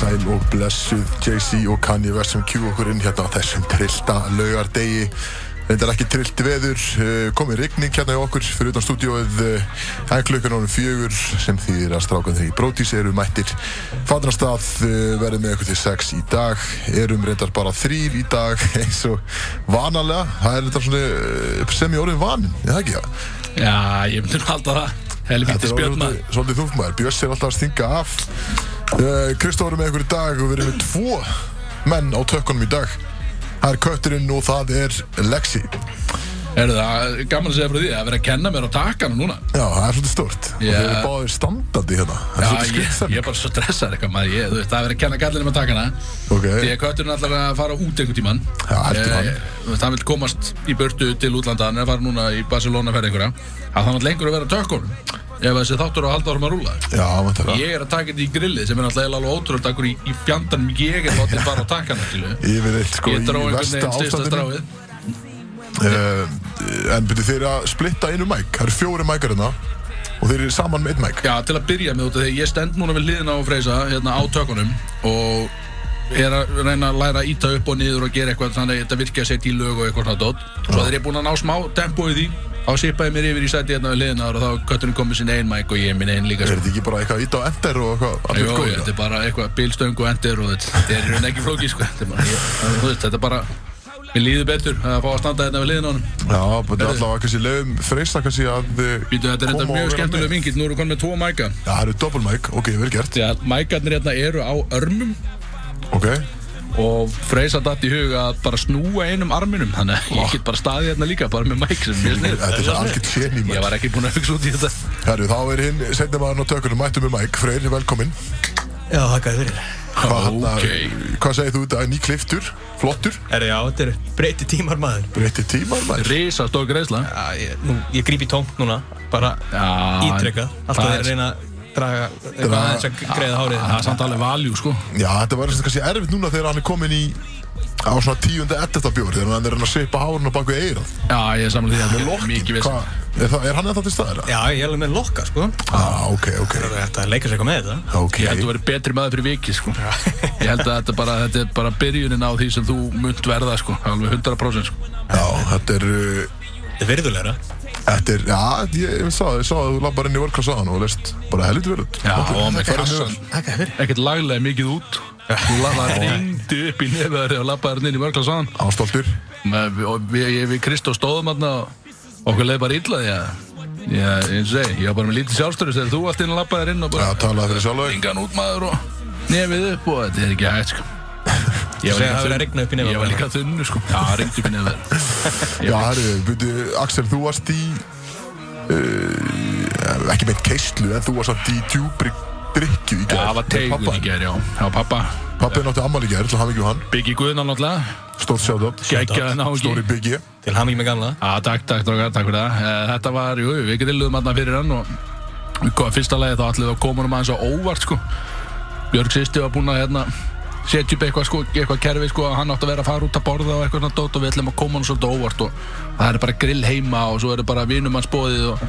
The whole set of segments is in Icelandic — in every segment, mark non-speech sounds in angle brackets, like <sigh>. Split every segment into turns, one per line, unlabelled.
Sæl og blessuð Jay-Z og Kanye West sem kjú okkur inn hérna á þessum trillta laugardegi Þetta er ekki trillt veður, eh, komið rigning hérna í okkur fyrir utan stúdíóið eh, en klukkan ánum fjögur sem þýðir að strákan þegar í brótís eru mættir fadrastað, verðum eh, með ykkur til sex í dag, erum reyndar bara þrýr í dag <laughs> eins og vanalega, það er þetta svona eh, sem í orðin vanin, er það ekki það?
Já, ég myndi nú halda það Helvíti
Þetta er
spjörn maður
orðið svolítið þungt maður, Björns er alltaf að stinga af uh, Kristóður er með ykkur í dag og við erum með tvo menn á tökkunum í dag Það er kötturinn og það er Lexi Já,
Er það gaman að segja frá því að vera að kenna mér á takana núna
það er svolítið stórt
Já.
yeah. Og þeir eru báðir standandi hérna Það
Já,
er svolítið
ég,
skrýtsen
ég er bara svo stressað eitthvað maður ég, þú veist, Það er verið að kenna gallinu með takana
Ok.
Því að kötturinn allar að fara út einhvern Eh, tíman
Já, heldur hann.
Það vil komast í burtu til útlanda Hann er að fara núna í Barcelona ferð einhverja Það þannig lengur að vera á tökunum Ef þessi þáttur á halda árum að rúla
Já, maður þarf að
Ég er að taka þetta í grillið sem er náttúrulega alveg ótrúld Akkur í, í fjandarnum ég er látið bara á takana skilurðu.
Yfir eitt sko
Ég
í
drá einhvern
versta
veginn styrsta
ástandinu
stráið
uh, En byrju þeir eru að splitta einu mæk Það eru fjóri mækar hérna Og þeir eru saman með einn mæk
Já, til að byrja með út af því ég stend núna við hliðina á Freysa hérna á tökunum og er að reyna að læra að íta upp og niður og gera eitthvað þannig að þetta virki að setja í lög og eitthvað svona dót Svo þegar ég er búinn að ná smá tempo í því þá sipaði mér yfir í sæti hérna við hliðina og þá er kötturinn komið sinni einn mæk og ég er minn einn líka
Er
sko.
þetta ekki bara eitthvað ít á ender og eitthvað allir
Jó,
góðir,
ég,
já?
þetta er bara eitthvað bílstöng og endir og þetta þetta er í raun ekki flókið sko. Þetta er bara, ég, þú veist, þetta er bara Mér líður betur að fá að standa hérna við liðin á hann
Já, þetta er allavega kannski leiðum freysta kannski að eh,
Býtu, þetta er þetta mjög skemmtilega vingill Nú eru konn með tvo mæka
Já, það eru double mic, ok, vel gert
Því að mækarnir hérna eru á örmum
Ok,
og Freysa datt í hug að bara snúa einum arminum þannig að ég get bara staðið hérna líka bara með mæk sem mér snið
þetta er algjört geni
ég
maður.
var ekki búinn að hugsa út í þetta
Herru, þá er hinn setna maður á tökunum mættu með Mike, Freyr, velkomin
Já, þakka þér fyrir.
Hvað hérna-
Ok.
Hvað segir þú þetta? Ný kliftur, flottur,
Herra, já, þetta er breyti tímar maður.
breytti tímar maður
risa stór greiðsla
Já, ég, nú, ég gríp í tómt núna, bara
Já,
ítrekkað. Alltaf
það
þeir
er-
að reyna að draga eitthvað
Draga-
aðeins að greiða hárið.
það er samt alveg valjú sko
Já, þetta var svona kannski erfitt núna þegar hann er komin í á svona tíunda ettasta bjór þegar hann er hann að seipa hárun og baku eirað
já ég er samlega því að þetta er
Lokkin,
mikið veist
hvað, er, það- er hann eða til staðar?
Já, ég er alveg með lokka, sko.
ah, ok, ok,
Það er hægt að leika sér eitthvað með þetta.
ok
ég held að þú verið betri maður fyrir vikið sko ég held að þetta bara, þetta er bara byrjunin á því sem þú munt verða sko alveg 100% sko
Já, þetta er uh,
Þetta er virðulegra.
Þetta er, já, ég, ég sá það, ég sá það, þú lappar inn í vörklass á hann og leist bara helviti vel út
já og með
Bara
kassan
mjög
Þakka þér fyrir.
ekkert laglega mikið út það ringdi upp í nefðar og lappaði hérna inn í mörglasaðan
vel. Ástoltur
Með- við, og við, ég- við Kristó stóðum hérna og okkur leiði bara illa því að Já, eins og segi, ég var bara með lítið sjálfstöru þegar þú allt inn að lappa þér inn og bara
Já, talaði fyrir sjálf
Ringan út maður og nefið upp og þetta er ekki
<laughs>
hægt sko Ég
Segðu að það hafi verið að rigna upp í nefið á
Ég var
þér.
líka þunnu sko Já, ringdi upp í nefið
Já, herru, byrju, Axel, þú varst í uh, ekki meint keislu, en þú varst samt í djúbri drikju í
Já,
gær
það var teigun í gerð, já Já, pappa,
Pappi nátti ammal í gær, til hafingi hann
Biggi Guðna náttúrulega
Stórt sjátt
Gækja það
Stóri
náttúrulega
Biggi
Til hamingi með gamla.
Já, takk, takk, takk, takk fyrir það Eh, Þetta var, jú, við grilluðum hérna fyrir hann og við komum fyrsta lagi þá allir þá komum hann aðeins á óvart, sko Björg sýsti var búin að, hérna, setja upp eitthvað, sko, eitthvað kerfi, sko að hann átti að vera að fara út að borða og eitthvað svona dót og við ætlum að koma hann svolítið á óvart og það er bara grill heima og svo eru bara vinum hans bóðið og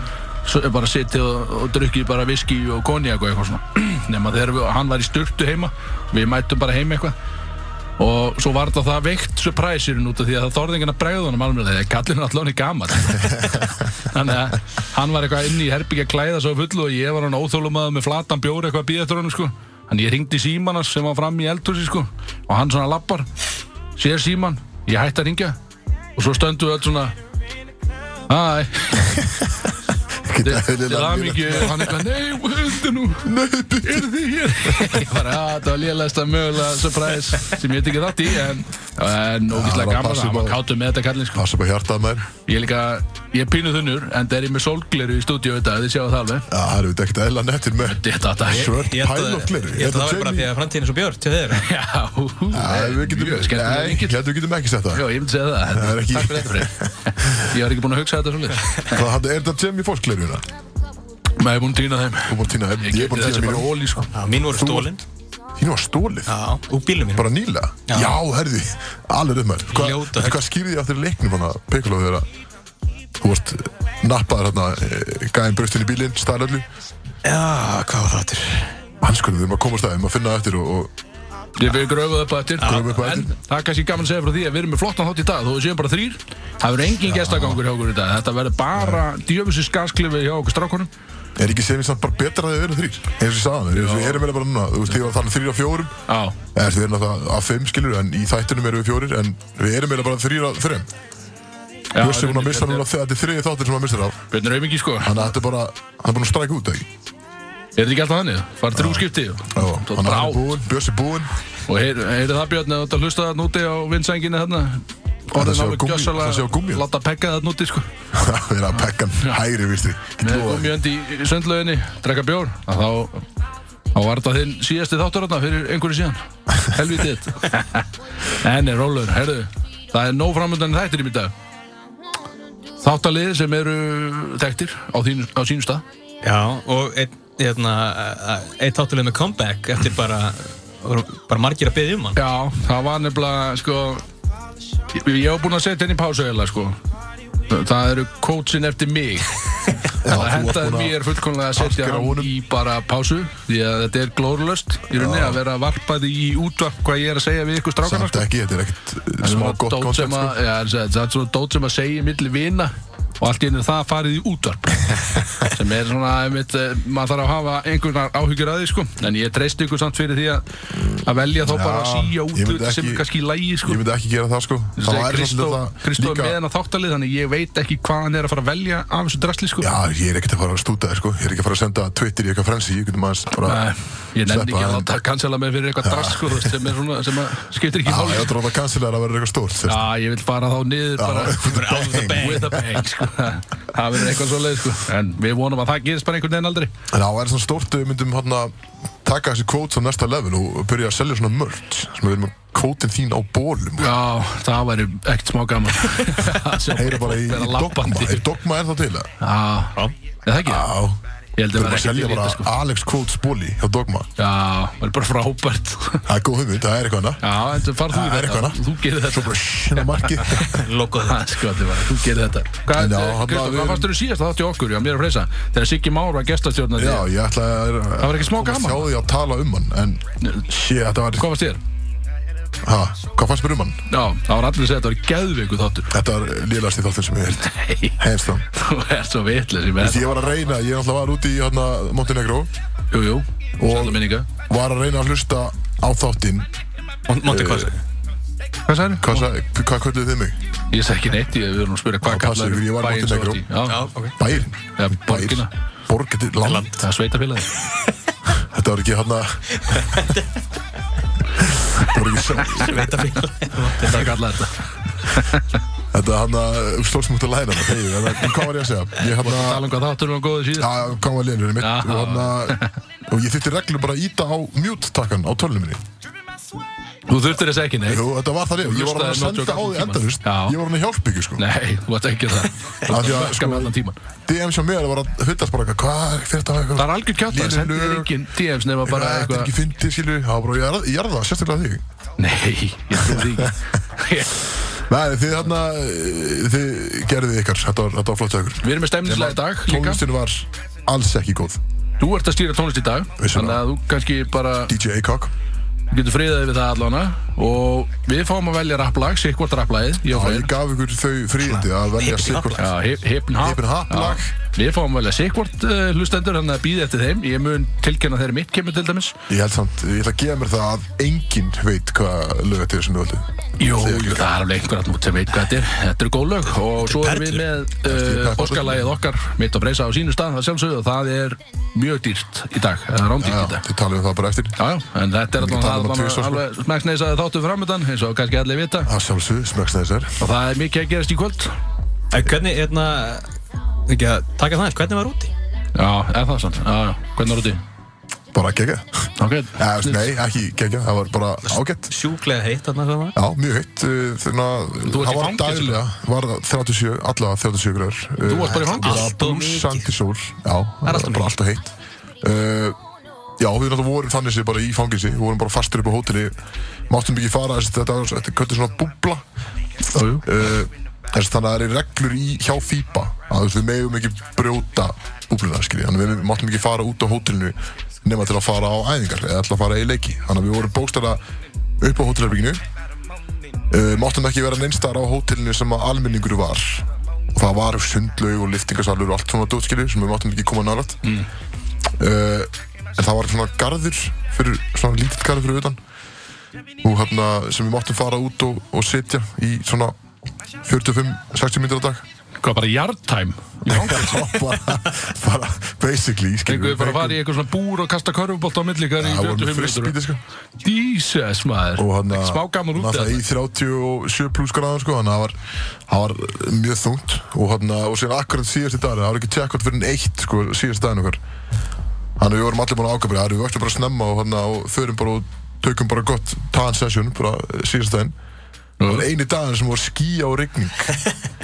svo er bara sittið og, og drukkið bara viski og konjak og eitthvað svona <clears throat> nema þegar við, hann var í styrtu heima við mættum bara heima eitthvað og svo var þetta það veikt surpræsirinn út af því að það þorði enginn að bregða honum alveg þegar kallinn er allan í gammal þannig að hann var eitthvað inn í herbyggja klæða svo fullu og ég var hann óþólumaður með flatan bjór eitthvað að býða eftir honum sko þannig ég ringdi símanas sem var fram í eldhúsi sko og hann svona lappar sér síman, ég hætti að ringja og svo stöndu við öll svona Æ,
Ekkert
til
eðlilega
aðmyggju og hann eitthvað, nei, hundu nú Nei, er þið hér? <laughs> Ég bara, já, þetta var lélægsta mögulega surprise sem ég teki þátt í en, en
Já,
ógíslega
bara
gaman
passa
að hann
upp
var
á-
kátum með þetta kallinn sko.
Passa upp á hjartað mær
Ég er líka, ég er pínuð þunnur en það er ég með sólgleru í stúdíu þetta, þið sjáu það alveg
Já, það eru ekkert eðla nettir með
Þetta, þetta,
Svört
Ég held að-
pæloklir
Ég held að það var bara því að framtíðin er svo björn til þeir.
já, hú,
Við getum,
mjög skemmtilega
nei,
vingill
hérna við getum ekki sett það
Já, ég myndi segja það,
Það er ekki-
takk fyrir þetta fyrir Ég var ekki búinn að hugsa þetta svolítið
Hvað, hann- Er þetta Jamie Fosklerjuna?
Maður er búinn að týna þeim
Þú búin að týna þeim,
Ég
ég er búin að
kefti þessi
týna
bara
mínu
óli sko
Já, mín voru
Þú-
stólinn.
Þínu var stólið
Já, úr bílum mín.
Bara nýlega? Já,
Já.
herði, alveg upp með Hva,
Ljóta
Veitu
högg.
hvað skýrði ég aftur í leiknum hann að pekula þegar að þú varst eh, nappaður hérna gæðin bröstin í bílinn, stærlallu
Já, hvað var það aftur?
hans kunni þeim að koma stæðum að finna það eftir og, og
Ég fyrir gröfuð upp á eftir
Gröfuð upp á
En
eftir.
það er kannski gaman að segja frá því að við erum með flottan þátt í dag Þó við séum bara þrýr Það verður engin gestagangur hjá okkur í dag Þetta verður bara djöfisins gasklifi hjá okkur strákunum
Er ekki sem samt bara betra að þið verður þrýr? Eins og ég sagði mér, við erum meira bara núna Þú veist, þið var þannig þrýr á fjórum
Já,
Eða, Við erum náttúrulega að fimm skilur En í þættunum erum við fjórir En við erum meira bara þrýr á þrjum
já
Björn er búin að missa núna þegar þetta er þriði þáttir sem hann missir á
Björn er auðvitað sko Er
Þannig að þetta er bara, hann er búin að stræka út, ekki?
þetta ekki alltaf þannig? Far þrjú skipti og-
Já,
Svo
hann
bara
er
á.
búinn, Björn er búinn
Og heyri heyri það Björn eða þú ert að hlusta þarna úti á vindsænginu þarna
Það
Orðin
sé á
alveg
gúmmí- það sé á gúmmíu.
gjössalega Láta pekka þarna úti sko
<laughs> Það er að pekka hann hægri, vístu
með gummiönd í í sundlauginni, drekka bjór að þá, þá var þetta þinn síðasti þáttur þarna fyrir einhverju síðan helvítið en er rólur, herðu það er nóg framöndan þættir í mitt dag þáttalið sem eru þekktir á, þín, á sínum stað
Já, og einn hérna, ein tátuleg með comeback eftir bara, bara margir að beðja um hann.
já, það var nefnilega sko, ég, ég var búinn að setja henni í pásu eða sko það eru coachin eftir <laughs> mig það hendaði mér fullkomlega að setja
afskera
hann
honum.
í bara pásu því að þetta er glórulöst í rauninni að vera varpað í útvarp hvað ég er að segja við ykkur strákana
Samt
sko.
ekki, þetta er ekkert uh,
Það er
smá
svona
gott
dót
koncept
sem
sko.
að- já, það er- það er svona dót sem að segja millir vina og allt í einu er það farið í
<laughs>
útvarp sem er svona, einmitt, eh, maður þarf að hafa einhverjar áhyggjur að því sko en ég treyst ykkur samt fyrir því að, að velja þá bara að
Já,
síja
ég myndi
út sem
ekki-
er kannski í lægi sko
Ég myndi ekki gera það, sko Það væri
Kristó,
svolítið það
Kristó er
líka-
með hennar þáttalið þannig ég veit ekki hvað hann er að fara að velja af þessu drasli sko
Já, ég er ekkert að fara að stúta þér, sko Ég er ekki að fara að senda Twitter í eitthvað frensi Ég getum aðeins bara
Nei, ég
Sleppa
nefndi ekki að
hann.
láta cancela mig fyrir eitthvað drast sko, þú veist, sem, er svona, sem að skiptir ekki
Já,
máli
ég
sko.
ætla að láta cancelar að vera eitthvað stórt þú veist.
Já, ég vil fara þá niður <laughs> bara
with a
Out of the
bang.
bag.
with a bang sko. það verður eitthvað svo leið sko. en við vonum að það gerist bara einhvern veginn aldrei
En það væri svona stórt ef Við myndum hann taka þessi kvót á næsta level og byrja að selja svona merch sem við erum með kvótin þín á bólum
Já, það væri ekkert smá <laughs> gaman
Heyra bara í, í dogma Er dogma er það til það?
Já, er það ekki?
Já
Ég held
Við
að
erum
vera
að
ekki
selja
til í
bara
þetta sko
Alex Quotes bóli hjá Dogma
Já, það er bara frábært
Það er góð hugmynd, það er eitthvað hana
Já, en þú farð þú
Það
í
er
þetta
eitthvað,
Þú gerir þetta bara
Hérna marki
Logoð
<laughs> Það er skoði bara, þú gerir þetta Hvað,
En já,
eh,
hann
Kristó,
var-
hvað fannst þú síðast að þátti okkur? Já, mér er að freysa Þegar Siggi Már var gestastjórnandi
Já, ég ætla að Það
var ekki smá gaman.
Þjá því að tala um hann En Shit, þetta var
Hvað fannst þér?
ha, Hvað fannst mér um hann?
Já, það var allir að segja að þetta var geðveiku þáttur <laughs>
Þetta var lélast í þáttin sem ég held
Nei,
Hands down
þú ert svo vitlega sem er
Ég var að reyna, ég náttúrulega var úti í hérna Montenegro
Jú, jú,
Og-
sætla minninga
Var að reyna að hlusta á þáttin
Monte Costa.
Eh. Hvað sagðið?
Hvað, sagði- hvað kölluðu þið mig?
Ég sagði ekki neitt, ég við erum að spyrja hvað
Já, passaðu
kallar
ykkur, ég var í Montenegro.
Já,
Já,
ok.
Bærin
Já, borgina.
Borgina, land
það er sveitafélagi <laughs>
Þetta var ekki hérna Þetta var ekki sjálf
Þetta kallar þetta
Þetta hann að stórsmútt að læra hana hey, en hvað var ég að segja? Ég hann að
Tala um hvað þáttur var góðið síðast
Já, hvað var lénurinn mitt
Já.
og, hann að, og ég þurfti reglu bara að íta á mute takkan á tölunum minni
Þú þurftir þess ekki, nei
Jú, þetta var það reyf Ég var hann að
Hlustaði
senda á
allan
því
tímann.
endanust
Já.
Ég var hann að hjálpa ykkur sko
Nei, þú ert ekki það Þú
Af því að,
ert að bökka
sko,
með allan tíman
DM sem mér var að hundast bara eitthvað, Hvað fyrir þetta
Það
eitthvað
er algjör kjátt að
Línur
sendi þér
lög.
engin DMs nema
Bara
bara
Þetta er
eitthvað
ekki fyndið skilur Það var bara, ég er- ég er það, sérstaklega þig
Nei, ég trúi því <laughs> ekki
Nei, þið hann að Þið gerðið ykkar, þetta var, þetta var flott hjá ykkur
Við erum með stemnislega í dag líka
Tónlistin var alls ekki góð
Þú ert að stýra tónlist í dag
Vissulega.
Þannig að þú kannski bara
DJ Acock
getur friðaði við það allana Og við fáum að velja rapplag, sér hvort rapplagið Ég
Já,
og Freyr
ég gaf ykkur þau fríðindi að velja
Hippi
sig
hopp.
hvort
Já, hip- Hipn Hap
Hipn Hap
Já.
lag.
Við fáum vel að sikkvort uh, hlustendur Þannig að býði eftir þeim Ég mun tilkynna þegar mitt kemur til dæmis
Ég held samt, ég ætla að gefa mér það að enginn veit hvað lög þetta er sem við völdum.
Jú,
Þið ekki.
jú, það er alveg einhver að múti sem veit hvað þetta er Þetta eru góð lög Og svo erum við
perlur.
með
Þetta
uh,
er
Óskarlægið okkar Mitt og breysa á sínu stað Það sjálfsögðu og Það er mjög dýrt í dag Það er rándýrt
Já,
í dag
þið talum við það bara eftir.
Já, já, en þetta er
Við
allan
talum um
alveg,
tvisvar, sko.
alveg smekksneisaði þáttu framöndan eins og kannski allir vita
Það sjálfsög, smögsnæðis er.
og það er mikið að gerast í kvöld Já,
En hvernig, hérna, ekki að taka það eins, hvernig var úti?
er það sann, já, já, hvernig er úti?
Bara gegja.
Ok,
Eða, þú veist, nei, ekki gegja, það var bara ágætt.
Sjúklega heitt þarna hvað var?
Já, mjög heitt. uh, Þannig að
Þú varst í
það var
fangelsi.
daglega, var það 37, allavega 37 gráður.
Þú varst bara í fangelsi.
Allt
Það var
of mikið.
brúsandi sól. Já, það
allt of
var
mikið.
bara alltaf heitt. Uh, Já, við náttúrulega vorum þannig sér bara í fangelsi, við vorum bara fastur upp á hóteli, máttum ekki fara, þessi- þetta var þetta er kölluð svona búbla,
Jú, jú.
uh, þess, þannig að það eru reglur í, hjá FIBA að þú veist, við megum ekki brjóta búbluna skilji, þannig að við máttum ekki fara út á hótelinu nema til að fara á æfingar eða til að fara í leiki þannig að við vorum bókstæða upp á hótelherbygginu uh, máttum ekki vera neinstar á hótelinu sem að almenningur var og það var sundlaug og liftingasalur og allt svona dótskilu sem við máttum ekki koma nálat mm. en það var svona garður fyrir, svona lítill garður fyrir utan og hérna sem við máttum fara út og, og sitja í svona 45-60 myndir á dag
Hvað bara yard time?
Já, <laughs> bara, bara basically skilur
Fengu
við.
við bara að fara í eitthvað svona búr og kasta körfubolt á milli ykkar í
Það voru
45
með frisbíti
minútur
sko
Jesus maður,
og hann
smá gaman út
það
eða?
í 37 pluss gráðan sko þannig að það var, það var mjög þungt og hann og síðan akkurat síðast í dag það var ekki tjekkot fyrir en eitt sko síðast daginn okkar þannig að við vorum allir búin að ákveða það við vöktum bara snemma og hann og förum bara og tökum bara gott tan session bara eh, síðast daginn það
Mm.
var eini daginn sem var skýja og rigning já,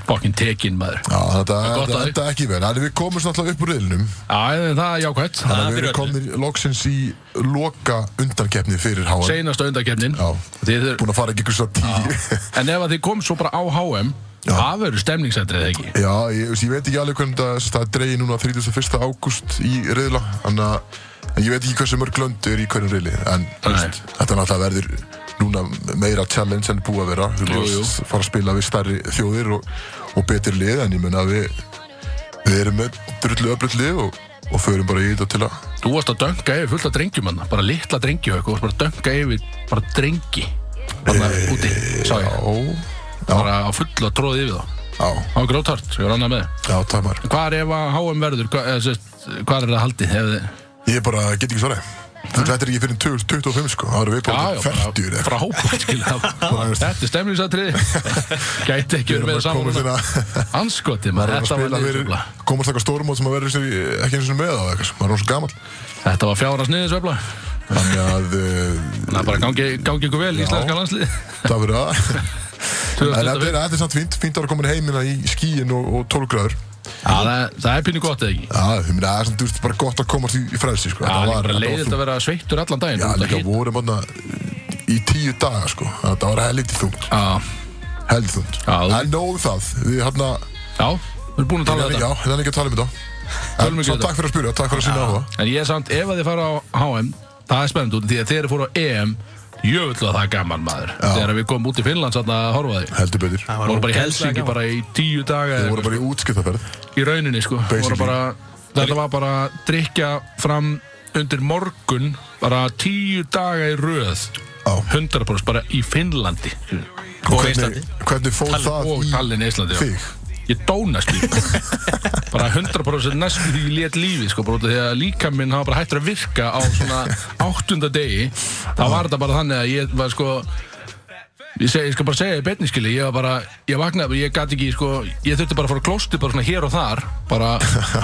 Fokkin tekin maður
þannig
<laughs>
að
gott
þetta-
að því.
þetta er ekki vel þannig að við komum svona alltaf upp úr reyðinum
Já, en það er jákvæmt
þannig
Það
að við
fyrir
erum komin loksins í loka undankeppni fyrir HM
Seinasta undakefnin
Já.
En
búin að fara ekki ykkur svona tíu
ef að þið kom svo bara á HM
Já.
Það verður stemningsættrið eða ekki
Já, ég, ég, ég veit ekki alveg hvernig það, það er dreigið núna 31. ágúst í riðla Þannig að en ég veit ekki hversu mörg lönd er í hverjum riðli En þú veist, þetta náttúrulega verður núna meira challenge en búið að vera Þú
Jú, jú.
veist, fara að spila við stærri þjóðir og, og betri lið En ég mun að við, við erum með drullu öflut lið og, og förum bara í þetta til að
Þú varst að dönga yfir fullt af drengjum hann Bara litla drengi og eitthvað Þú varst bara að dönga yfir bara drengi Bara úti, sá ég
Já, Eh, já,
Bara á fullu að tróði yfir þá
já,
Það var grótart, ég var annað með
já, tæmar
Hvar ef að HM verður, hvað, eða, sérst, hvar er það haldið? Hef,
Ég bara get ekki svarað Þetta er ekki fyrir 2025 sko, það eru við
já,
bara
já,
40 eða
bara
eitthvað.
frábært, skilja
<laughs>
Þetta er stemningsatrið Gæti ekki
Við erum
verið með
að
saman
komast
núna.
hérna-
Anskotið,
maður er
maður,
að
þetta var
spila fyrir
niðursveifla
komast eitthvað stórmót sem að verður sér í- ekki eins og með á eða eitthvað, sko. maður er svo gammal
Þetta var fjárans niðursveifla
þannig að uh,
Það bara gangi, gangi ykkur vel í íslenska landslið
það verður <laughs> að en þetta
2025.
er, þetta er samt fínt, fínt að vera komin heimina í skíin og, og 12 gráður
Já, það- Það er pínu gott eða ekki
Já, ég meina, það er samt þú veist, bara gott að komast í, í frelsi sko. Þetta
Það er líka bara
þetta
leiðilt
þungt.
að vera sveittur allan daginn
Já,
út að
líka
hita.
vorum þarna í tíu daga sko. þetta var helviti þungt
Já,
helviti þungt,
Já, þú-
en nóðu það við hérna,
já, við erum búin að tala um
já,
þetta
hérna ekki að tala um þetta En
Tölum ekki um
svo
þetta.
takk fyrir að spyrja, takk fyrir að sína á það
En ég er samt, ef að þið fara á HM Það er spennandi út, af því að þeir eru fóru á EM Jöfull að það er gaman maður Þegar við komum út í Finnland samt að horfa á því
heldur betur,
Það
voru bara í
ógeðslega
Helsingi
gaman.
bara í tíu daga
við
eða
vorum bara í útskiptaferð
eitthvað, í rauninni sko voru
Basically.
bara, þetta var bara að drikja fram undir morgun bara tíu daga í röð
Já.
100% bara í Finnlandi
Og á Íslandi.
hvernig, hvernig fór það
og
í
Tallinn í Íslandi já.
þig?
ég dóna
<laughs>
skil bara 100% næstu því ég let lífi sko, bara út af því að líka minn hafa bara hættur að virka á svona áttunda degi þá var þetta bara þannig að ég var sko ég, seg, ég skal bara segja í betni skili ég var bara, ég vaknaði, ég gæti ekki sko, ég þurfti bara að fara að klósti bara svona hér og þar bara,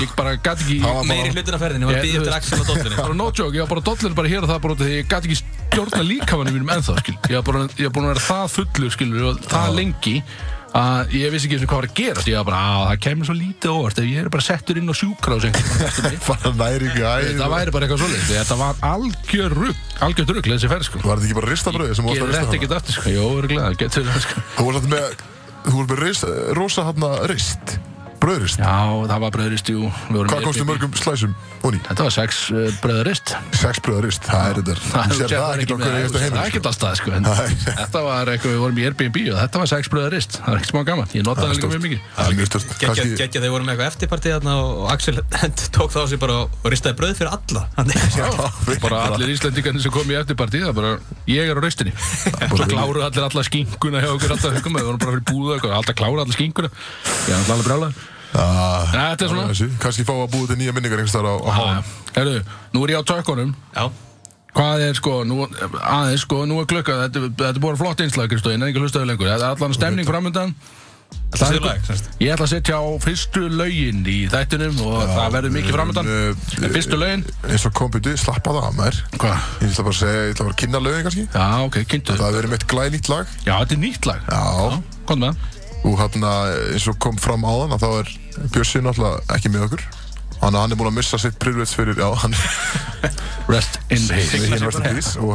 ég bara gæti ekki
<laughs> Það var bara-
Meiri hlutin af ferðinni var
Ég-
að býða
þú
eftir
veist-
Axel og Dollinu
<laughs> bara no joke, ég var bara dollur bara hér og það bara út af því ég gæti ekki stjórna líkamanum mínum ennþá skil ég var bara, ég var búin að vera það fullur skil og það lengi að ég vissi ekki einu sinni hvað var að gerast ég var bara, að það kemur svo lítið óvart ef ég er bara settur inn á sjúkrás
<laughs>
það
bara næring í æð
væri bara eitthvað svolítið þetta var algjör rugg, algjör rugg þessi ferð sko
Var þetta ekki bara ristabröði sem þú
ég
varst að
þetta
rista
ekki
hana?
aftur sko, jó, örgulega, <laughs> það getur það sko
Þú varst alltaf með, þú varst með rist, rosa hana rist, bröðrist
já, það var bröðrist, jú við vorum
Hvað
í-
komstu mörgum slæsum honi?
þetta var sex uh, bröðrist
Sex bröðrist, það er þetta Þú sér það ekkert okkur
það
eiginstu
er
heimil
ekkert alltaf sko, en
Nei.
þetta var eitthvað við vorum í Airbnb og þetta var sex bröða rist það er ekkert smá gaman, ég notaði það líka <laughs> mjög mikið
Það er mjög stort Kanski,
Gekkja þeir voru með eitthvað eftirpartið þarna og og Axel <laughs> tók þá sér bara og ristaði bröð fyrir alla <laughs> Þannig-
já,
bara allir íslendingarnir sem kom í eftirpartið það bara, ég er á raustinni svo kláruð allir alla skinkuna hjá okkur alltaf hugum, við vorum bara fyrir búða eitthvað, alltaf kláruð allir skinkuna ég er alltaf alveg brjálaður
Ah,
Nei, þetta er svona.
þessi. Kannski fá að búa til nýja minningar einhvers þar á, á
Ah,
hálf
herru, nú er ég á tökkunum
Já,
Hvað er sko, nú, aðeins sko, nú er klukka, þetta, þetta er búin flott innslag, Kristóð, ég nefnir ekki að hlusta þau lengur. Þetta er allan stemning framöndan.
alltaf sér lag sem sagt.
Ég ætla að setja á fyrstu lögin í þættinum og það verður mikið framöndan.
um,
En fyrstu lögin?
Eins og kompitu, slappa það að mér
Hvað?
Ég ætla bara að segja, ég ætla bara að kynna lögin kannski
Já, ok, kynntu.
Það verður meitt glænýtt lag
Já, þetta er nýtt lag.
Já,
Komdu með það.
og hérna eins og kom fram áðan að þá er Bjössi náttúrulega ekki með okkur Þannig að hann er búinn að missa sitt privilege fyrir, já, hann
Rest in
Við hinn
peace.
hérna, varst að bís og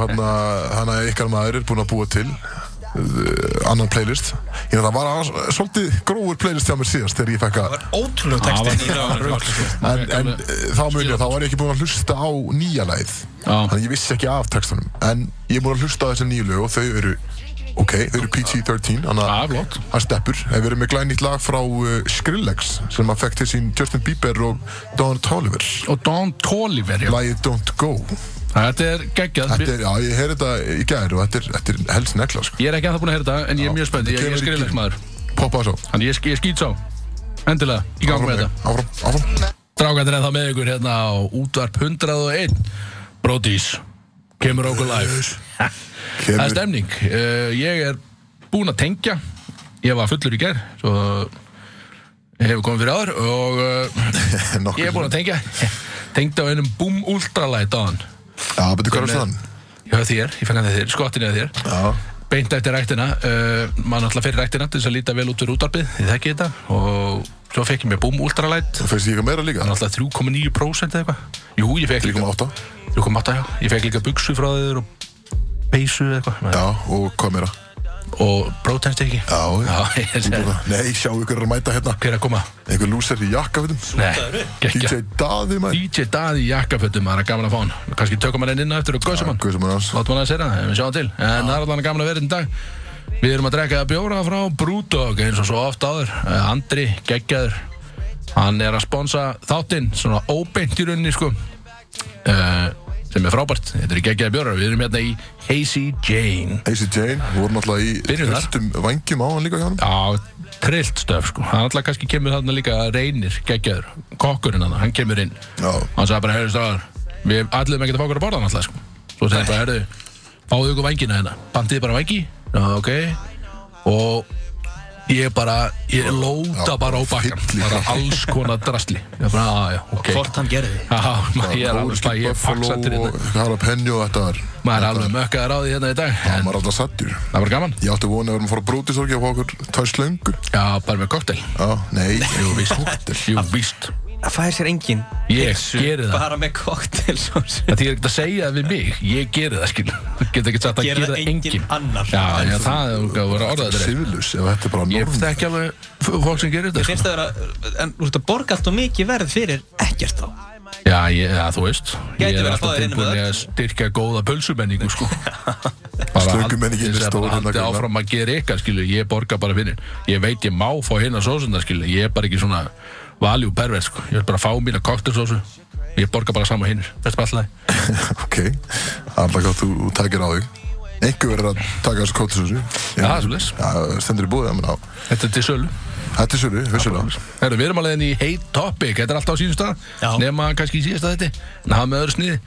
hann að ykkar maður er búinn að búa til uh, annan playlist Ég það var að, svolítið grófur playlist hjá mér síðast þegar ég fekk að
Það var ótrúlegu
Það
texti í
var
lagunum.
rugl, sko.
En,
Ég
en
alveg-
eh, þá muni ég, þá var ég ekki búinn að hlusta á nýja lagið
Já.
Þannig ég vissi ekki af textunum En ég er búinn að hlusta á þessi nýju lög og þau eru Ok, þau eru PG-13 Þannig
Já,
að
flott.
hann steppur En við erum með glænýtt lag frá uh, Skrillex Sem að fekk til sín Justin Bieber og Don Toliver
Og Don Toliver, já.
Lagið Don't Go
Þetta er geggjað.
Þetta er, já, ég heyrði þetta í gær og þetta er, þetta er helst negla sko.
Ég er ekki að það búin að heyra þetta, en ég er mjög spennt. Ég, ég
Kemur
er
í
skriflegs
gír.
maður.
Poppa þess á
Þannig ég, ég skýt sá. Endilega, í gang með þetta.
Áfram, áfram
Strákarnir er það með ykkur hérna á útvarp 101 Brodís Kemur okkur live Það er
Kemur,
stemning uh, Ég er búinn að tengja Ég var fullur í ger Svo hefur komið fyrir áður Og uh,
<laughs> nokkuð
ég er búinn að tengja Tengdi á einum Boom Ultralight á hann
Já, betur hvað er það?
Já þér, ég fengi hann þér, skottinni að þér
Já,
Beint eftir ræktina uh, Maður náttúrulega fyrir ræktina til þess að líta vel út úr útvarpið Þið þekki þetta Og svo fekk ég mér Boom Ultralight
það finnst ég eitthvað meira líka
Náttúrulega 3,9% eða eitthvað Jú, ég fekk líka
Líkum átta
3,8 já, ég fekk líka buksu frá þeir og peysu eða eitthvað
Já, og hvað meira?
og brótenst ekki
Já, já
já ég segi það.
Nei, sjá ykkur er að mæta hérna
hver er að koma?
Einhver lúsar í jakkafutum
Nei,
DJ
gekkja
Daði mæ
DJ Daði í jakkafötum, það er gaman að fá hann kannski tökum hann einn inn á eftir og gössum hann
Hvað sem er hans
látum hann að segja það, við sjáum til en það er allan gaman að vera þetta í dag við erum að drekka bjóra frá Brúdog eins og svo oft áður, Eh, Andri geggjaður hann er að sponsa þáttinn, svona óbeint í rauninni sko Eh, sem er frábært, þetta er geggjaði bjóra við erum hérna í Hazy Jane
AC Jane, við vorum alltaf í
Byrjum þar.
Viltum vangjum á hann líka hjá hann
Já, trillt stöf sko Hann alltaf kannski kemur þarna líka reynir geggjaður, kokkurinn hann, hann kemur inn
Já,
Hann sagði bara, heyrðu stráðar Við allir með að fá okkur að borða hann alltaf sko Svo segði hann bara, heyrðu, fáðu ykkur vængina hérna Bandið bara vængi, já ok Og ég bara Ég lóta
Já,
bara á bakkan
fyllir.
Bara alls konar drasli Ég bara, "Ah, já, ok
Hvort hann gerði.
Já, maður- ég er alveg
Kólski,
slæg, ég er
Buffalo
faxattur
og
hérna
Jalapeno og þetta var
Maður er alveg mökkaður á því hérna í dag
Það
En
var alltaf sattur
það var gaman
Ég átti vonið að við erum að fara að brúti sorgi og fá okkur tvær slöngu
Já, bara með koktel
Já, nei,
Jú, víst, jú, víst
Það fæði sér enginn.
Ég
pizzu
geri það.
Bara með koktel svo sem.
Það þýðir ekkert að segja það við mig, ég geri það skil Þú getur ekkert sagt að
Gera
gera það
enginn
enginn
annar.
Já, já, það er að vera orðað þetta er-
Sivillus, ef þetta er bara
Ég
norm
þekki alveg f- fólk sem gerir þetta
Finnst
sko.
það vera, en þú veist að borga allt og mikið verð fyrir ekkert þá.
Já, ég, ja, þú veist
Gæti
Ég er
verið að
alltaf
fá þér inn með
tilbúin í
öll.
að styrkja góða pölsumenningu sko.
Slökumenningin er stór
er
hérna,
stór Haldi
Gunnar.
áfram að gera ykkar skilu Ég borga bara fyrir Ég veit ég má fá hérna sósuna skilu Ég er bara ekki svona valjú pervert sko. Ég vil bara fá mína koktelsósu Ég borga bara saman hinnir Þetta er bara alltaf
<laughs> Ok, alltaf hvað þú takir á þig Einhver verður að taka þessu kóttisúsu
Já, það er svoleiðis.
Já, stendur í búið, ég menna
Þetta er til sölu
Þetta er svolítið, vissulega.
Herru, við erum alveg inn í Hate Topic, þetta er alltaf á síðustu
Já.
stað nema kannski í síðasta þetta, en það með öðru sniði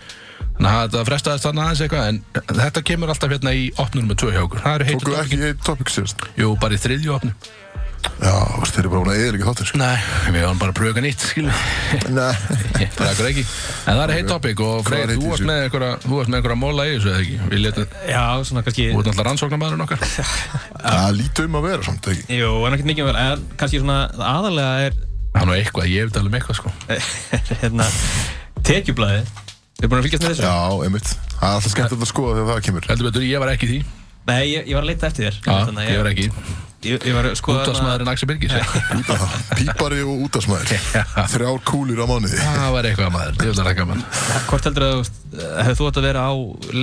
þannig að þetta frestaðist þannig aðeins eitthvað en þetta kemur alltaf hérna í opnum með tvö hjá okkur, það eru Hate
Tókuðu
Topic
ekki eitt topic sérst.
Jú, bara í þriðju opnum
Já, þú veist, þeir eru bara búin að eða líka þáttir, sko.
Nei, við varum bara að pröga nýtt, skilu
<laughs> Nei.
bara ekkur ekki, en það er Hate Topic og
Hvað er
Freyr,
heitt í
þú varst
þessu?
með einhverja þú varst með einhverja móla í þessu, eða ekki? Við letum,
Já, svona kannski,
þú ert alltaf rannsóknarmaðurinn okkar
Það lítið um að vera samt, ekki?
jú, en ekkert mikið verð, en kannski svona það aðalega er, <laughs>
Það er nú eitthvað, ég veit alveg með eitthvað, sko
er hérna, tekjublaði. Þið er búin að fylgjast með þessu?
Já, einmitt. Það er alltaf skemmt að skoða þegar það kemur.
Heldur betur, ég var ekki í því,
Nei, ég, ég var að leita eftir þér.
Já,
Þannig að
ég var ekki í.
Ég, ég var sko, að skoða
Útvarpsmaðurinn Axel Birgis
Pípa, pípari og útasmæður. Þrjár kúlur á mánuði.
<laughs> Það var eitthvað maður, ég vil að rækka maður
Hvort heldur að hefur þú átt að vera á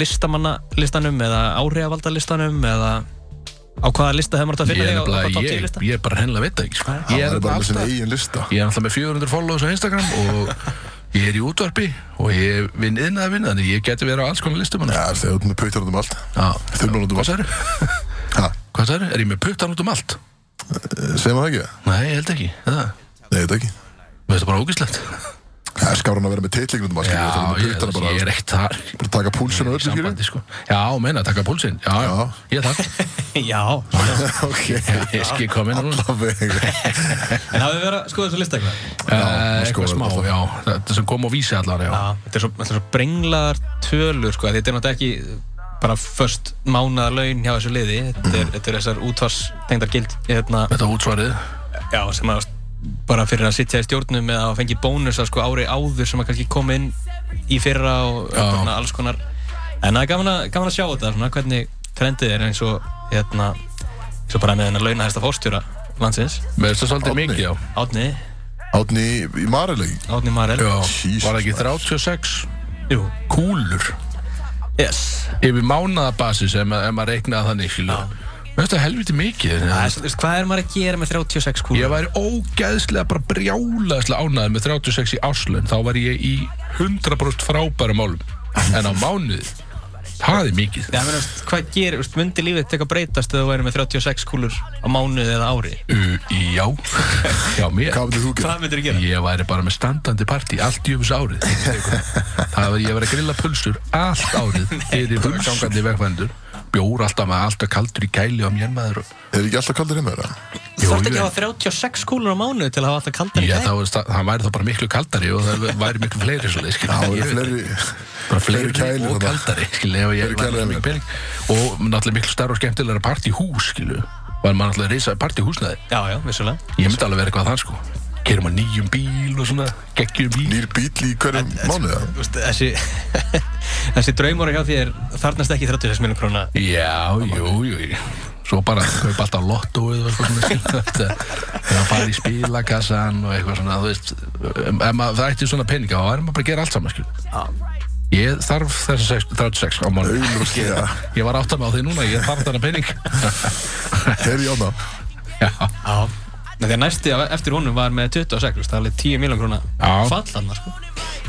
listamanna listanum eða áhrifvalda listanum eða á hvaða lista hefur maður átt að
Ég
finna
er
þig á, á
nefnilega,
top 10
ég,
lista?
ég er bara hennilega veit það ekki sko.
Það
Ég er
er bara með
alltaf
sinna eigin lista.
Ég er alltaf með 400 followers á Instagram og ég er í útvarpi og ég vinn inn að vinna þannig ég geti verið á alls konar listum hérna.
Já, þegar þú ert með pöytar út um allt. Þumlan út um
Hvað
allt.
sagður?
Ha,
Hvað sagður? Er ég með puttan út um allt?
segir maður það ekki?
Nei, ég held ekki Það
Nei, þetta ekki.
Mér finnst það bara ógislegt
Það er skáran að vera með teitlingin út um allt,
Já,
skilur. Það er með
ég,
pöytana bara,
ég er ekkert þar
bara taka púlsun og öllu, skilur.
Sambandi sko Já, meina, taka púlsinn Já, já, ég er <laughs> þar
<laughs> Já,
<laughs> Ok,
Ég skil kom inn núna
það
<laughs>
vega.
en hafið verið að skoða þessu lista eitthvað?
Eh,
sko,
Eitthvað smá,
alltaf.
já Þetta sem kom á vísi allar, já
Já, þetta er svo, þetta er svo brenglaðar tölur sko, þetta er náttúrulega ekki bara först mánaðar laun hjá þessu liði, þetta er, þetta er þessar útvarstengdar gild hérna,
Þetta útsvarið
já, sem að bara fyrir að sitja í stjórnum eða að fengi bónusa sko ári áður sem að kannski kom inn í fyrra og
Já.
svona, alls konar en það er gaman að, gaman að sjá þetta svona, hvernig trendið er eins og hérna, svo bara með hennar launahæsta fórstjóra landsins,
Með þess að svolítið
Árni.
mikið, já.
Átni,
Átni í Marelegi
Átni Marel
já.
Jesus
Var það ekki
Christ.
36
Jú,
kúlur
yes
yfir mánaðabasis ef ma- ef maður reiknaði þannig, skilur. Mér finnst það helviti mikið.
Það er svo- veist, Hvað er maður að gera með 36 kúlur?
Ég væri ógeðslega bara brjálaðslega ánæðið með 36 í áslun þá var ég í 100% frábærum málum en á mánuði það er mikið
Já, menn, veist, hvað gerir, veist, myndi lífið teka að breytast ef þú væri með 36 kúlur á mánuði eða ári?
Uh,
<laughs>
Já, já mér
Hvað myndir þú gera?
Hvað myndir þú gera?
Ég væri bara með standandi partí allt jöfus árið Það var ég var að grilla pulsur allt árið fyrir bara gangandi vegfændur bjór alltaf með alltaf kaldur í kæli á mér maður og-
Er ekki alltaf kaldur heima þeirra?
Þú þarft
Jú,
ekki
jú,
að hafa 36 kúlur á mánuði til að hafa alltaf kaldan í
Já,
dag.
það, var, það væri þá bara miklu kaldari og það væri miklu fleiri svo leið, skilja.
Það eru fleiri
bara fleiri
kælir
og
þarna.
kaldari skilja, ef ég
Fleiri kælir
var
en-
mikið pening og náttúrulega miklu starra og skemmtilegra partíhús skilju, var maður náttúrulega reysaði partíhúsnaði
Já, já, vissulega.
ég myndi alveg vera eitthvað þann sko kerum á nýjum bíl og svona geggjum bíl
Nýr bíl í hverjum mánuða?
Þú veist, þessi, <laughs> þessi draumur hjá þér þarnast ekki 36 miljón króna.
já, jú, jú, jú svo bara kaupa alltaf lottóið og eitthvað svona skilja þegar að fara í spilakassan og eitthvað svona, þú veist um, ef maður það ætti svona peninga, þá er maður bara að gera allt saman skilja Ég þarf þessa 6 36 á mánu
Augljóslega.
<laughs> Ég var átt að með á því núna, ég þarf þarna pening
Heyri ég ána
Já
Já. Þegar næsti á- eftir honum var með 26, þú veist, það er alveg 10 miljón króna
Já.
fallan, sko.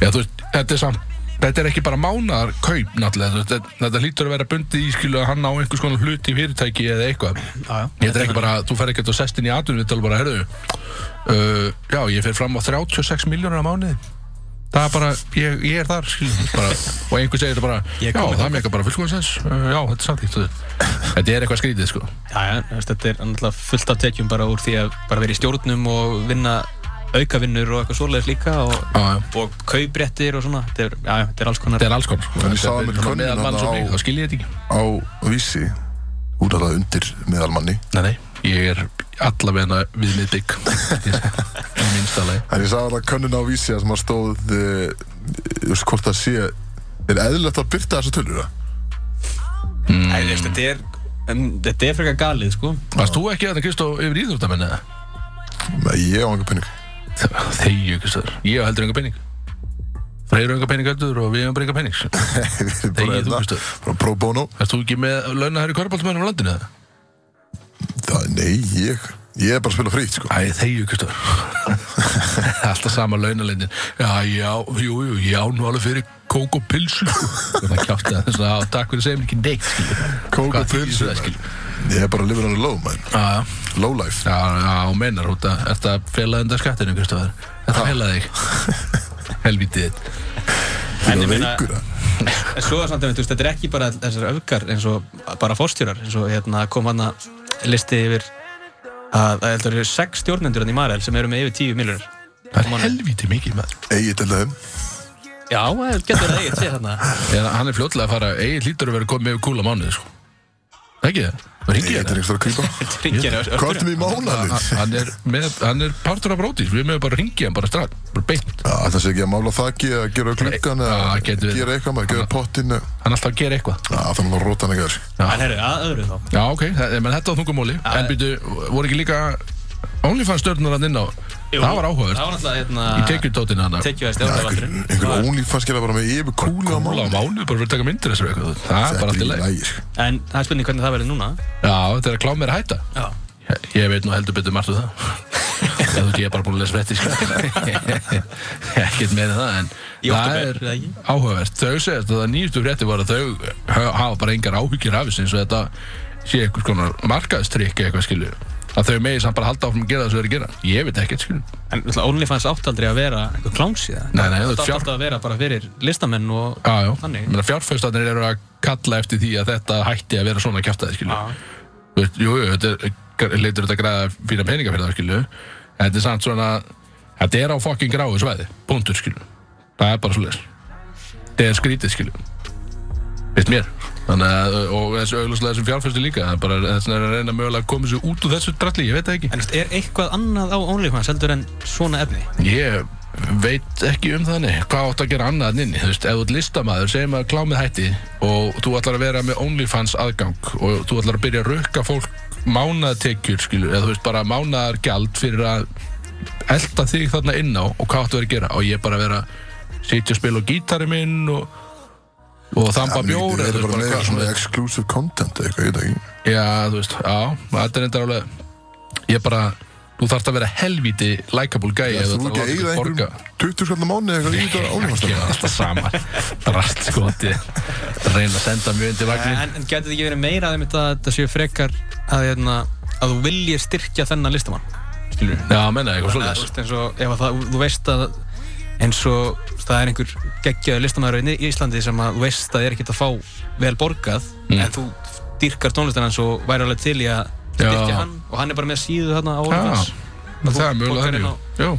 Já, þú veist, þetta er samt Þetta er ekki bara mánar kaup náttúrulega þú veist, Þetta, þetta hlýtur að vera bundið í skilu að hann á einhvers konar hluti í fyrirtæki eða eitthvað
Já, já.
Þetta er ekki bara, þú fer ekkert og sest inn í atvinnum Þetta er bara, herðu uh, Já, ég fer fram á 36 miljónur á mánuði Það er bara, ég, ég er þar skilu, bara, Og einhver segir þetta bara
Ég er
Já,
kominn
það meikar bara fullkvæmstens uh, Já, þetta er samtíkt þú veist. Þetta er eitthvað skrítið, sko
Já, já, þú veist, þetta er náttúrulega fullt af tekjum bara úr því að bara vera í stjórnum og vinna aukavinnur og eitthvað svoleiðis líka og,
Já, já.
og kaupréttir og svona. Þetta er, já, já, þetta er alls konar.
Þetta er alls konar, sko
En ég sá það með
Þetta er
könnun
meðal mann
þarna
svo
á-
mikið, þá skil ég þetta ekki
Á vísi Úr alveg undir meðalmanni
Nei, nei, ég er allavega við mitt bygg í minnsta lagi
En ég sagði að könnun á vísi að sem að stóð eh, Þú veist hvort það sé Er eðlilegt að byrta þessa tölur það?
Æ, þú veist, þetta er, en, þetta er frekar galið, sko.
Varst þú ekki þetta Kristó yfir íþróttamenn eða?
Nei, ég á enga <laughs> penning
Þegju Kristóður, ég á heldur enga pening Freyr á enga pening heldur og við hefum bara enga pening
Bara
Þegið þú,
hérna,
Kristó.
bara pro bono
Erst þú ekki með launahæri korfbáltumennum á landinu eða?
Það, nei, ég Ég er bara að spila frítt, sko
Æ, þegju Kristóður <laughs> Alltaf sama launalendin Já, já, jú, jú, já, nú alveg fyrir kók og pilsu <laughs> Það kjátti það, þess að takk fyrir að segja mér ekki neitt skilur.
Kók
Hvað
og
þýðir
pilsu,
það,
man.
skilur?
Ég er bara að lifa hann low, man
Já,
Ah,
já
Low life
Já, já, hún meinar, þú ert að- ert að fela enda skattinu, Kristofar Þetta felaði þig <laughs> Helvítið þitt.
En ég
Það er
meina,
veikur það
en svo er samt að þetta er ekki bara þessar öfgar eins og bara fórstjórar eins og hérna kom hann að listi yfir að það heldur eru sex stjórnendur hann í Marel sem eru með yfir 10 miljonur
Það er helvítið mikið maður
Egið til þeim
Já, það getur það eigið sér þarna
Eða hann er fljótlega að fara Egil hlýtur að vera komið með kúla mánuði, sko Ekki það? hérna? Það ringi
Egið
ég
til
hérna.
einhverjum að krýpa
Þetta ringir <laughs> á öfgur.
Kortum í mánaðin
það Hann er, með, hann er partur af brótis Við mögum bara að ringi hann bara strax Bara beint
Það sé ekki að mála þakki eða gera klukkan eða
Já, getur verið.
gera eitthvað maður, gera pottin eða-
Hann er alltaf að gera eitthvað
Já, Það er nú rótan ekki þess
En herru, að öðru þá
Já, ok, það, menn þetta var þungumóli En byrju, voru ekki líka OnlyFans stjörnur hann inn á Það var áhugaður
Það var náttúrulega hérna
Í tekjutótinu hann
Tekjuvæðist
Einhver, einhver OnlyFans gera bara með yfir kúla á
Kúla á
mánuði
mánuði, bara fyrir að taka myndir þessu eitthvað Það er bara
Þetta
allt í
er
leið
lægir sko.
En það er spurning hvernig það verður núna
Já, þetta er að klá mér að hætta
Já
Ég, ég veit nú heldur betur margt um það Ég þú veit, ég er bara búin að lesa frétti <laughs> Ekkert meira en það en
Í
það
október,
er
eða ekki?
áhugavert Þau segist að það nýjustu frétti var að þau hö- hafa bara engar áhyggjur af þessu eins og þetta sé einhvers konar markaðstrykk eitthvað skilju að þau megi samt bara halda áfram að gera það sem þau eru að gera ég veit ekkert skilju
En náttúrulega OnlyFans átt aldrei að vera einhver klánsíða
Nei, nei, þú
Þetta átt
fjár-
alltaf að vera bara fyrir listamenn og
Já, já,
Þannig.
Ég meina, fjárfæstanir eru að kalla eftir því að þetta hætti að vera svona kjaftaði skilju
Já.
Þú veist, jú, jú, þetta er, leitur þetta að græða fína peninga fyrir það, skilju en þetta er samt svona, þetta er á fokkin gráu svæði, punktur, skilju það er bara svo leis þetta er skrítið, skilju veist mér, þannig að og þessu auglustlega þessum fjárfæstu líka það er bara þess vegna er að reyna mögulega að koma sér út úr þessu dralli, ég veit það ekki
En þú veist, er eitthvað annað á OnlyFans heldur en svona efni?
ég veit ekki um þannig hvað átt að gera annað en inni þú veist, ef þú ert listamaður, segjum að klámið hætti og þú ætlar að vera með OnlyFans aðgang og þú ætlar að byrja að rukka fólk mánaðatekjur, skilur, eða þú veist bara mánaðargjald fyrir að elda þig þarna inn á og hvað áttu að vera að gera og ég bara að vera sitja og spila á gítari minn og, og þamba bjór
Við
eða
erum
þú veist,
bara með
hvað
eitthvað
sem
svona
er.
exclusive content eða eitthvað, ég veit ekki
Já, þú veist, já, þetta er enda alveg Ég bara, þú þarft að vera helvíti likeable gæi ef
Þú
ætlar
er ekki
að láta
að
þig
eigða
borga.
einhverjum 20 skallar mánu eða eitthvað í þetta
Ég er
álífastan
alltaf sama Drast skoti Reyna að senda mjög undir vagnin
En, en getur þetta ekki verið meira að einmitt að þetta séu frekar að, hérna, að þú viljið styrkja þennan listamann? Skilur við?
Já, menna eitthvað
Þannig að, þú veist,
svolítið
eins og, ef að það, þú veist að eins og það er einhver geggjaður listamæður í Íslandi sem að þú veist að er ekkert að fá vel borgað
Mm.
en þú dyrkar tónlistan hans og væri alveg til í að
Já.
styrkja hann og hann er bara með síðu þarna á
Já.
orðins
Það er mjög
Fólk er
þannig
inn á-
Jú,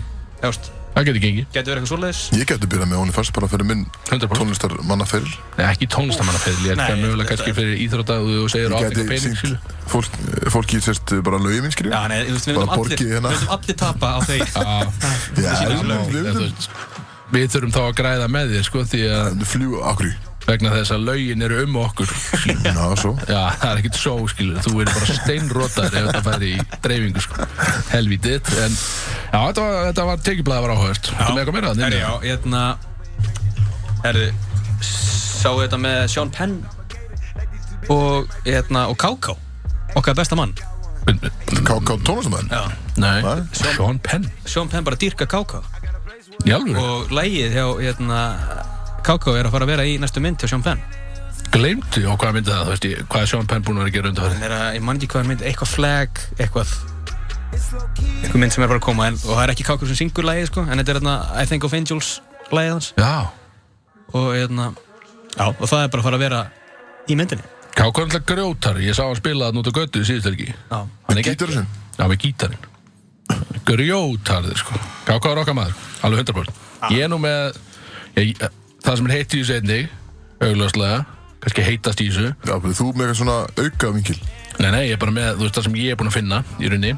það getur gengið
Getur verið eitthvað svoleiðis?
Ég gæti að byrja með OnlyFans bara fyrir minn
100%
tónlistar mannaferil
Nei, ekki tónlistamannaferðil Ég
Nei,
er mjög
þetta-
kannski fyrir íþrótta og þú segir
Ég gæti
átt eitthvað pening
sínt
skilu.
fólk, fólki sérst bara lögum minn skrifa
Já, nei, þú veist, við
Bara
myndum allir,
borgið hérna.
við myndum allir tapa á þeir
<laughs> Já,
Já,
sína
við
lög.
eða þú
myndum
veist, Við þurfum þá að græða með þér sko því að
Við fljú,
<laughs>
akkur í
vegna þess að lögin eru um okkur skilu.
Já, svo
Já, það er ekkert svo, skilur, þú verður bara steinrótaður ef þetta færi í dreifingu, sko, helvítið, en já, þetta var, þetta var tekjublaðið var áhugast, þú með eitthvað meira
Herri,
þannig,
já, hérna Herri, sáu þetta með Sean Penn og, hérna, og Kauká okkar besta mann
K.K. tónlistamæðin
já.
nei,
Nei.
Sean Penn,
Sean Penn bara dýrka Kauká
í alvöru,
og lægið hjá hérna, Kauká er að fara að vera í næstu mynd hjá Sean Penn
gleymdu, og hvað myndi það, þú veist, ég, hvað er Sean Penn búin að vera að gera undanfærið,
hann er að, ég man ekki hvað er mynd, eitthvað flag eitthvað eitthvað mynd sem er bara að koma en, og það er ekki Kauká sem syngur lægið sko, en þetta er hérna, I Think of Angels lægið hans
já,
og, hérna, já, og það er bara að fara að vera í myndinni
Káka er alltaf grjótar, ég sá hann spila þarna út á göttu í síðustu helgi,
já.
hann
Gítar sinn
já, með gítarinn, grjótarðir, sko, Káka er okkar maður, alveg 100%, ég er nú með, ég, það sem er heitt í þessu einnig, augljóslega, kannski heitast í þessu,
Já, bara þú með eitthvað svona auka vinkil
Nei, nei, ég er bara með, þú veist, það sem ég er búinn að finna í rauninni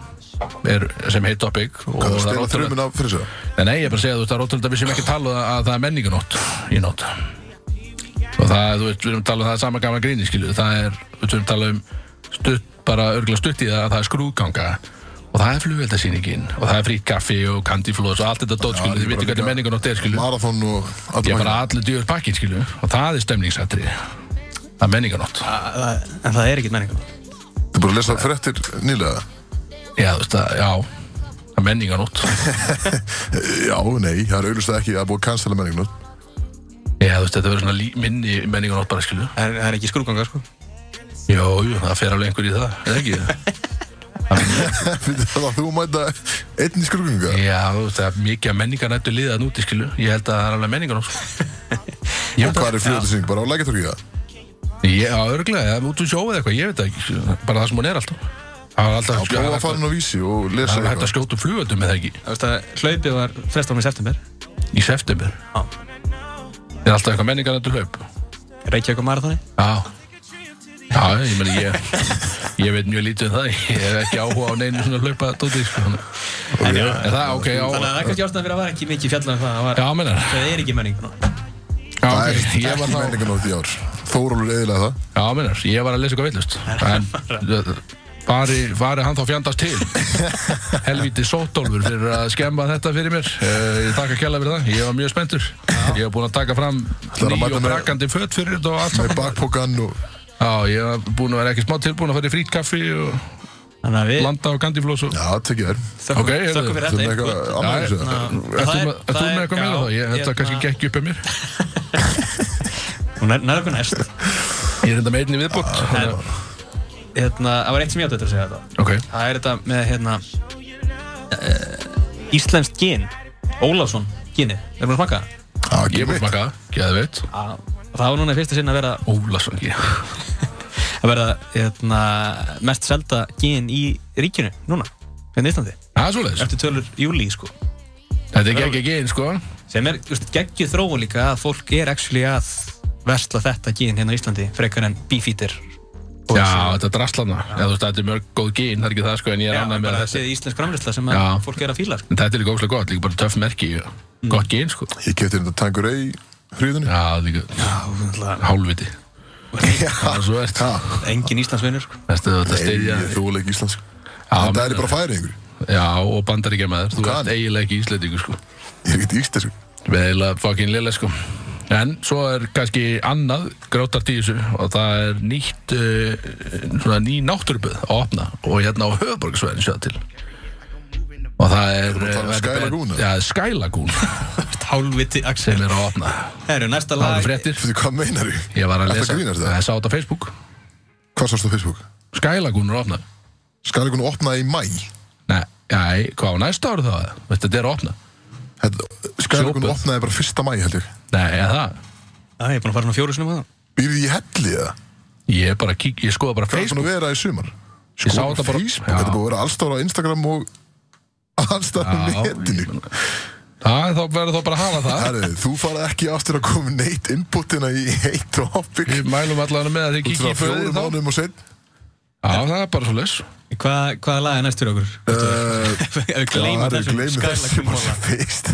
er, sem heit topic og
Hvað það
það er
stela
ótrúlega-
þrjumina fyrir sig
Nei, nei, ég er bara að segja, þú veist, það er ótrúlega að við séum ekki að tala um að það er menningunótt í nótt og það, er, þú veist, við erum að tala um það er sama gamla gríni, skilju, það er við erum að tala um stutt, bara örgulega stutt í það að það er skrúðganga og það er flugveldasýningin og það er frýtt kaffi og candyfloss og allt þetta dót, skilju,
ég
Sko,
bara
þið veitir hvernig
líka-
menningunótt er, skilju
Marathon og
ég
allir
er bara
mækina
allir djur pakkin, skilju og það er stemningsatri það er menningunótt
Að- að- En það er ekkert menningarnótt.
Þú er bara að lesa fréttir
<laughs>
nýlega
já, þú veist, það, já, það er menningunótt
Já, nei, það er auðvitað ekki að búið að cancela menninginu
<laughs> Já, þú veist, þetta verður svona lí, minni menningunótt bara, skilju.
Það er, það er ekki skrúganga, sko.
Jó, jú, það fer alveg einhver í það, eða ekki?
Fyrir það að þú mæta einn í skrugninga
Já, þú veist, það er mikið að menningarnættu liðan úti, skilju. Ég held að það er alveg
<laughs>
menningunótt, sko.
Og
Ég Sko,
hvað
veit það.
er fljóðlising, bara á lækjartorkiða
Já, örglega, eða út úr sjóið eitthvað, ég veit það ekki, skilju. Bara það sem hún er alltaf. Það var alltaf,
Prófa að
það
fara
er
inn á vísi og lesa
alveg hægt
eitthvað
að skjóta upp flugöldum, eða ekki?
Það veist að hlaupið var frestað með september.
Í september.
Já.
Það er alltaf eitthvað menningarnættu hlaup.
Reykjavík á marathoni.
Já. Já, ég meni, ég, ég veit mjög lítið um það, ég hef ekki áhuga á neinu svona hlaupa sko. þannig. En það, ok, já,
Þannig að það er kannski ástæðan fyrir að það var ekki mikið fjallað um það. Það, var,
já, menar.
það er ekki menningarnótt.
Já,
Það er
ok, ég var
ekki
þá
menninganótt í ár Þórólur eðilega það
Já, minnar, ég var að lesa eitthvað villust En fari, fari hann þá fjandast til Helvíti sótólfur fyrir að skemma þetta fyrir mér Eh, Ég þakka kjalla fyrir það, ég var mjög spenntur Ég var búinn að taka fram
að
ný
mæta
og
með-
brakandi föt fyrir þetta og allt
Með
saman
bakpokan og
Já, ég var búinn að vera ekki smá tilbúinn að fara í frýtt kaffi og
Þannig að við
landa á gandiflós og...
Já, tekið þær
þökkum,
ok, heyrðu.
þökkum fyrir
Þú
þetta
með eitthvað
einhvern. Já. Það er-
annað í þessu
Já, Ert þú með-
það er-
ert þú með eitthvað meira
já,
þá? Ég- Þetta
hérna-
kannski gekk upp um mér
Hún er nær okkur
<laughs>
næst.
Ég Ah, er enda með einni viðbútt
En, hérna, það var eitt sem ég átti eftir að segja þetta.
Ok,
Það er þetta með hérna, uh, Íslenskt gin. Ólafsson ginið. Erum við að smaka það?
Já,
ég
ekki
búinn að
mitt
smaka það, geða veit
Það var núna í fyrsta sinna að vera
Ólasangi
að verða hérna, mest selda gin í ríkinu núna, hérna í Íslandi
Það er svoleiðis,
eftir tölur júli sko.
þetta er gegg ekki einn sko
sem er just, geggju þróun líka að fólk er actually að versla þetta gin hérna í Íslandi frekar en beefeater Og
Já,
svo-
þetta er drastlana. Já, þú veist, þetta er mörg góð gín, það er ekki það sko, en ég er
Já,
annað með
bara
að
það
þetta.
séð íslensk framlýsla sem
Já.
að fólk er að fíla sko.
En þetta er líka ógslag gott, líka bara töff merki. og Gott gín, sko.
Ég kefti hérna tangur ei <laughs> hriðunni.
Já, líka hálfviti. Það er svo verðt.
Ha,
Engin íslensvinnur sko.
Þetta er að
nei,
styrja.
ég þúl ekki íslensk.
Já,
Þetta
menn-
er bara færingur.
Já, og bandaríkja með þér. Þú
Hvað?
ert eiginlega ekki íslendingu, sko.
Ég er ekki íslensku.
Við erum eiginlega fucking lilla sko En svo er kannski annað grótart í þessu og það er nýtt uh, svona ný náttúruböð að opna og hérna á höfuborgsvæðinu sjáðu til og það er
Erum við að tala um
eh,
Sky Lagoon, eða?
Já, Sky Lagoon
Hálfviti Axel
sem er að opna
Það eru næsta
Það eru
lag
fréttir
Fyrir hvað meinar ég?
Ég var að
Ertu
lesa
að grínast það?
Ég sá þetta á Facebook
Hvað sást á Facebook?
Sky Lagoon er að opna
Skal einhvern opna í mæ?
Nei, nei, hvað á næsta ári þá? Veistu, þetta er að opna
Skal einhvern
Sjóböð.
opnaði bara fyrsta mæ held ég.
Nei, eða það
Það er búin að fara svona fjóru sinum að það
Býrði ég helli eða?
Ég er bara að kík, ég skoða bara
Hvað er búin
Facebook
að vera í sumar?
Ég sá
Skoðum
þetta bara-
Facebook,
Já.
þetta er búin að vera allstára á Instagram og allstára á
Já,
netinu.
ég meina- Það, þá verður þá bara að hafa það
Herri, þú farað ekki aftur að koma með neitt inputina í eitt topic
Við mælum allavega með að þið
Út
kikið
frá
í föðið
fjórum
þá
mánum og sinn
Já, það er bara svo les
Hva, Hvaða lag er næst fyrir okkur?
uh,
Ef við gleymum þessum
Gleimum þessu
skælakum
bara <laughs> fyrst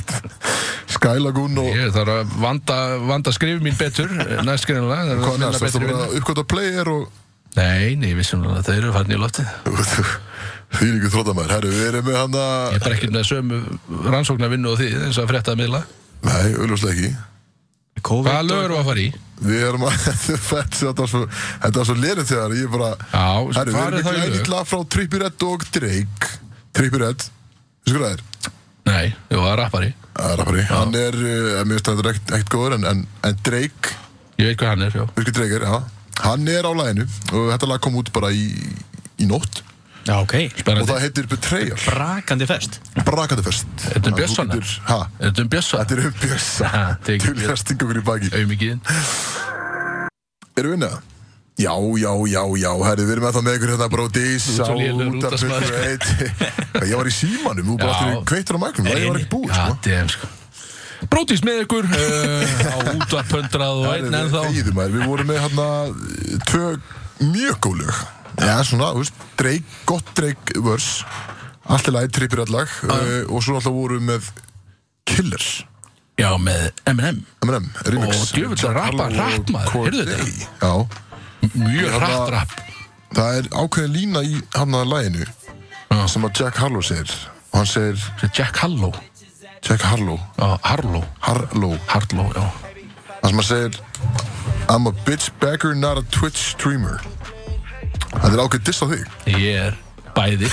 Skylagoon og
Ég þarf að vanda, vanda skrif mín betur eh, Næst greinilega Það er
hvað
að
næst
vinna
Það
betri
er bara
vinnu.
að uppgöta player og <laughs>
Nei, nei, vissum að þeir eru farin í loftið
Því líka þróttamæður Herri, við erum með hann
Ég
að
er bara ekkert með sömu rannsóknar vinnu og því eins og að frétta að miðla
Nei, auðvitað ekki
Hvaða lög eru að fara í?
Við erum að <laughs> Þetta var svo, þetta var svo lerið þegar Ég bara
Já,
Herri, við
farið
erum
þá
með
í
glænýtt
lög
lag frá Trippie Redd og Drake Trippie Redd Þú sko hvað það er?
Nei, jú, það er rappari
Það er rappari Hann er, uh, mér finnst að þetta er ekkert- ekkert góður en, en, en Drake
Ég veit hvað hann er, já
Birgir Dreger, já Hann er á læginu og þetta lag kom út bara í, í nótt
Já, ok
og það
Spennandi
heitir Betrayal
Brakandi fest
Brakatafest
Er þetta um Bjössana? Er þetta um Bjössa?
Þetta er um Bjössa
Ha, tekið
Til að stinga okkur í baki
Auðmikið
Erum við inn að? Já, já, já, já, herri, við erum ennþá með ykkur hérna bróti Sá
svo lélegur
út af
útvarpsmaður, sko.
<laughs> Ég var í símanum, þú bara
Já.
aftur kveitur á mækum Það ég var ekki búið,
Já,
sko
DM, sko Brótis með
<laughs>
ykkur uh, á útvarpöndrað og einn
Herri,
ennþá
við- þegiðu, maður, Við vorum með hérna tvö mjög góð lög Já, svona, þú veist, dreik, gott dreik vörs Allt í lagi, trippir allag uh, Og svo alltaf vorum við með Killers
Já, með M&M
M&M, remix
Og djöfull
Jack
að rappa
Harlow
hratt,
og
maður,
Corday.
heyrðu þetta?
Já,
Mjög
Hérna-
hratt rap
það er ákveðin lína í hann að laginu sem að Jack Harlow segir og hann segir
Sem Jack Harlow
Jack Harlow,
Já, Harlow
Harlow
Harlow, já
það sem að segir I'm a bitch bagger, not a Twitch streamer Þetta er ákveðin diss á þig
Ég er
<laughs>
bæði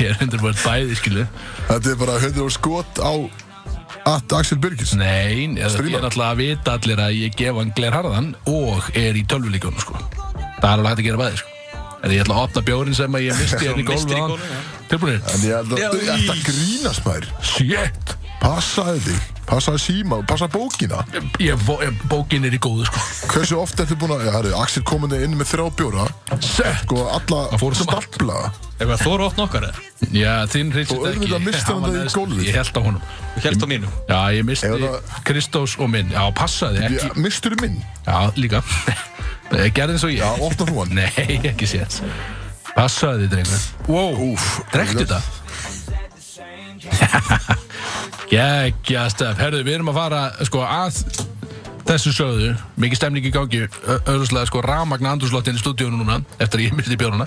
Ég er hundur bara bæði, skilu
Þetta er bara 100 skot á at Axel Birgis
Nei, ég ég
Stríma.
er náttúrulega að vita allir að ég gef hann gler harðan og er í tölvuleikunum, sko Það er alveg hægt að gera bæði, sko En ég ætla að opna bjórin sem að ég
<laughs>
misti hérna í
Þú mistir í
gólfi á hann
gólfið, já.
En
Tilbúinir?
ég held
Já, í.
að þetta grínast maður
Shit!
Passaði þig, passaði síma og passaði bókina
Ég, vo- ég, bókin er í góðu, sko
Hversu oft ertu búin að, já, herri, Axel kominni inn með þrjá bjóra
Sett!
sko alla
Það fór út um allt.
stapla
Eitthvað þóra opna okkar eða?
Já, þinn reyndist
Og auðvitað misti hann það í
neðst-
gólfið.
Ég held á honum
Þú helst á mínu
Já, ég misti
Ef það-
Kristós og minn Já, passaði, ekki
ja, mistur minn,
Já, líka <laughs> Gerði eins og ég
já, opna þú hann
Nei, ekki séns Passaði þið, drengur Wow,
Úff,
drektu þetta <laughs> Gekkja stef Herðu, við erum að fara sko, að þessu sögðu Mikið stemning í gangi ö- Öðruslega, sko, rafmagna andurslottin í stúdíónu núna Eftir að ég misti <laughs> björnuna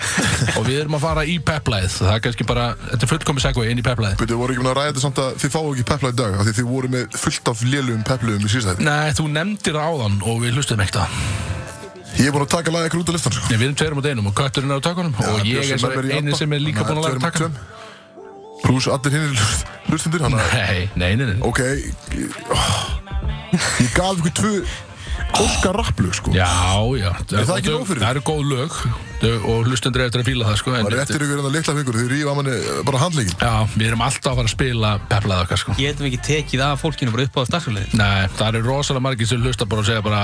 Og við erum að fara í peplæð Það er kannski bara, þetta er fullkomis segvei inn í peplæð
Byrju, voru ekki búin að ræða þetta samt að þið fáu ekki pepla í dag af því þið voru með fullt af lélugum peplugum í síðstæði
Nei, þú nefndir það áðan og við hlustum ekkert að
Ég er búin að taka laga ykkur út af listan sko.
Nei, Við erum tveir um á deinum og kötturinn er á takunum Og ég er svo eini sem er líka búin að læra takkan
Plus allir hinn hlustundir hann
Nei, nei, nei, nei.
Ok Ég ég gaf ykkur tvö Óskar rapplug sko
Já, já
Er það ekki nóg fyrir?
Það eru góð lög þau- og hlustendur eru eftir að fíla það sko en
Það er
þetta-
eftir ykkur en það litla fingur Þið rífa manni eh, bara handleikin
Já, við erum alltaf að fara að spila peplaða okkar sko
Getum við ekki tekið af fólkinu bara upp á dagsfjöliðin
Nei, það eru rosalega margir sem hlusta bara og segja bara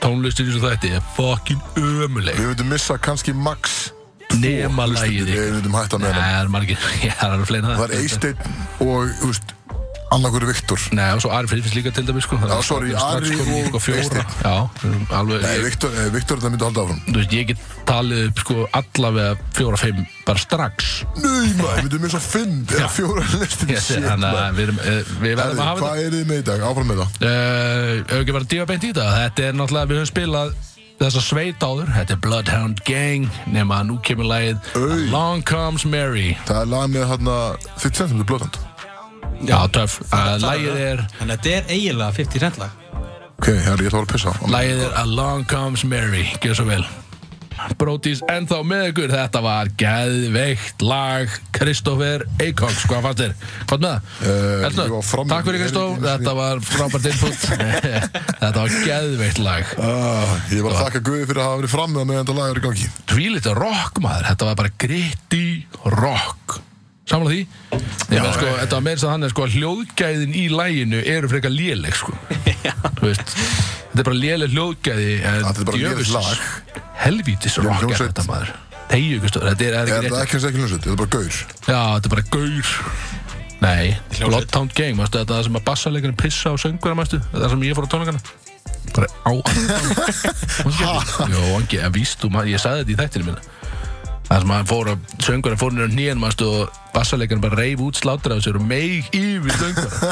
tónlistin í þessu þætti er fucking ömuleg
Við myndum missa kannski max
Nema
hlustendur.
lagið
Við
ykkur
myndum hætta
<laughs> Nei,
með hann
það eru margir, já, það eru fleina
Það er Eysteinn og, þú veist, annakur Viktor
Nei, og svo Ari Friðfinns líka til dæmis sko þannig að
Já, sorry,
strax
Ari
komin í,
og
sko, fjóra
Eysteinn.
Já, alveg
Nei,
ég,
Viktor, eh, Viktor það myndi halda áfram
Þú veist, ég get talið upp sko allavega fjóra, fimm bara strax
Nei, maður, myndum við svo fimm eða fjóra listin
Yes, Þannig að við, erum, eh, við verðum að hafa þetta
Hvað er þið með í dag? Áfram með það
Uh, Hefur ekki verið að dífa beint í þetta Þetta er náttúrulega, við höfum spilað þessa sveit áður Þetta er Bloodhound Gang nema að nú kemur lagið
Oj.
Along Comes Mary
Það er lag með hérna þitt sem sem er blóðand
Já, töff uh, Lagið er
Þannig að þetta er eiginlega 50 cent lag
Ok, herri, ég ætla að fara að pissa
Lagið er Along Comes Mary Gjör svo vel Brótis ennþá með ykkur Þetta var geðveikt lag Kristoffer Eikóks Hvað fannst þér? Hvað með það?
Eh,
Ertu?
ég var fram-
Takk fyrir
ég er
Kristof
ekki einu sinni-
Þetta var frábært input <laughs> Þetta var geðveikt lag
ah, Ég var að þakka Guði fyrir að hafa verið fram með það meðan þetta lag er í gangi
Tvílit rock maður, þetta var bara gritti rock Samla því? Ég menn sko, þetta var meirins að hann er sko að hljóðgæðin í læginu eru frekar léleg
<laughs>
sko Þú veist, þetta er bara léleg hljóðgæði en
Þetta er bara lélegt
djöfusins
lag.
Helvítis rock er
hljómsveit.
þetta maður Tegju ykkur stóð, þetta er, er
Er
ekki
það
rétt
ekki eins og ekki hljómsveit? Þetta er bara gaur
Já, þetta er bara gaur Nei, Bloodhound Gang, mástu þetta er það sem að bassaleikarinn pissa á söngverða, mástu Það er það sem ég fór á tónleikana Bara
<laughs>
á Jó, angi, að víst, þú, ma- ég sagði þetta í þættinu minna Það sem að hann fór að söngverðin fór nýra nýjan, mástu Og bassaleikarinn bara reif út slátur af sér og meig yfir söngverða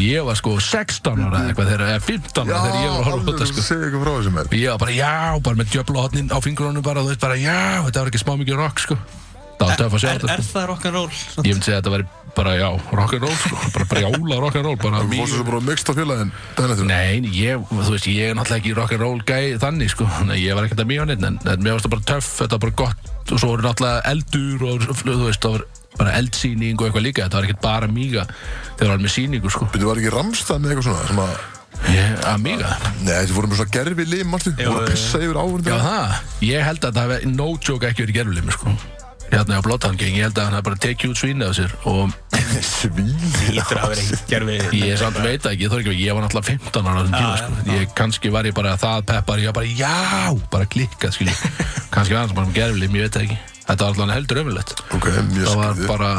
Ég var sko 16 ára eða eitthvað þegar, eða 15 ára þegar ég var að horfa á þetta sko
segja eitthvað frá þessum með
Ég var bara, já, bara með djöflahotnin á fingrunum bara, þú veist, bara, já, þetta var ekki smá mikið rock, sko Það var töff að sjá
Er,
þetta, sko.
er það rock'n'roll? svona?
Ég myndi segja að þetta væri bara, já, rock'n'roll sko, bara brjála rock'n'roll bara
Þú fórst
mjög
þessu bara að mixta félagin daginn eftir
Nei, nei, ég, þú veist, ég er náttúrulega ekki rock'n'roll gæi þannig, sko, þannig að ég var ekkert að mjög neitt en, en mér varst það bara töff, þetta var bara gott og svo voru náttúrulega eldur og þú veist, það var bara eldsýning og eitthvað líka þetta var ekkert bara míga, þeir var með sýningu, sko
Þetta var ekki ramstað með eitthvað svona sem að
ég, að míga,
Nei, þetta voru með svona gerfi lim, mannstu Voru að pissa yfir <laughs>
já
áhverjum
það ég held að það hefði, no joke, ekki verið gerfulim, sko hérna á Blóttangang, ég held að hann hafði bara tekið út svínið á sér og
Svín
Lítur að vera ekkert gerfi
Ég samt veit það ekki, ég þarf ekki að ég var náttúrulega 15 ára á þessum tíma, sko. Ég kannski var ég bara það peppar, ég var bara já, bara klikkað, skilju.
<laughs>
kannski var það bara um gerfilegum, ég veit það ekki. Þetta var alltaf heldur ömulegt.
Ok, mjög
Það var
skrýtið.
bara,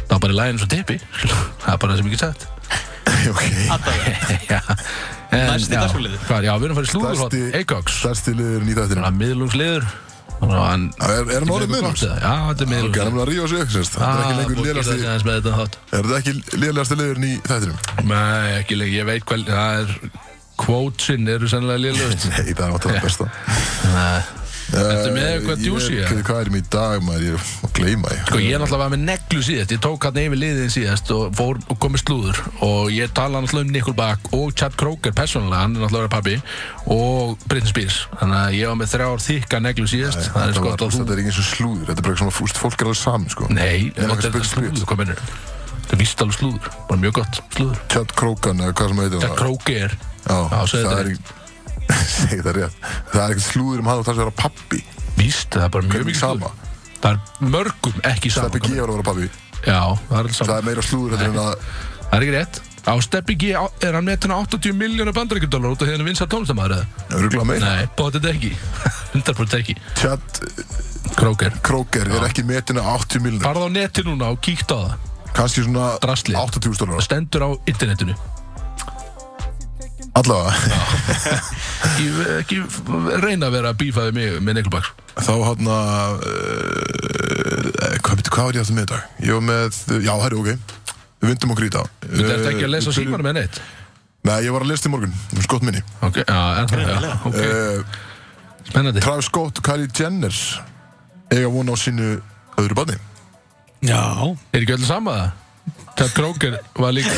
það var bara í læginu svo tippi, skilju. Það er bara það sem ég
<laughs>
get sagt.
Ok,
já. En,
Næsti
já,
dagskrárliður.
Hvað, já, við erum að fara í slúðurhótt,
Stærsti-
Eikoks.
stærsti liður í þættinum
Svona miðlungsliður. Þannig að hann...
Er er hann orðið miðlust?
Já, þetta er
Ok, hann
miðlungsliður.
er að rífa sig upp, sérst Þetta er ekki lengur lélegasti-
Ah, búið að geta þess
er þetta ekki lélegasti liðurinn í þættinum
Nei, ekki lengi, ég veit hvað, það er, kvótsinn eru sennilega
<laughs>
liðlust.
Nei, það var það besta Eh,
Ertu með eitthvað djúsi?
Ég veit hvað er mér í dag, maður, ég er að gleyma ég
Sko, ég náttúrulega var með neglu síðast, ég tók hann yfir liðin síðast og fór og komið slúður og ég tala náttúrulega um Nicole Back og Chad Kroger persónulega, hann er náttúrulega pappi og Britney Spears, þannig að ég var með þrjár þykka neglu síðast, það er
Þetta
sko
var,
að
þú veist,
þú...
þetta er ekki eins og slúður, þetta er bara svona, fúst, fólk er alveg saman, sko.
Nei,
Nema kannski
þetta er
Britney Spears.
slúður, hvað mennur? Þetta er víst alveg slúður, bara mjög gott slúður.
Chad Krogan, eða hvað sem heitir
Chad Kroger,
Já,
já, segðu
það
þetta
er
rétt.
ekki... <laughs> Segðu það rétt. Það er ekkert slúður um hann og það sem er að vera pabbi.
víst, það er bara
Hvernig
mjög mikið
sama?
slúður. Það er mörgum ekki sama.
Steppi G
Kolbeinn.
var að vera pabbi.
Já, það er alls
Það
sama.
er meira slúður heldur en að...
Það er ekki rétt. Á Steppi G á- er hann metin á 80 miljónu bandaríkjardólar út af því hann er vinsað tónlistamæður eða?
Öruglega meira.
Nei, bótið ekki <laughs> 100% ekki
Chad
Króker
Kroger er ekki metin að 80 milnir.
Farð á neti núna og kíkt á það
Kanski svona...
Drasli.
80.000
Það
dólar.
stendur á internetinu
Allavega.
Ekki, ekki reyna að vera að bífa við mig með sko. neglubaks
<laughs> Þá hann að... Hvað betur, hvað var ég aftur með í dag? Ég var með... Já, herri, ok. Við vindum okkur í dag. Eh,
Þú ert ekki að lesa símanum með neitt
Nei, ég var að lesa þetta í morgun. Þú veist gott minni.
Ok, já, en það, já, ok
Eh,
Spennandi
Travis Scott og Kylie Jenner eiga von á sínu öðru barni
Já
Er ekki öll sama það? Chad Kroger var líka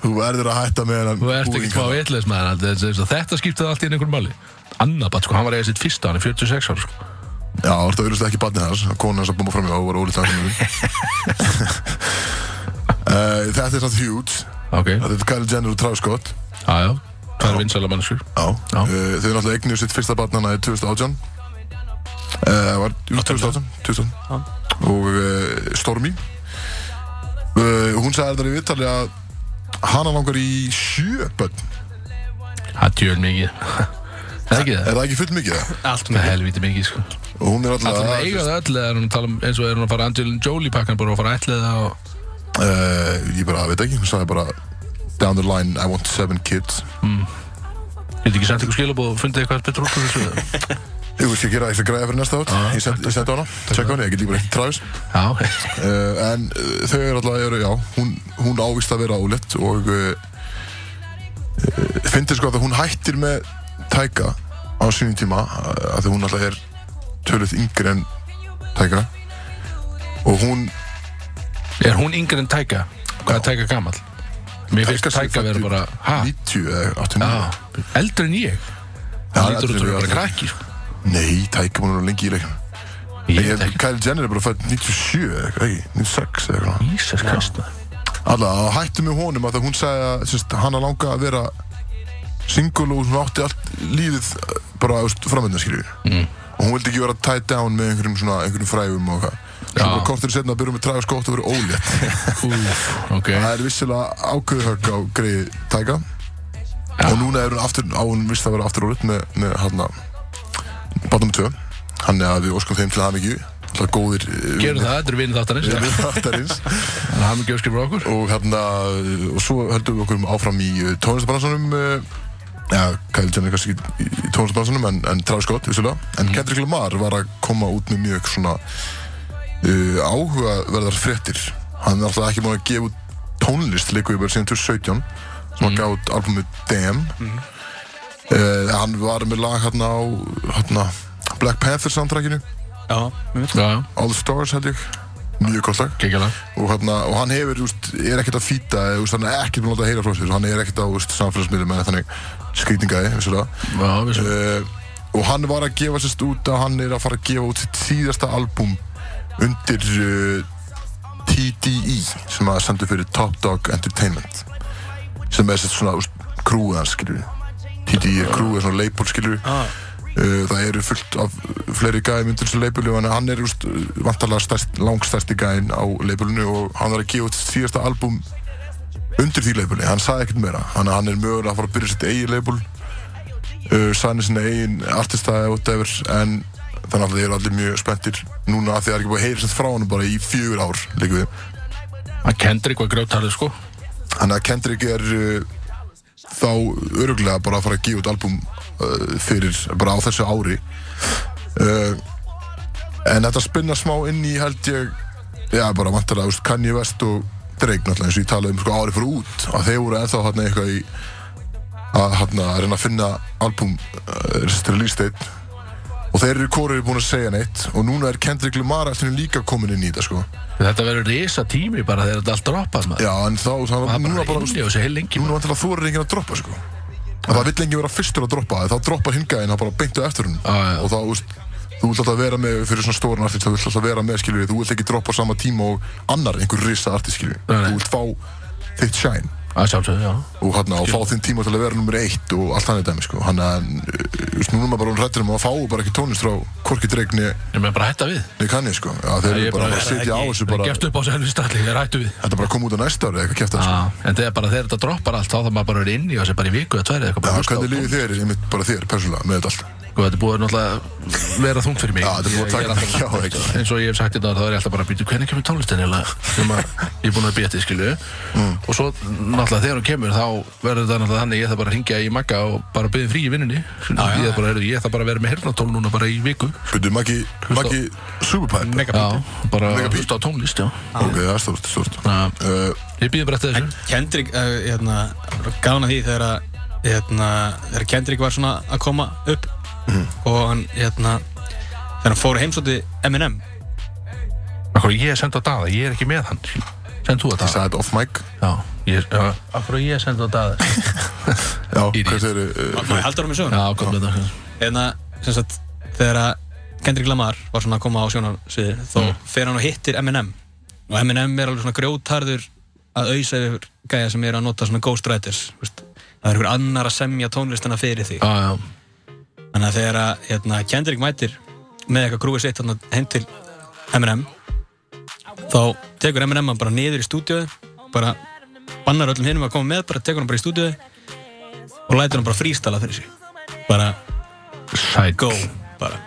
Þú verður að hætta með hennan
Þú ert ekki smá vitleis með hann þetta- þetta- Þetta skiptið allt í einhvern máli Anna bat, sko, hann var eiga sitt fyrsta, hann er 46 ára sko.
Já, þú ert að auðvitað ekki barni hans Kona hans að búma fram í og var ólítið að henni
<laughs>
Eh, Þetta er samt huge
Ok, já,
Þetta er Kylie Jenner og Travis Scott
já Það er vinsæla mannskur
Já,
Já.
Eh, Þau er náttúrulega eignuð sitt fyrsta barn hana í 2018 Eh, var, jú, 2018, 2018.
Já.
og uh, Stormy uh, hún sagði þar í viðtali að hana langar í sjö börn
Það er tjöl mikið Það er ekki
er
það?
það ekki full mikið það?
Allt
Það er
með
helvítið mikið, sko
og hún er alltaf
Það er eiga það öll eða er hún að tala um eins og er hún að fara Angelina Jolie pakkan bara og fara að ætla það og
uh, ég bara veit ekki, hún sagði bara down the line, I want seven kids
Getur ekki sent ykkur skilabóð og fundið eitthvað betur út úr þessu? eða?
Ég vil ekki gera eitthvað græða fyrir næsta átt
Já,
Ég sendi send hana, tjekka hana, ég get líka bara eitthvað træðis
Já,
uh, En uh, þau eru alltaf, eru, já, hún, hún ávist að vera álegt Og uh, uh, fyndið sko að hún hættir með tæka á sínum tíma uh, Því hún alltaf er tölvöld yngri en tæka Og hún
er hún yngri en Tæka? Hvað er Tæka gamall? Mér finnst
sé
Tæka vera
fæddur
bara, ha?
90 eða 89
Já, eldri en ég Það Ah, lítur
eldri
út
en við,
að vera bara
eldri.
krakki sko.
Nei, tæka hún er lengi í leikinu
Ég
Ég-
veit ekki
Kylie Jenner er bara fætt 97 eða eitthvað, ekki, 96 eða eitthvað
Jesus Christ maður.
Alla, að hættu með honum að það hún sagði að sérst, hann að langa að vera single og hún átti allt lífið eh, bara framöndan skiljið mm. og hún vildi ekki vera tied down með einhverjum, svona, einhverjum fræfum og hvað Svo
Já.
bara kortur setna að byrja með træða skótt og vera ólétt
Úff, ok
Það er vissilega ákveðhögg á greið tæka og núna er hún aftur á hún vist að vera aftur ólétt með, með hann að Batnum 2 hann er að við óskum þeim til það mikið alltaf góðir eh,
Gerum það, þetta er vinið þáttarins Það
Aftarins
er hafði ekki öskir frá okkur
og hérna og svo höldum við okkur áfram í uh, tónlistarbransanum uh, já, Kyle Jenner kannski ekki í, í tónlistarbransanum en, en Travis Scott, vissulega en Kendrick Lamar var að koma út með mjög svona uh, áhugaverðar fréttir hann er alltaf ekki búin að gefa út tónlist líka yfir síðan 2017 sem hann gaf út albumið Damn uh, hann var með lag hérna á hérna, Black Panther soundtrackinu
Já, mjög
Já, já,
All the Stars held ég mjög gott lag
kekjala
og, hana, og hann hefur, úst, er ekkert að fýta hann er ekkert búin að láta heyra frá sér hann er ekkert á úst, samfélagsmiðlum en þannig skrýtingaði uh,
Já, vissu
og hann var að gefa sérst út að hann er að fara að gefa út sitt síðasta album undir uh, TDE E, sem að sendur fyrir Top Dog Entertainment sem er sérst svona úst, krúið hans skilur TDE E er krúið, svona label skilur
ah,
Uh, það eru fullt af fleiri gæðum undir þessu leipulu en hann er úst, vantarlega stærst, langstærsti gæðin á leipulinu og hann er að gefa út síðasta album undir því leipuli, hann sagði ekkert meira hann, hann er mögulega að fara að byrja sitt eigin leipul uh, sæni sinna eigin artista eða whatever en þannig að þeir eru allir mjög spenntir núna af því að það er ekki búið að heyra sem frá hann bara í fjögur ár líka við
Hann kendur eitthvað grjóttalið sko
Þannig að Kendrick er uh, þá öruglega bara að fara að gefa út album uh, fyrir bara á þessu ári uh, en þetta spinna smá inn í held ég já bara vantarlega úst, Kanye West og Drake náttúrulega eins og ég talaði um sko ári fyrir út að þeir voru ennþá hérna eitthvað í að hérna að reyna að finna album uh, release date og þeir eru kórið búin að segja neitt og núna er Kendrick Lamar eftir líka komin inn í þetta sko
Þetta verður risa tími bara þegar þetta allt droppað maður
já en þá, þá
Það er
núna
bara
bara
inni og þessi heil lengi
Núna vantilega þú eru enginn að droppa sko Og það vill enginn vera fyrstur að droppa Þá droppar hingaðin það bara beintu eftir hún
Ah, Já, já.
Og þá, úst, þú vilt alltaf vera með Fyrir svona stóran artist, þú vilt alltaf vera með skilur Þú vilt ekki droppa á sama tíma og annar einhver risa artist skilur
Nei, nei.
Þú vilt fá þitt shine
Það sjálfsögðu, já
og hérna og fá þinn tíma til að vera nummer eitt og allt hann er dæmi sko hann að uh, úst, núna er maður bara hún rættir um að fá bara ekki tónlist frá Korki Dregni
Ég með bara að hætta við
Nikanni sko já, þeir
Nei,
eru
ég
bara
bara-
að sitja á
ekki-
þessu
Bara...
bara
Geftu upp á þessu helvið stalli, ég hættu við
þetta bara kom út á næsta ári eða eitthvað kæft að sko
Já, en þegar bara þegar þetta droppar allt þá þarf maður bara að vera inn í þessu bara í viku eða tværi eða eitthvað
Já,
bara að hlusta á
hvernig
tónlist.
lífið þér, ég mitt bara þér, persónulega, með þetta allt?
Sko, þetta er búið að náttúrulega vera þungt fyrir mig
Já, þetta er búið að
Ég- ég
taka
alltaf-
mikið á þig.
eins og ég hef sagt þetta áður, þá er ég alltaf bara að býta hvernig kemur tónlistin eiginlega sem að ég er búin að býta skilju
Mm.
og svo náttúrulega þegar hún kemur þá verður þetta náttúrulega þannig ég þarf bara að ringja í Magga og bara byrja frí í vinnunni ég, þarf bara, heyrðu, ég þarf bara að vera með hernatól núna bara í viku
Byrju, Maggi, Maggi Superpipe
já, bara
Mega
að
beat.
hlusta á tónlist já.
Ok, það er stort, stort
Já.
uh,
ég býði bara eftir þessu
Kendrick, uh, hérna, gána því þegar að, hérna, þegar Kendrick var svona að koma upp og hann, hérna, þegar hann fór heimsóti M&M
Akkur, ég er sendað á daða, ég er ekki með hann send þú að
Ég
daða
sagði þetta off mic
já, ég, já, akkur ég er sendað á daða
Já,
Idiot.
hvað eh, segir
Má ég haldur hann með söguna?
já, kom með þetta
Hérna, sem sagt, þegar að Kendrick Lamar var svona að koma á sjónarsviði þá fer hann og hittir M&M og M&M er alveg svona grjótarður að auðsa yfir gæja sem eru að nota svona ghostwriters, þú veist það er einhver annar að semja tónlistina fyrir þig
já, já,
Þannig að þegar að hérna, Kendrick mætir með eitthvað grúið sitt þarna heim til M&M þá tekur M&M hann bara niður í stúdíu bara bannar öllum hinum að koma með bara tekur hann bara í stúdíu og lætur hann bara frístala fyrir sig bara
sæt
go bara.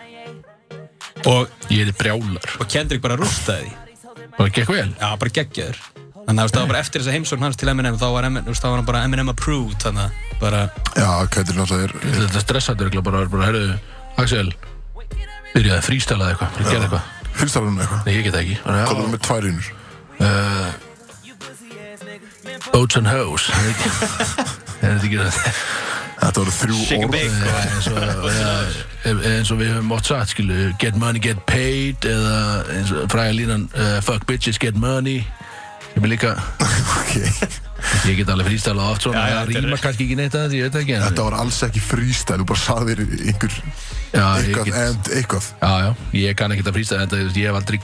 Og,
ég er brjálar
og Kendrick bara rústaði því
bara gekk vel
já, bara geggjaður Þannig að þú veist, það var bara eftir þessa heimsókn hans til Eminem, þá var, Eminem, þú veist, þá var hann bara Eminem approved, þannig að bara,
Já, Kættir náttúrulega er
Þetta stressaði örugglega bara, bara, herðu, Axel, byrjaði að frístælaði eitthvað, bara gerði eitthvað.
Fyrstar hún eitthvað
Nei, ég get það ekki. Bara, já,
Hvað er hún með tvær hínur?
Boats and hoes. <laughs> Ég veit ekki. Er þetta ekki það?
Þetta voru þrjú
Shake a
orð
bake.
Já, eins og, <laughs> já, eins og við höfum oft sagt skilu, get money, get paid eða eins og fræða línan uh, fuck bitches, get money sem er líka,
<laughs> Ok.
ég get alveg frístælað oft svona,
Já, já,
það
þetta er-
rýma kannski ekki neitt að þetta, ég veit það ekki en,
Þetta var alls ekki freestyle, þú bara saðir einhver,
já, ég
eitthvað
get,
and eitthvað
já, já, ég kann ekkert að frístæla þetta, þú veist, ég hef aldrei,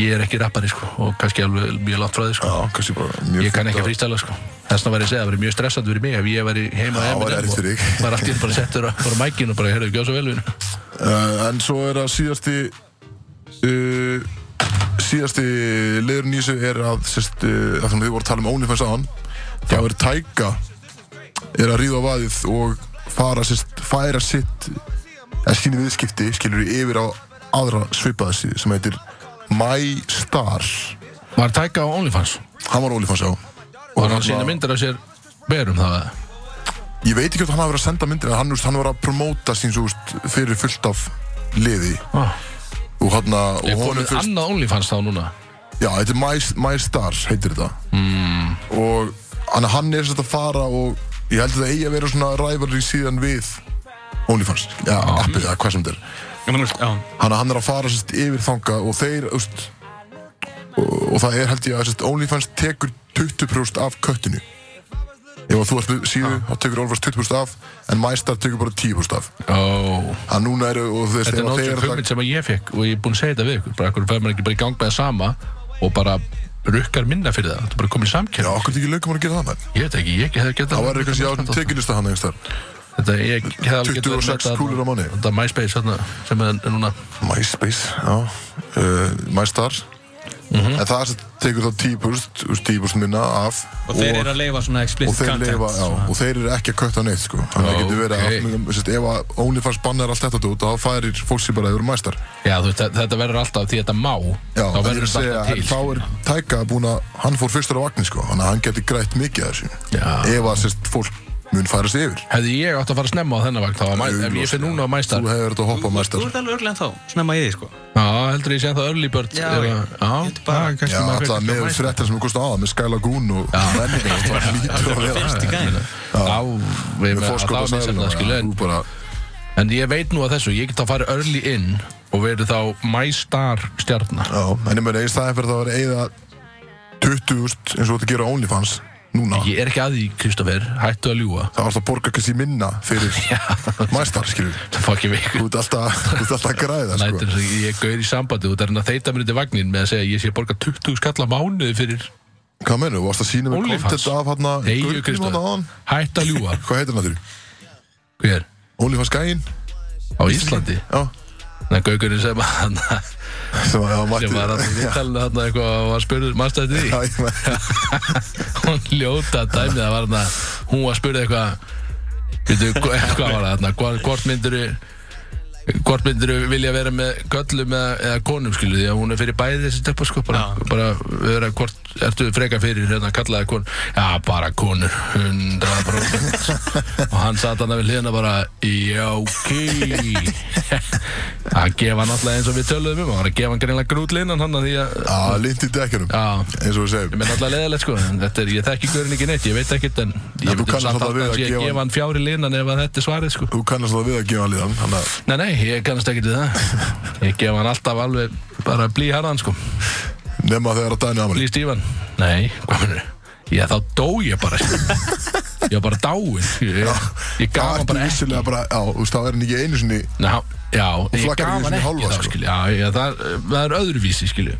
ég er ekki rappari sko, og kannski alveg mjög langt frá þið sko
Já, kannski bara mjög
Ég kann
fínt
ekki
að-
frístæla sko Þess vegna var ég að segja, það verið mjög stressandi fyrir mig ef ég væri heima á
Já, það væri
Eminem
erfitt fyrir
og
þig.
var allt í enn bara settur á bara á mækinn og bara, heyrðu, gjóð svo vel við
Uh, en svo er að síðasti uh, síðasti leiðurinn í þessu er að sérst, uh, að þannig við vorum að tala um OnlyFans aðan þá er Tæka er að ríða á vaðið og fara sérst, færa sitt eða síni viðskipti skilur við yfir á aðra svipaða síðu sem heitir MyStar
Var tæka á OnlyFans
hann var OnlyFans á
og hann sína myndir af sér berum það eða?
ég veit ekki hvort hann hafi verið að senda myndir en hann, þú veist, hann var að promóta sín svo, þú veist, fyrir fullt af liði
Ah.
og hann og
Er
honum
komið
fyrst-
annað OnlyFans þá núna?
Já, þetta er My, My Star, heitir þetta
Hmm.
mm. Og hann, hann er svolítið að fara og ég held að það eigi að vera svona rivalry síðan við OnlyFans, já, appið, eða hvað sem þetta er
ég meina, þú veist, já,
Hann, hann er að fara sérst yfir þanga og þeir, úst og, og það er held ég að sérst OnlyFans tekur 20% af köttinu Ef að þú ert með síðu, þá tekur OnlyFans 20% af en My Star tekur bara 10% af
Ó,
Hann núna eru, og þú veist,
þetta er
ef að
náttúrulega
þeir
hugmynd sem að ég fekk og ég er búinn að segja þetta við ykkur bara hvernig fær maður ekki bara í gang með það sama og bara rukkar minna fyrir það Þetta er bara komið í
Já,
samkjörn
okkur ekki lögum að gera það, menn
Ég veit ekki, ég hef getað
Það var eitthvað sér á tekinista hann einhvers þar
Þetta ég hef alveg getað
26 kúlur á manni.
Þetta MySpace þarna sem er núna
MySpace, já uh, MyStar
Mhm.
En það sem tekur þá 10% úr 10% minna af
og þeir eru að leifa svona
og
explicit
þeir,
content,
lifa, já,
svona.
og þeir eru ekki að kötta neitt sko. þannig að
Já,
það getur verið
ok.
að sérst, ef að OnlyFans bannar allt þetta út þá færir fólk sér bara yfir mæstar
Já, þú veist, þetta verður alltaf því þetta má
já,
þá
en ég er
verður
að segja,
þetta
en
til
þá er Tæka búin að hann fór fyrstur á vagnin sko, þannig að hann getur grætt mikið af þessu
Já.
ef að sérst, fólk mun færa sér yfir
Hefði ég átt að fara snemma á þennan vakt þá var mæ- ef ég finn núna
sko.
á
þú
mæstar Já,
hefur þetta að hoppa á mæstar
Þú ert alveg örglega þá, snemma í því, sko.
heldur ég sé það early bird
Já,
ef
ég-
að-
ég
já,
veit bara-
já, kannski
já,
maður
alltaf
fær-
með
MyStar.
fréttir sem er kost aða með Skyla Goon og
<laughs>
menningar það lítur að vera
Fyrst í gæðinu.
Já, við
með
með
fórskot á
alltaf
sæðinu
misjafna, skilu,
hérna. þú
en,
bara,
en ég veit nú að þessu, ég get að fara early in og verið þá my star stjarnar.
já, en ég meina í staðin fyrir það var eigða 20.000 eins og þetta gera á OnlyFans núna,
Ég er ekki að því, Kristoffer, hættu að ljúa.
það var alltaf að borga kannski minna
<laughs>
fyrir mæstar, skilur
Það fá ekki
þú
veikur.
ert alltaf, þú ert alltaf að græða
Lætur
sko.
þess að ég er gauður í sambandi og það er hann að þeyta mér undir vagnin með að segja að ég sé að borga 20 skalla mánuði fyrir
hvað menur, þú varst að sína með
OnlyFans?
content af hérna hann að
Eyju Kristoffer. Hættu að ljúa.
hvað heitir hann aftur?
Hver?
OnlyFans gæinn?
Á Íslandi.
já, <laughs>
Það er gaugurinn sem að <laughs> hann
sem var, já,
sem
mætti
var hann í
já,
vittalinu hann eitthvað og var spurður, mannstu þetta því?
<laughs> já, ég meina,
hún ljóta dæmið það var hann að hún var að spurði eitthvað veitu, hva- hvað var það þarna Hvar- hvort myndir hvort myndir vilja vera með göllum eða, eða konum skilu því að hún er fyrir bæði þessi töpa sko bara,
Já.
bara vera hvort ertu freka fyrir hérna kallaði kon já bara konur 100% og hann satt hann við hliðina bara já ok að gefa hann alltaf eins og við töluðum um hann var að gefa hann greinlega grútlinan hann að því að
já, lind í dekjunum
já
eins og við segjum
Ég menn alltaf leðilegt sko, en þetta er, ég þekki hverjum ekki neitt, ég veit ekkert en
En
ég
þú
veit
kannast
samt
þarna
að
við
það
að
sé
gefa
að gefa hann fjár í linan ef að þetta er svarið sko.
þú kannast það við að gefa hann líðan þannig að
Nei, nei, ég kannast ekkert við það. Ég gef hann alltaf alveg bara blí harðan sko,
nema þegar að dæna amal
blí stífan. Nei, hvað mennur? Já, þá dó ég bara sko. Ég var bara dáinn. Ég, ég
þá
gaf hann
ertu
bara ekki.
vissilega bara, já, þú veist, þá er hann ekki einu sinni
Ná, já, ég
flaggar því
gaf hann
sinni
ekki
hálfa,
þá
sko.
skilju. Já, já, það, það er öðruvísi skilju.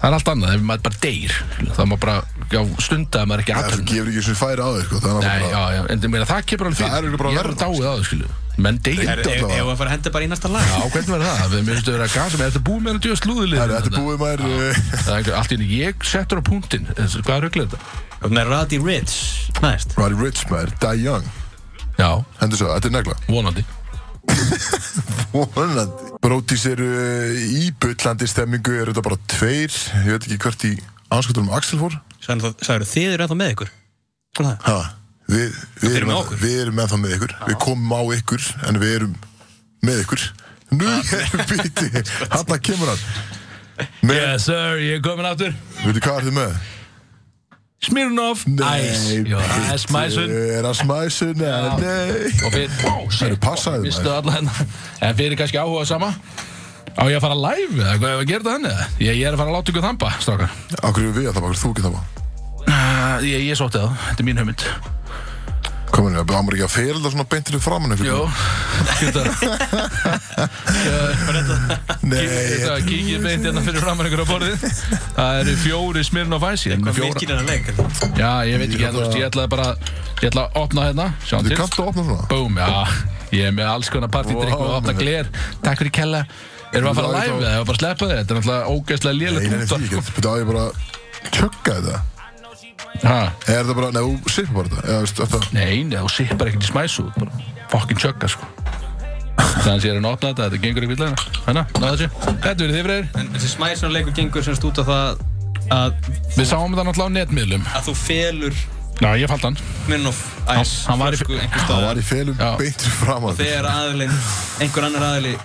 Það er allt annað, ef maður bara deyr, skilju, þá maður bara, já, stundaði maður ekki
Já, þú
aðtönd.
gefur ekki svona færi á þig, sko, þannig að
Nei,
bara-
já, já, en ég meina, það kemur alveg fyrir
Það er alveg bara
Ég er
verra,
að dáið á það, skilu Menn deyja
Er-
Reyndu
Ef
allavega.
ef að fara að henda bara í næsta lag.
Já, hvernig verður það? Við myndum að vera að gasa með þetta búið með þetta slúðilið
Herru, Þetta er búið maður eh,
Það er einhver- allt í henni, ég settur á punktinn Þessi, Hvað er rugglega þetta?
Þannig að Roddy Rich, næst.
Roddy Rich maður, Die Young
Já,
Hendur svo, þetta er negla
vonandi
Vonandi. Brótis eru eh, í bullandi stemmingu eru þetta bara tveir Ég veit ekki hvert í anskotunum Axel fór
sagður þið eru ennþá með ykkur Svona það.
Ha, við, við,
fyrir
erum
með
enn-
okkur.
við erum ennþá með ykkur Við komum á ykkur en við erum með ykkur Nú erum býti Hanna kemur hann Men,
Yes sir, ég er komin aftur
Veitu hvað ertu með?
Smirnoff Ice Jó, það er smæsun
Er að smæsun eða Nei
Og fyrir Ó, sér
Heyrðu, passaðu,
Vistu alla hérna En fyrir kannski áhuga sama Á ég að fara live eða hvað ef að gera þetta henni eða? Ég, ég er að fara að láta ykkur þamba, strákar
Akkur eru við að það Akkur þú ekki það
Uh, Ég, ég sótti það, þetta er mín hömynd
Komin, það var ekki að fyrir það svona beintir fram hann
Jó Geta <laughs> Geta
Nei
kíkið beint hérna fyrir framann ykkur á borðið Það eru fjóri Smirnoff Ice Ég er
Hvað
með fjóra-
mikið er að leik hérna?
Já, ég veit ekki, ég, þú veist, ég ætlaði bara Ég ætlaði að opna hérna, sjá
Þú
til
kannst að opna svona
Búm, já, ég er með alls konar partydrykk
Vá,
og opna
maður.
gler Takk fyrir kella Erum við að fara
Lagið
live
á-
eða? Eða bara að sleppa þér? Þetta er náttúrulega ógeðslega
Nei,
lélegt
nei, því
útvarp,
ekki Þetta á ég bara Tjögga þetta
sko. Ha,
Er það bara Nei, þú sippa bara þetta Eða, veist, þetta
Nei, nei, þú sippar ekkert í smæsu þú ert bara Fokkin tjögga, sko Þannig sé ég er að opna þetta, þetta gengur ekki villega Hanna, náðu þessu Þetta verið þið fyrir
En þessi smæsuna leikur gengur semst út af það að,
Við sáum þetta náttúrulega á netmiðlum
að þú felur
Já, ég falt hann
Smirnoff Ice
hann var í-
flösku einhvers
Það
staðar.
var í felum
Já.
beintir fram að
Þegar aðilinn, einhver annar aðili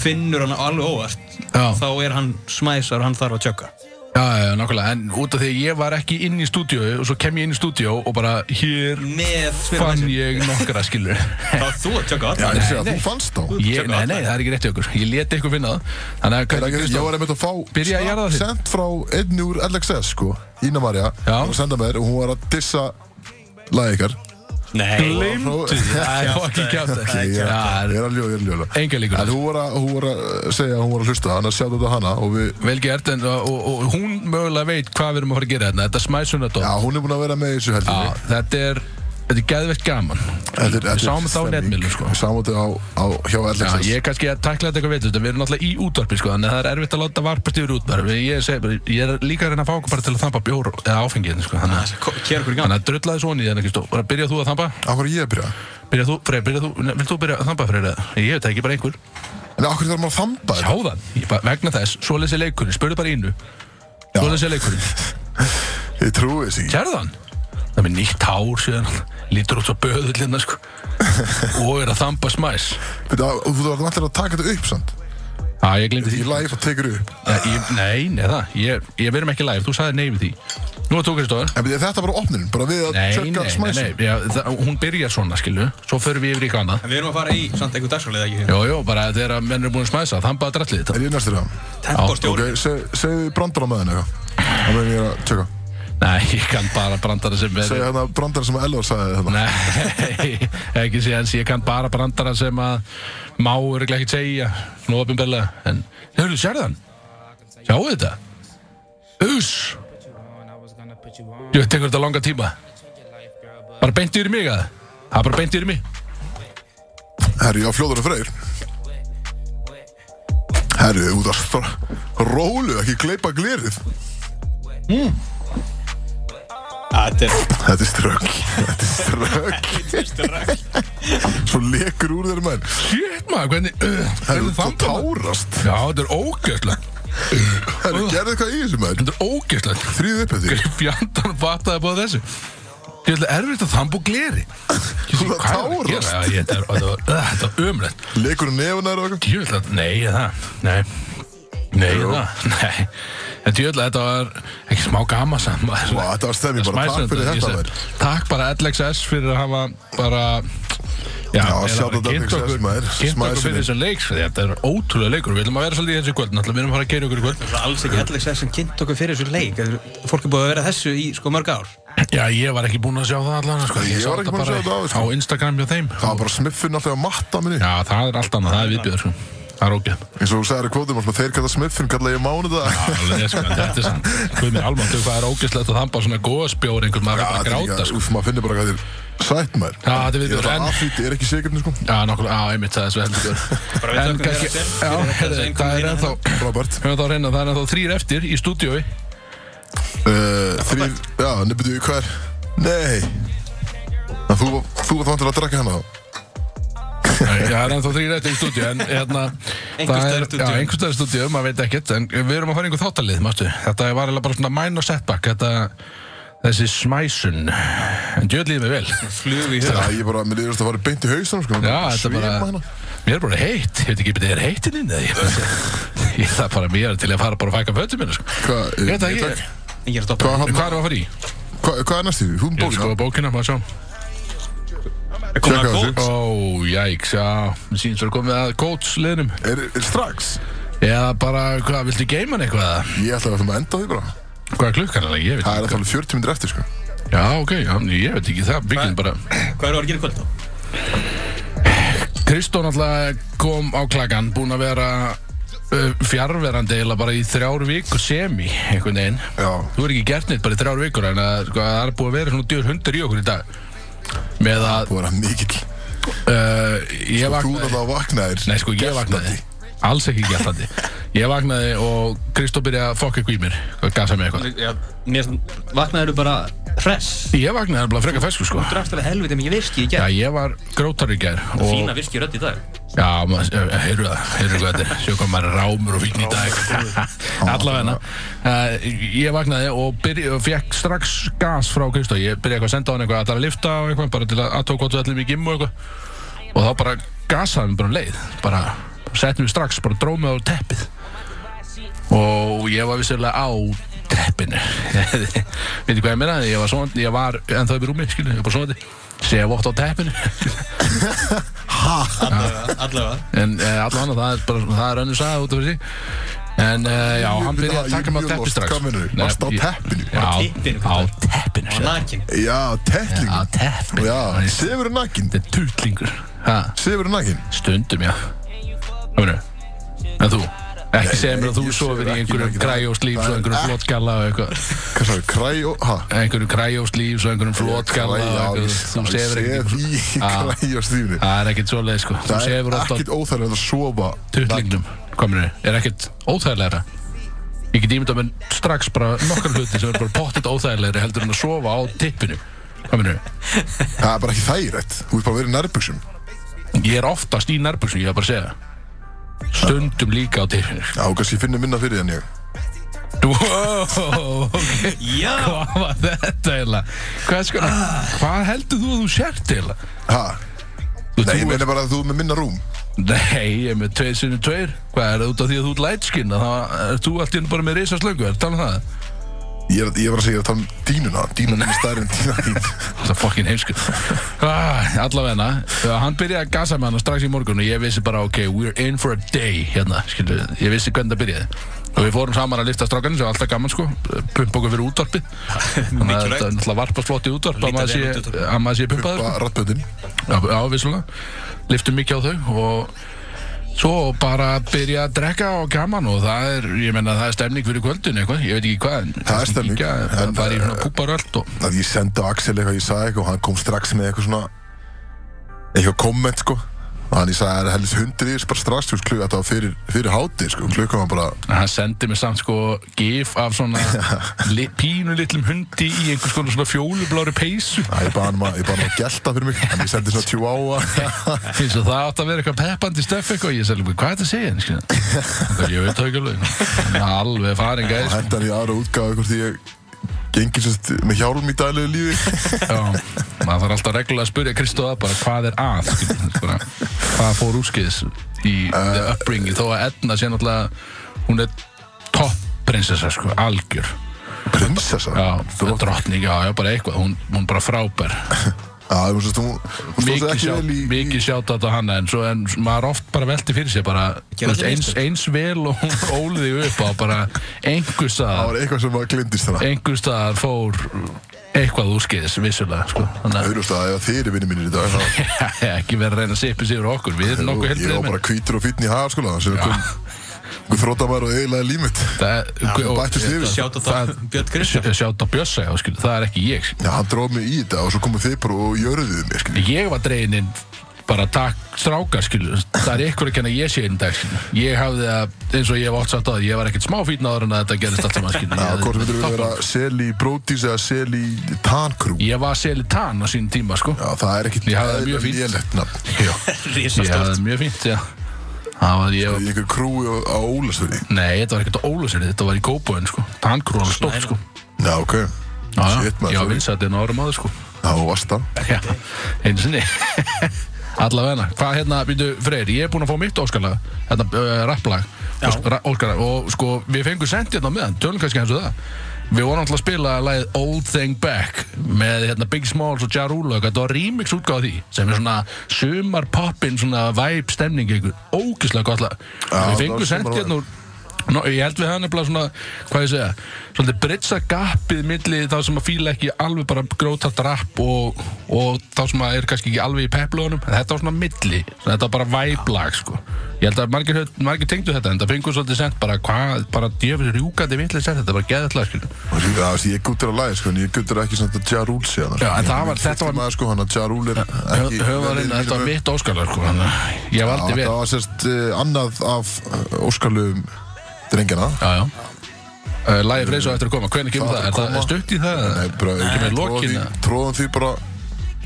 finnur hann alveg óvart
Já.
þá er hann smæsar og hann þarf að tjögga
Já, já, nákvæmlega En út af því að ég var ekki inn í stúdíu Og svo kem ég inn í stúdíu og bara Hér
með Smirnoff
fann
Ice
ég nokkra <laughs> skilur
þá ert þú að tjögga
Já, ég
allan
sé að þú fannst þá
Ég,
Tökum
nei,
allan.
nei, það er ekki rétt í okkur. sko. Ég leti ykkur finna það. Þannig að
Er
Kari
ekki- Ég
Kristó...
var einmitt að fá
Byrja að jarða þig.
Sent frá einni úr LXS sko Ína Marja
Já.
Hún var að senda með þér og hún var að dissa Lagi ykkar
nei,
Glimtu því. Það er fokkin kjátt
Ég er
það.
ég er að ljóða, ég er að ljóða
Enga
En
líkur.
hún var, að, hún var að segja að hún var að hlusta Þannig að sjá þetta hana og við
Vel gert, en og, og, og hún mögulega veit hvað við erum að fara að gera hérna. Þetta er smæsunadótt.
Já, hún er búin að vera með í þessu heldur
Já, þetta er, þetta er geðveikt gaman. Við sáum þetta á netmiðlum, sko.
Sáum þetta á, á hjá
Já,
LXS
ég er kannski að tækla þetta eitthvað veitur, við erum náttúrulega í útvarpi, sko, þannig að það er erfitt að láta varpast yfir útvarpi. Ég, segi bara, ég er líka að reyna að fá okkur bara til að þampa bjór eða áfengið, hérna, sko, þannig að...
kér okkur í gang
Þannig að drullaði svona í þennan, Kristó. Bara byrja þú að þampa?
Akkur er ég að byrja?
Byrja þú, Freyr, byrja þú, vil þú byrja að þampa, Freyr? eða? Ég veit það ekki, bara einhver.
En akkur þarf maður að þamba þetta?
Háðan, ég bara, vegna þess, svoleiðis er leikurinn, spurðu bara innu Svoleiðis er leikurinn,
Ég trúi þess ekki
kjærðan Það er með nýtt hár síðan Lítur út svo böðullina sko Og er að þamba smæs
Veitu, á- Þú þarf allir að taka þetta upp samt
Já, ég glemdi því
Í live og tekur upp
Nei, ég, Nei, neða, ég, ég verðum ekki live, þú sagði nei við því Nú er þú Kristofur
En byrja, þetta er bara opnunin, bara við að
Nei, nei,
tjögga
nei,
smæsum
nei já, það, hún byrjar svona, skilu Svo förum við yfir í kannað
en við erum að fara í samt einhver dagsfjörlega ekki
Jó, jó, bara þegar að menn eru búin að smæsa Þambaða drallið þetta
Er ég næstur það? Ok,
tempostjóri
se, segðu brandara með henni eitthvað Það meðan ég er að tjöka
Nei, ég kann bara brandara sem er
Segðu hérna brandara sem Elvar sagði hérna
Nei, <laughs> ekki séðans, ég kann bara brandara sem að má örgulega ekki segja, svona ofinbella, en hörru, sérðu hann? Sjáu þetta? Uss, ég tekur þetta langa tíma, bara beint yfir í mig að það, það er bara beint yfir í mig.
Herru, ég á fljóður og freyr Herru, út að stra- Rólu, ekki gleypa glerið
þetta er
Þetta er strögg Þetta er strögg Svo lekur úr þeirra menn
Shit maður, hvernig, uh,
Herru, þú
hvernig þannig það?
tárast
Já, þetta er ógæslega,
Herru, gerðu eitthvað í þessu menn
þetta er ógæslega,
Þrýð upp eftir
fjandarn fattaði búið þessu. Ég ætla erfitt að þambu gleri. Ég sé,
Þú ert að
hvað er að gera?
tárast.
Já, ég- Þetta var- þetta var- þetta var ömrætt.
Lekur úr nefunar og eitthvað
Djöðla, nei, er það, nei Nei, er það, nei En djöðla, þetta var ekki smá gama saman
Vá, Þetta var stemming bara, takk fyrir þetta menn
Takk bara LXS fyrir að hafa bara Já,
Já,
eiginlega
shout out
bara kynnt
LXS
okkur-
maður,
Kynnt okkur
smæðisunni.
fyrir þessum leiks Þetta er ótrúlega leikur, við ætlum að vera svolítið í þessu kvöld Náttúrulega, við erum að fara að keira okkur í kvöld
alls ekki allir sem kynnt okkur fyrir þessu leik Þetta er- fólk er búið að vera þessu í sko mörg ár
Já, ég var ekki búinn að sjá það allan sko.
Ég
sá
var ekki búinn
þetta
að
bara
sjá þetta áður,
Á
sko.
Instagram hjá þeim
Það var bara smiffin alltaf að matta minni
Já, það er allt annað, það er viðbjör sko. Það er ógeð
Eins og þú sagðir í kvótum, þeir kalla smiffin, kalla ég mánu það
Alveg, sko, en þetta er sann Guð mér almann, hvað er ógeðslegt að þamba svona góðspjór einhvern maður er bara að gráta sko.
Úf, maður finnir bara hvað þér sætt maður
Já, þetta
Ég er
er viðbjör
það
en,
aðfýtt, ég er ekki sigurinn sko
Já, nokkulega, já, einmitt, það er svo heldur
Bara við
En
þökkum
kannski,
þér
já,
fyrir þetta, hérna.
heyrðu,
þessi einkum
það er
mína
ennþá
Robert
Höfum þá að reyna, það er ennþá þrýr eftir í stúdíói
uh, Þrýr, já, nefndu ég hvað er Nei En þú, þú var þannig til að drakka hana þá
Já, það er ennþá þrýr eftir í stúdíói En hérna,
Einhvers
það
staðar
er,
í stúdíói.
já, einhvers staðar í stúdíói, maður veit ekkert En við erum að fara í einhver þáttalið, mástu Þetta var eiginlega bara svona mæn og setback Þetta, Þessi smæsun En djöðlið mig vel
Flug í
Já,
huga
ég bara, mér liðast að fara beint í haustunum sko.
Já, þetta
Svima
bara,
hérna.
mér er bara heitt, ég veit ekki, betur, er heittinn inn eða ég
<laughs>
ég það er bara mér til að fara bara að fæka fötum minna, sko.
Hvað, eh,
Ég veit það
ég
ekki,
takk.
Engin er að
Hvað
stoppa
hvað
hann-
er það að fara í?
hvað- hvað er næst í því? Hún
Ég er
bókin á?
sko að bókina, maður sjá
Er komin að
Sjekka
kók?
Ó, jæks, já, mér sýnst að komið að kótsliðnum
Er, er strax?
Eða bara, hvað, viltu geima hann eitthvað? eða?
Ég ætla að við ætlum að enda á því bara
Hvað er klukkan alveg, ég veit
Það er
ekki
alltaf alveg 40 minnir eftir sko
Já, ok, já, ég veit ekki það, við
Hvað-
getum bara
Hvað eru að gera í kvöld þá?
Kristó náttúrulega kom á klakan, búinn að vera uh, fjarverandi eiginlega bara í þrjár viku semi, einhvern veginn
Já
Þú er ekki gert neitt bara í þrjár vikur en að, sko, það er búið að vera svona djur hundur í okkur í dag með að
Þú er að mikill
uh, ég
Þú
vaknaði
náttúrulega vaknaðir
Nei sko ég vaknaði Alls ekki gætlandi Ég vaknaði og Kristó byrjaði að fokka ykkur í mér og gasa mig eitthvað
Já, mér vaknaður bara hress
Ég vaknaði alveg frekar fesku sko
Drafst alveg helviti mikið virki í
Já
gerð
ég var grótar í gær og
Fína virki rödd í dag
Já, maður- heyrðu það, heyrðu hvað þetta er Sjá hvað maður er rámur og fíkn í dag Allavegna uh, Ég vaknaði og, byrja, og fekk strax gas frá Kristó Ég byrjaði eitthvað að senda á hann eitthvað Allar að lifta og eitthvað Bara til að aðtók hvað þú ætlum í gimmu og eitthvað Og þá bara gasaði mig bara um leið Bara settum við strax, bara dróðum við á teppið Og ég var vissulega á teppinu <laughs> Veitir hvað ég meina? Ég var svona, ég var ennþá upp í rúmi, skilu Ég var bara svona Sér vótt á
<laughs>
teppinu
Allavega, allavega
en uh, allan það er bara það er önnur saga út af því en uh, já, hann byrjaði að taka mig
Ég-
á
ég-
teppi
ég-
strax
hvað meinarðu?
Nei,
Varstu á
ég-
teppinu?
Já,
Á teppinu,
á
hvað?
teppinu
Og
sagði ég.
nakin
Já, tettling
á teppinu
Já,
Hann er-
sefur er nakin
þetta er tutlingur ha,
Sefur er nakin
stundum, já hvað meina, en þú ekki segja mér að
ég
þú
sef
sofir í
ekki
einhverjum
nakin.
græjóslífs
Það
og
er
einhverjum
ekki-
flótgalla og eitthvað
Hvað sagði, kræ og, ha?
einhverjum græjóslífs og einhverjum flótgalla og
Já,
eitthvað.
ég-
þú
ég
sefur
sef
ekki Ah.
í <laughs> kræ og stífni
það er ekkert svoleið sko þú
Það
sefur
er
oft á
ekkert óþægilegt að sofa
Tuttlingnum, hvað mér er ekkert óþægilegra Ég get ímyndað mér strax bara nokkar hluti sem er bara pottitt óþægilegri heldur en að sofa á tippinu Hvað mér
Það er bara ekki þægilegt Þú ert bara verið nærbuksum
Ég er oftast í nærbúksum, ég hef bara að segja Stundum líka á tippinu
Já, kannski ég finnir minna fyrir því en ég
Wow, ok
Já
Hvað var þetta eiginlega? Hvað, sko,
Ah.
hvað heldur þú að þú sért eiginlega?
Ha? Nei,
Þú
ég
trúir-
meina bara að þú er með minna rúm
Nei, ég er með tveir sinni tveir Hvað er það út af því að þú ert lætskinn þá er þú allt í hennu bara með risaslöngu, er talað um það?
Ég er, ég er bara að segja að tala um dínuna Dínan er stærri en dínan þín
<laughs> Það er fokkin heimsku ah, Allavegna, uh, hann byrjaði að gasa með hann strax í morgun og ég vissi bara ok, we're in for a day hérna, skilur við, ég vissi hvernig það byrjaði og við fórum saman að lista strákarnir sem var alltaf gaman sko, pumpa okkur fyrir útvarpið
<laughs>
þannig að
Mikilvægt.
þetta er náttúrulega varpa slott í útvarp að
Líta
maður
vel
sé,
út í útvarpið.
að maður sé pumpaður
Bara rattböndin
Já, já vissulega Liftum mikið á þau og svo bara byrja að drekka og gaman og það er, ég menna, það er stemning fyrir kvöldin eitthvað, ég veit ekki hvað en
Það er stemning.
Það
En, eh,
er í svona púparöld og
að ég sendi á Axel eitthvað ég sagði eitthvað og hann kom strax með eitthvað svona eitthvað komment sko og hann ég sagði það er hellis hundir í þess bara strax þú veist klukka þetta var fyrir, fyrir hátir sko klukka var bara
En hann sendi mér samt sko gif af svona li, pínu litlum hundi í einhvers konar svona fjólublári peysu <laughs>
að ég bara hann um að ég bara hann að gelta fyrir mig en ég sendi svona tjú á
eins og það átt að vera eitthvað peppandi stöf eitthvað ég sagði, hvað er þetta að segja henni, skilja það ég veit það ekki alveg Hann er alveg farin
og
gæði
henda hann í aðra útgáðu eitthvað því ég gengi sérst með hjálm í daglegu lífi
Já, maður þarf alltaf reglulega að spyrja Kristóða bara hvað er að skilur, bara, hvað fór úrskeiðis í the upbringing þó að Edna sé náttúrulega hún er topp prinsessa sko, algjör
prinsessa
já, drottning, já, já, bara eitthvað hún, hún bara frábær
það var sérst hún hún stóð sér
mikið
ekki
sjá-
vel í
mikið sjátt á hana en, svo, en maður oft bara velti fyrir sér bara, þú
Gerðu
veist,
allir
eins,
mistök.
eins vel og hún óliði upp á bara einhvers
það
staðar
var eitthvað sem var glindist þarna
einhvers staðar fór eitthvað úrskeiðis vissulega sko. þannig
auðvist að ef þeir eru vinni mínir í dag þá
að <laughs> ekki vera að reyna að sippa sér okkur við erum nokkuð
ég var
heldur
bara hvítur og fítn í hagar sko sem
Já.
kom einhver þrótamaður og eiginlega límitt við bættist yfir.
Sjátt á það Björn Kristján
sjátt á bjössa já, skil, það er ekki ég skil.
Já, hann dróð mig í þetta og svo komu þið bara og jörðuðu mig, skilji.
ég var dregin inn bara takk strákar skil það er ykkur að kenna ég sé einn dag skil. ég hafði að, eins og ég hef oft sagt á það ég var ekkert smá fínn áður en að þetta gerist allt saman skil.
Já,
Ég-
hvort myndur við
Topp-
vera sel í brótis eða sel í tankrú.
Ég var selitan á sín tíma sko
Já, það er ekkit
Ég hafði það mjög fínt.
lélegt nafn.
Já, ég
Rísastórt
hafði mjög fínt, já Það var ég
Í einhver krúi á, á Ólasvöri.
Nei, þetta var ekkert á Óluseri, þetta var í Kópóin sko Tankrú var alveg stórt sko
Já, ok.
Já,
Shit, maður,
já,
sorry.
vinsætt einu árum áður sko
Já, þú varst það.
Já, einu sinni Allavega, hvað hérna, býtu, Freyr, ég er búinn að fá mitt óskalag Hérna, uh, rapplag
Já.
Ra- Óskalag, og sko, við fengum sent hérna á meðan Tölum kannski hans og það Við vorum alltaf að spila lagið Old Thing Back með hérna Big Smalls og Ja Rule og þetta var remix útgáð því sem er svona sumar poppin svona vibe stemning ykkur, ógislega gott lag
Já,
Við
það var
fengum sent
sumar vibe.
hérna úr Nó, ég held við það nefnilega svona, hvað ég segja, svolítið britsa gapið milli þá sem að fíla ekki alveg bara grótart rap og, og þá sem að er kannski ekki alveg í peplunum, þetta var svona milli, svona, þetta var bara væblag, sko. Ég held að margir, höfðu- margir tengdu þetta, en það fengur svolítið sent bara, hvað, bara djöfis rjúkandi villið sér þetta, bara geðallega, skiljum.
Og því- Já, þessi, ég guttur á lagi, sko, en ég guttur ekki svona Ja Rule síðan.
Já, en það var- þetta var-
Maður, sko, hann að Ja Rule er ekki...
Höfðarinn, þetta var mitt óskalar, sko, þannig að ég
Já,
valdi
þetta
vel.
var sérst uh, annað af uh, óskalum drengjana.
Já, já. Uh, Lægi Freyr svo eftir að koma, hvernig kemur
Það
það?
er
Er
að
það
koma.
er stutt í það?
Nei, bara, ekki
Nei,
með
lokin,
lokin.
eða?
Tróðum því bara,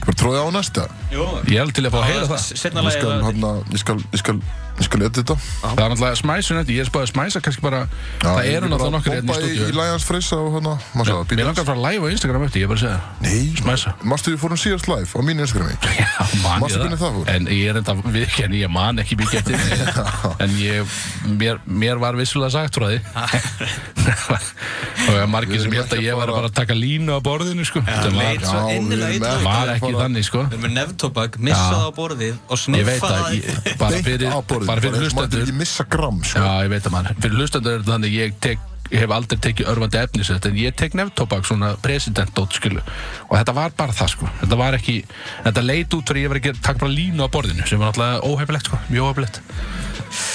bara tróði á næsta.
Ég held til að fá að
hérna,
heyra það.
Setna
Ég
lagi
skal, hann að, ég skal, ég skal, ég skal edita þetta.
Það var náttúrulega smæsun eftir, ég er spáðið smæsa kannski bara, það eru náttúrulega nokkur hérna í
Bomba í
stúdíu.
Lions Freysa og hann að, maður sagði,
Mér
býta.
langar að fara að live á Instagram eftir, ég er bara að segja það.
Nei,
Smæsa.
Mástu við fórum síðast live á mínu Instagrami
Já, man
Manstu
ég
hvernig það
það.
fór?
En ég er enda, viðkenni, ég man ekki mikið eftir því. En ég, mér, mér var vissulega sagt frá því. Og ég var margir sem held að ég var bara að taka línu á borðinu, sko. Þetta
leit
var,
svo
Já, við
innilega
erum
illa út.
ekki-
var ekki
bara-
þannig, sko.
Við erum með nefntobak, missa
Já.
það á borðið og
Ég
sniffa
veit
það
að, ég, bara
Beint
fyrir,
á borðið,
bara fyrir
eins og maður
hlustendur,
ekki missa gram sko.
Já, ég veit að maður. Fyrir hlustendur er þetta þannig ég, tek, ég hef aldrei tekið örfandi efnis þetta en ég tek nefntobak svona presidentdótt skilu og þetta var bara það sko. Þetta var ekki, þetta leit út fyrir ég var að gera takk bara línu á borðinu sem var náttúrulega óhefilegt sko, mjög óhefilegt.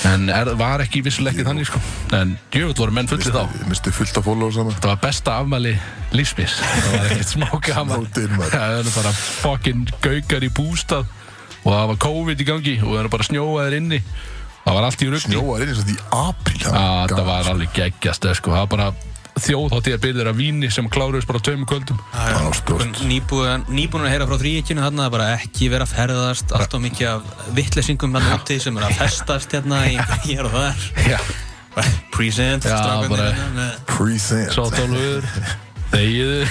En er, var ekki vissulega ekki þannig sko. En djöfull voru menn fullir þá.
Ég misti fullt af followers hana
Þetta var besta afmæli lífsmis. Það var ekkert smáka afmæli.
Snótinn, maður.
Það var bara fucking gaukar í bústað og það var COVID í gangi og það var bara snjóaðir inni. Það var allt í rugni.
Snjóar inn eins og því apríl
Já, Ah, þetta var alveg geggjast sko. það var bara þjóðháttíða byrðir af víni sem kláruðist bara á tveimur kvöldum
Það var stort
Nýbúin, nýbúin að heyra frá þrýikinu þarna að bara ekki vera að ferðast allt og mikið af vittlesingum hann úti sem er að festast hérna í hér og þar
Já,
present hérna
Já, bara-
Present
sátálfur þegiðu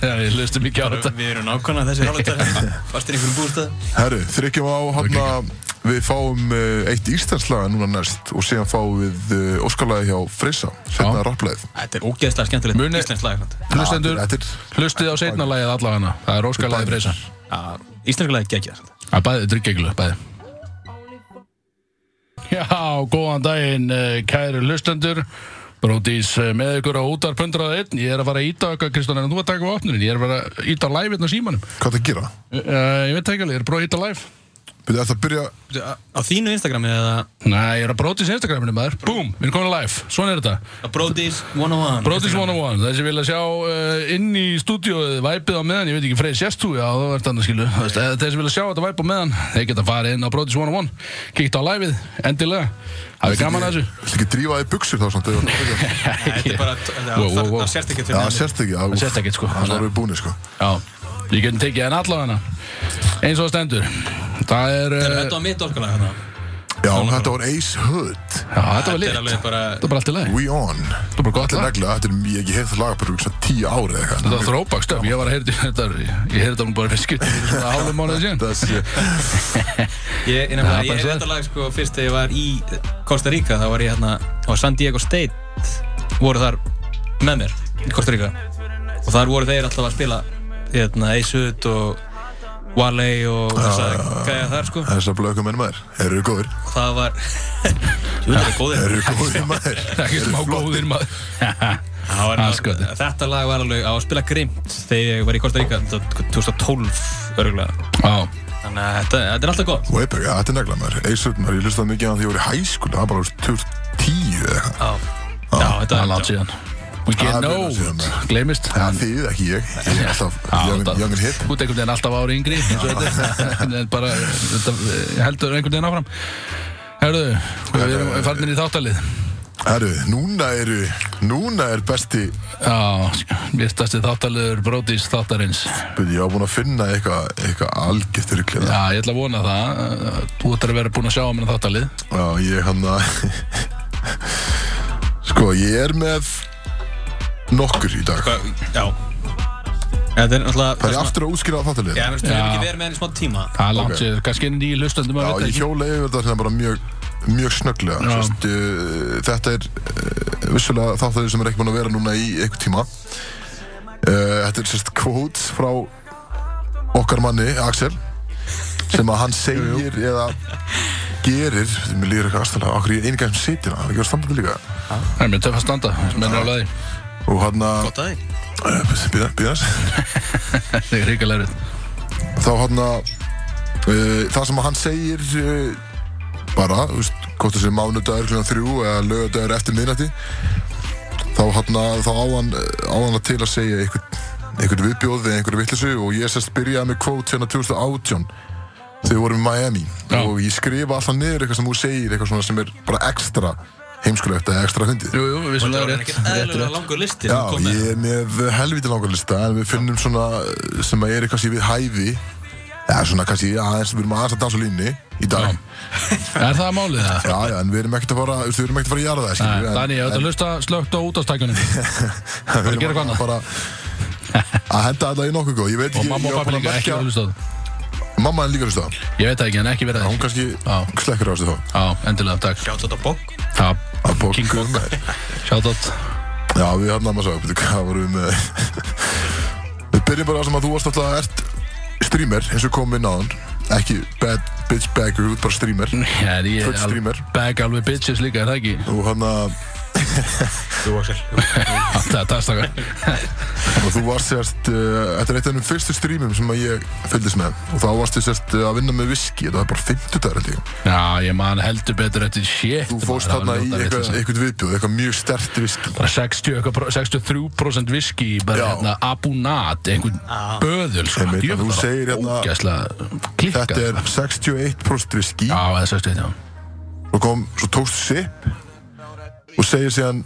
Já, við hlustum ekki á þetta
við erum nákvæmlega þessi rálutar fastir í einhverjum bústað
Herru, þryggjum á hana Við fáum uh, eitt íslenslaga núna næst og síðan fáum við uh, óskalagi hjá hérna Freysa, setna
Já.
rapplegið
þetta er ógeðslega skemmtilegt
Muni-
íslensk lag samt.
Hlustendur,
þetta er-
hlustið á seinna lagið allavega Það er óskalagið breysa
Já, íslensk lag er geggjað samt.
Það er bæðið dryggjeglu, bæði Já, góðan daginn eh, kæru hlustendur Brótís eh, með ykkur á útar 101 Ég er að fara að íta okkar, Kristján, en þú að taka á opnunin Ég er að fara að íta á live hérna á símanum
Hvað það gera?
Uh, ég veit ekki alveg, ég er að prófa að íta á live
Byrja þetta að byrja
á þínu Instagrami eða
Nei, ég er að brótis Instagraminu maður Búm, við erum komin að live, svona er þetta
á Brodís 101
Brótis 101, þessi vilja sjá uh, inn í stúdíóið, væpið á meðan Ég veit ekki, Freyr, sérst þú? Já, það verður þannig skilu Þú veist, eh, Þessi vilja sjá þetta væpið á meðan Þeir geta farið inn á Brótis 101 Kíkt á liveið, endilega Það er gaman að þessu
Þú ekki drífa þig í buksur þá samt þegar þú ert að byrja.
<laughs> þetta er bara
Wow, wow, wow.
það sérst ekki
Já,
fyrir
það
nefnir.
sérst ekki
Það sést ekkert, sko.
Það var við búinir sko
Já, ég getum tekið en allavega Eins og það stendur Það
Þetta
er, uh,
er- þetta var mitt orkulag hérna
Já, þetta var Ace Hood
já, þetta var
Þetta er
lit
alveg bara
Þetta var bara allt í lagi
We On
Þetta var bara gott
Þetta er
lag
regla, þetta er mjög ekki hefð lagapur svona tíu ári eða
Þetta
eitthvað
var þróbakstöf, ég var að heyrði þetta, ég heyrði þetta nú bara fyrir skipt, svona hálfum mánuðið síðan.
Það sé-
Ég, ég,
Já,
nefnilega,
bara
ég
svo.
þetta lag sko fyrst þegar ég var í Costa Rica þá var ég hérna og San Diego State voru þar með mér í Costa Rica og þar voru þeir alltaf að spila hérna Ace Hood og Wale og þess að
Ah.
gæja þar sko
Þessar blöku menn maður, eru þið góðir?
og það var <laughs> Jú, það er góðir.
Eru þið góðir maður?
Það er ekki smá góðir <laughs> maður
Það var- hérna-
Andskoti.
þetta lag var alveg á að spila grimt þegar ég var í Costa Rica þetta var 2012 örgulega
Já,
þannig að þetta, þetta er alltaf gott
Og eipeg, ja, þetta er negla maður Eisut maður, ég hlustaði mikið á hann því ég voru í hæskúli Það var bara þú veist, 2010 eða eitthvað
Já, Já, þetta
Ah. það er
er
langt síðan We
Það
get
er langt síðan,
note,
maður.
gleymist
Það þýðið ekki ég, ég er alltaf young, young and hip
Þú tekur þenni alltaf ári yngri eins og þetta. <laughs> En bara, þetta eh, heldur einhvern veginn áfram Herðu, við erum farinir í þáttalið
Herru, núna eru, núna er besti
Já, mistasti þáttaliður brótis þáttarins
Byrju, ég var búinn að finna eitthvað eitthvað algjört yrklið
Já, ég ætla að vona það Þú ætlar að vera búin að sjá á mér þáttalið
Já, ég hann að Sko, ég er með nokkur í dag
Já, Þetta er náttúrulega...
Það er
svona-
aftur að útskýra þáttalið
Já, þú veist, við hefum
Já.
ekki verið með henni smá tíma.
Það er langt
Ok.
sér, kannski inn í hlustandum að
Já,
vita
ég
ekki
hjóla yfir þetta hérna bara mjög mjög snögglega
Já.
Sest, uh, þetta er uh, vissulega þáttarið sem er ekki búin að vera núna í einhver tíma uh, þetta er sérst quotes frá okkar manni, Axel sem að hann segir eða gerir, mér líður eitthvað aðstæðlega okkur ég einingað sem sitir hérna? það, það gerur standandi líka
Það er mér töff að standa, sem er <laughs> nálega því
og hann að,
Gott
Eh,
að þig.
býða, býða
Það er ríkilega erfitt
þá hann að uh, það sem að hann segir uh, bara, þú veist, hvort þessi mánudagur klukkan þrjú eða lögadagur eftir miðnætti þá hann að þá á hann, á hann að til að segja einhvern, einhvern viðbjóð eða einhverju vittlisu og ég sérst byrjaði með quote hérna 2018 þegar við vorum í Miami
Já.
og ég skrifa alltaf niður eitthvað sem þú segir eitthvað svona sem er bara ekstra heimskulegt eða ekstra hundið
Jú, jú,
Það
vissulega
var
rétt,
ekki
rétt,
eðlulega
rétt
langur listi sem
Já,
kom með.
ég er með helviti langar lista en við finnum svona eh, sem að er kannski við hæfi eða svona kannski aðeins við erum aðeins að dansa á línni í dag
Já.
Já,
Er það málið það?
já, en við erum ekkert að fara þú veist, við erum ekkert að fara í jarða
Nei,
skilur, en- <laughs>
Dani, ég ætla að hlusta slögt á útastækjunum
en
að
við
gera
erum
eitthvað
að fara að henda þetta í nokkuð góð ég veit
Og
ekki,
mamma
ég
og
var
pappi
búin að
líka, ekki
merkja
verið að hlusta á það
mamma en líka hlusta
Ég veit það ekki, en ekki verið
hún
það
kannski
Já.
slekkur á þessu þá
Já, endilega, takk
Sjátt þetta bók.
Já,
Að bók-
King Kong.
Nei.
Shoutout
Já, við hann að maður sagði, betur hvað vorum við með <laughs> Við byrjum bara á sem að þú varst alltaf ert streamer eins og komum inn á hann ekki bad bitch bagger, þú ert bara streamer
Já, er ég
Full
al-
streamer.
Bag alveg bitches líka, er það ekki?
og hann að
Jú, Axel. jú.
Já, Ah, Það er tastakar
Og þú varst sérst, uh, þetta er eitt af þeim fyrstu streamum sem að ég fylgdist með og þá varstu sérst uh, að vinna með viski, þetta var bara 50 dagar held ég.
Já, ég man heldur betur eftir shit
Þú fórst
maður,
þarna
það
í
var ljóta
eitthvað,
vitleysa.
eitthvað viðbjóð, eitthvað mjög stert viski.
Bara 60, eitthvað pro- 63% viski bara
Já.
hérna abunat, einhvern
Já.
böðul sko.
Einmitt,
Jöfull,
þú
bara
segir hérna-
ógeðslega klikkað
Þetta er 61% viski
Já, eða 61, já
og kom, svo tókstu sip og segir síðan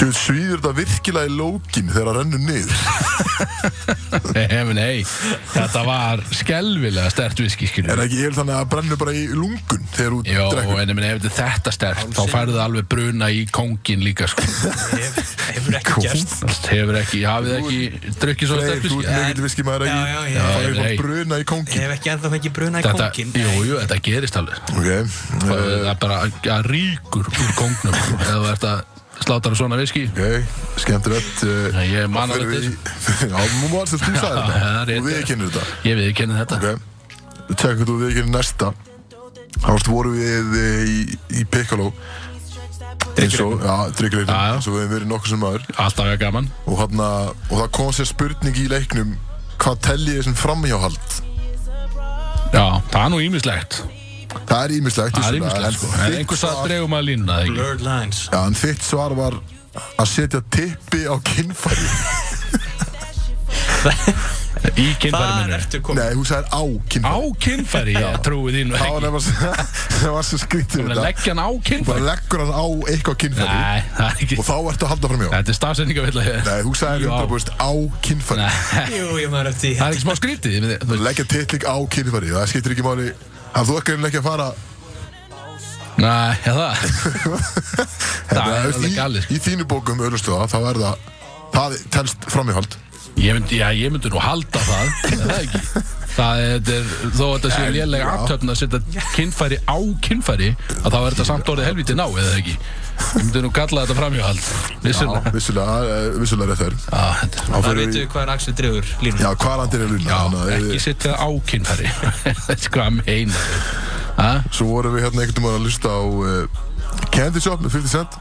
Þú veit, svíður þetta virkilega í lókin þegar það rennur niður.
Nei, nei, þetta var skelvilega stert viski,
Er
skiljum
það ekki ég þannig að það brennur bara í lungun þegar þú
Jó,
drekkur?
en ég meni, ef þetta er þetta stert þá færðu það alveg bruna í kóngin líka, sko
Hef- Hefur ekki gerst.
Allt hefur ekki, hafið ekki drukkið svo sko.
Freyr,
stert
þú
viski
ert mikill viski maður
Já,
ekki.
já, já.
Það er
nei.
bara bruna í kóngin.
Hef ekki ennþá fengið bruna í
Þetta,
kóngin.
jú, jú, þetta gerist alveg
Ok.
Það
eh,
það er bara að ríkur úr kóngnum sko, eða þú ert að slátara svona viski
Ok, skemmtilegt uh,
Nei, ég man alveg
fyrir við- <laughs> Já, nú var þetta þú sagði
Já, <laughs> það
þetta
er rétt,
Þú viðkennir þetta
Ég við ekki henni þetta
Ok, við tekum hvað þú viðkennir næsta Þá varst voru við eh, í, í Piccolo eins og- Já, drikkleitin
Já, já.
eins og við hefum verið nokkuð sem maður
Alltaf er gaman
og, hana, og það kom sér spurning í leiknum Hvað telji ég sem framhjáhald?
Já, það er nú ímislegt
Það er ímislegt
Það er
vissulega,
ímislegt sko En
þitt
einhvers að
svar-
dregum að línuna eða ekki?
Blurred lines.
Já, en þitt svar var að setja tippi á kinnfæri
<laughs> Í kynfæri
Þar
minnur
ertu komið.
Nei, hún sagði á
Á
kinnfæri
kynfæri, ég trúi þín nú
Það var
ekki
nefnilega- það var svo <laughs> skrítið
Hún er að leggja hann á
bara
kynfæri
leggur hann á eitthvað kynfæri
Nei, það er ekki
og þá ertu að halda fram hjá
Þetta er stafsendingavilla
Nei, þú sagði
Jú, á.
100% á kynfæri
Það
Jú, ég maður eftir.
er ekki smá skrítið ég veit- þú veist.
Leggja titling á kynfæri, það skiptir ekki máli að þú ekki ekki að fara
Nei, já, það Það
Þú
er
veist,
alveg
Hérna, í,
galið sko.
í þínu bókum öðlustu það, þá er það það telst framhjáhald
Ég myndi, já, ég myndi nú halda það, er það ekki? Það er, þetta er- þó að þetta sé lélega
já.
aftöfn að setja kynfæri á kynfæri að þá er þetta samt orðið helviti ná, eða ekki? Ég myndi nú kalla þetta framhjóhald, vissulega.
vissulega, eh, vissulega er það
Já, Ah, þetta er-
Þar veitum við hvað er Axel dregur línu.
Já, hvað landir er luna þannig að
ekki
við-
setja á kynfæri, <laughs> Sko, þetta er hvað að meina. Ha?
Svo vorum við hérna einhvern veginn að lusta á uh, Candy Shop með 50 Cent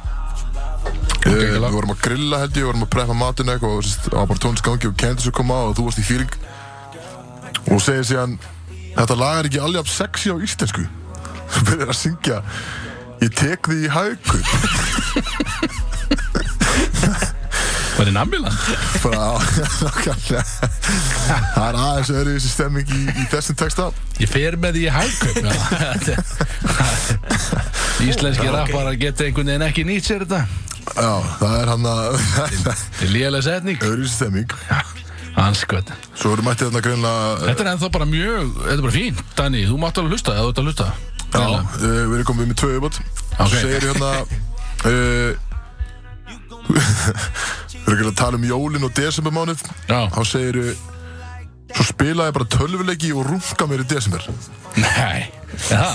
Uh, við
geggjað.
vorum að grilla held ég, við vorum að preppa matinn eitthvað og sérst, það var bara tónsgangi og Candy Shop kom á og þú varst í fíling og segir síðan þetta lag er ekki alveg jafn sexy á íslensku <laughs> svo byrjar að syngja ég tek því í haugur
Var þið nambilan?
<laughs> bara <laughs> á- nákvæmlega. það er aðeins öðruvísi stemming í, í þessum texta
Ég fer með því í hagkaup, já. Þetta er- Íslenski rapparar geta einhvern veginn ekki nýtt sér þetta.
já, það er hann að <laughs>
Þetta er lélega setning.
öðruvísi stemming
Anskvöld.
svo erum hérna mættið þarna greinlega
Þetta er ennþá bara mjög, þetta er bara fínt, Dani, þú mátt alveg hlusta, eða þú ert að hlusta.
Já,
Greinilega.
uh, við erum komið með tvö uppátt
Ok.
<laughs> Svo segir hérna uh, Við erum ekki eh, að tala um jólin og desembermánuð
Já.
Þá segir Svo spilaði ég bara tölvuleiki og runga mér í desember
Nei Já,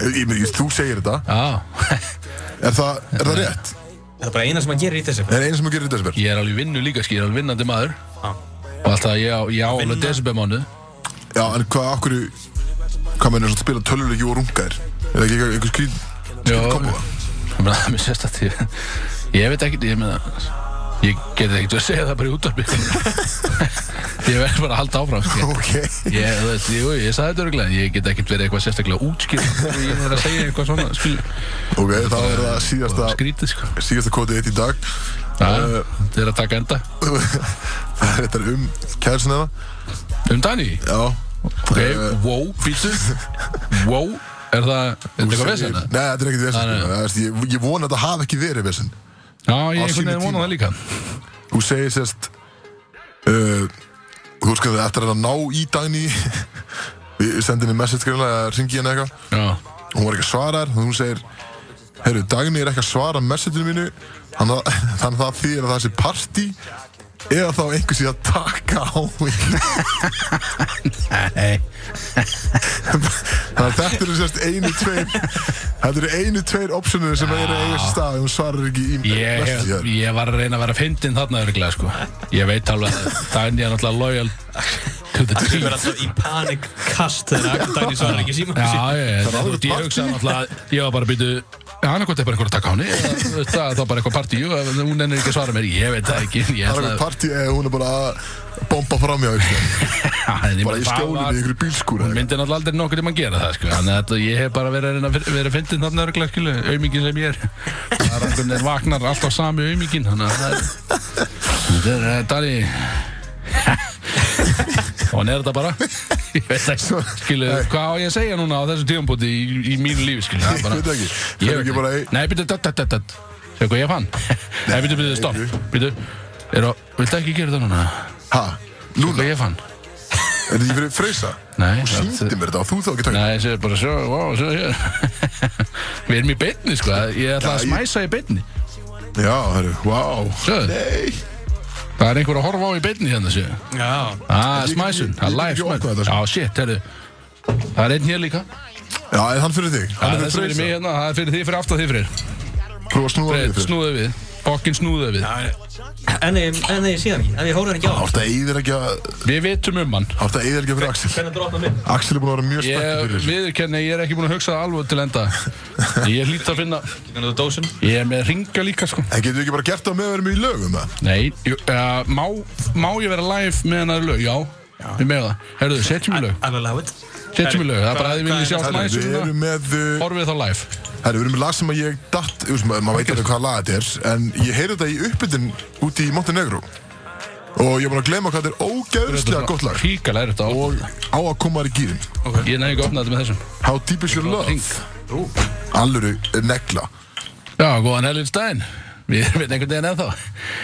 Ég ég meina, þú segir þetta
já
Er það, er það rétt?
Það er bara eina sem að gera í þessu
Er einu sem að gera í desember?
Ég er alveg vinnu líka skil, ég er alveg vinnandi maður
Já.
Og alltaf ég á, ég á alveg desembermánuð
Já, en hvað, af hverju Hvað mennir svona að spila tölvuleiki og runga þér? Er það ekki eitthvað- eitthvað skrýn
Já,
Skrýn kombo?
Ég meina, það er mér sérstætt ég, ég veit ekkert, ég meina Ég get ekkert að segja það bara í útvarpi <laughs> Ég verð bara að halda áfram skil.
Ok
Ég, þú veist, jú, ég sagði þetta örgulega Ég get ekkert verið eitthvað sérstaklega útskýr Ég verð að segja eitthvað svona skil,
Ok, þá er það síðasta
Skrítið, sko
Síðasta kotið eitt í dag <laughs>
Já, Þetta er að taka enda
Það er þetta um kæðsinn eða
Um Dani
Já
Ok,
Eh,
wow, býtu Wow, er það, er þetta eitthvað
Segir-
vesenda?
Nei, þetta er ekkert vesen
Nei, nei.
sko. Það veist, ég, ég vona að þetta hafi ekki verið vesen
Já,
Á
ég einhvern
sínum
veginn
tíma.
vona það líka
Þú segir sérst uh, Þú veist hvað þetta er að ná í dagni <laughs> Við sendum henni message greinlega eða ringi henni eitthvað
Já,
Hún var ekki að svara þér Hún segir Herru, dagni er ekki að svara messageinu mínu Þannig að, <laughs> þannig að það þýðir að það sé party Eða þá einhvers í að taka á mig
nei
Þannig að þetta eru sérst einu, tveir Þetta eru einu, tveir optioninu sem eru að eiga sér stað ef Hún svarar ekki í
Ég,
message hjá
hef,
þér.
ég var að reyna að vera fyndinn þarna örglega sko Ég veit alveg að Dani er náttúrulega loyal to the
Við
team
verðum alltaf í panikkast þegar <laughs> Dagný svarar ekki síma
Já, ég,
Það er alveg
ég, ég hugsaði náttúrulega að Ég var bara að byrja Hann er hvort er bara einhver að taka á henni eða, þú veist, Það það er bara eitthvað partí jú, ef Hún ennir ekki að svara mér Ég veit það ekki Ég
Það er
ætla
eitthvað partí eða hún er bara að bomba fram hjá þér
að
Bara í skjólinu í ykkur bílskúr
Hún myndi náttúrulega aldrei nokkur tíma að gera það sko Þannig að þetta- ég hef bara verið að reyna að fyr- vera fyndin þarna örgulega skilu Aumingin sem ég er Það er einhvern veginn vaknar alltaf sami aumingin Þannig að það er Þetta er eh, Dani Hún er þetta bara Ég veit ekki Skilu, hvað á ég að segja núna á þessu tíumbúti í, í mínu lífi skilu Það er
Ég
bara-
veit ekki.
Ég
Fer
veit
ekki bara í-
ekki Nei, byrju, dött, dött, dött, dött Segðu hvað ég fann Nei, byrju, byrju, stopp Byrju, er það, viltu ekki gera þetta núna?
Ha?
Segðu
Lúna,
Hvað ég fann?
er þetta ekki fyrir freysa?
Nei,
Hún
það-
síndi mér þetta og þú þá ekki takk
Nei, þessi er bara svo, wow, svo <laughs> hér Við erum í beinni, sko Ég ætla
Já,
að
ég-
smæsa í beinni
Já, herru, wow
Sjöðu,
Nei
það er einhver að horfa á í beinni hérna, sjöðu
Já,
Ah,
Ég-
smæsun,
ég-
það er
ég- ég-
live
ég- ég-
smæsun
ég-
Já, shit, herru Það er einn hér líka
Já, er hann fyrir þig?
Það
Hann
er
er
þessi
fyrir
fyrir mig
freysa?
hérna, það er fyrir því fyrir aftan því fyrir
Prófa að snúa
Breit,
við fyrir
snúðu við, bokkin snúðu við
en ég, en ég síðan ekki, en ég hóra hann ekki á
Átt að eyðir ekki að
Við vitum um hann
Átt að eyðir ekki fyrir Axel
Hvernig droppa minn?
Axel er búin að vera mjög
Ég
spenntur fyrir þessu
viðurkenni, ég er ekki búin að hugsa það alveg til enda Ég hlýt að finna
Hvernig þú dósin?
Ég er með ringa líka, sko
En getur við ekki bara gert það með að vera með í lögum það?
Nei, jú, uh, má, má ég vera live með hennar lög? Já, við með það. Herðu, setjum við lög.
I'll allow it
Setjum við lög. Það er bara
Hvað-
að þið viljið
hvað er
sjá
Herru,
allt næst
við
svona.
erum með uh,
Horfið þá live.
Herru, við erum með lag sem að ég datt Þú veist, ma- maður veit alveg hvað lag þetta er En ég heyrði þetta í uppbytun úti í Montenegro Og ég er búin að glema hvað þetta er ógeðslega gott lag
Hríkala er þetta.
Og á að koma þér í gýrin
Og ég nefnir ekki að opna þetta með þessum.
How deep is your love?
Ring.
Alluru negla
Já, góðan Elin Stein. Við erum við einhvern veginn ennþá.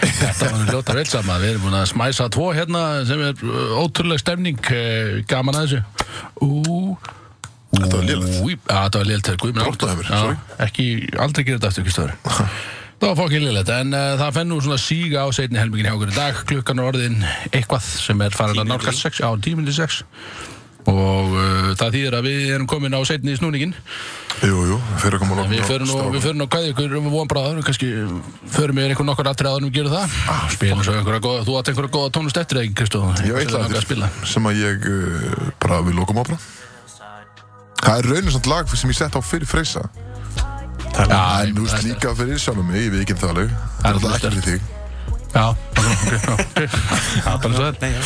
Þetta var nú ljóta vel saman. Við erum búin að smæsa tvo hérna sem er uh, ótrúleg stemning. eh, Gaman að þessu. Ú,
Þetta var lélegt
Új, að, þetta var liðlega guð minn
Brotnaði mér,
Já,
sorry.
Ekki, aldrei gera þetta aftur,
<laughs>
Kristóður Það var fokkin liðlegt, en uh, það fennu svona síga á seinni helmingin hjá okkur í dag Klukkan er orðin eitthvað sem er farin að
Tíu
nálgast 6 á 10 minni 6 og uh, það þýðir að við erum komin á seinni í snúningin
Jú, jú, fyrir að koma langt
Við förum nú, við förum nú að kveðja ykkur um von bráður kannski förum við einhver nokkur atrið áður en við gerum það ah, Spilum svo einhverja góða, þú átt einhverja góða tónust eftir eða ekki, Kristóður
Ég veit
að
það
spila
eftir Sem að ég uh, bara við lokum á bara Það er raunin samt lag sem ég sett á fyrir Freysa
Já,
En þú veist
þetta er-
líka fyrir sjálfum mig, ég veit ekki það alveg Það er alltaf
alveg
ekki fyrir þig
Já, ok, ok, ok
<laughs>
Það er bara svo þetta
Nei, já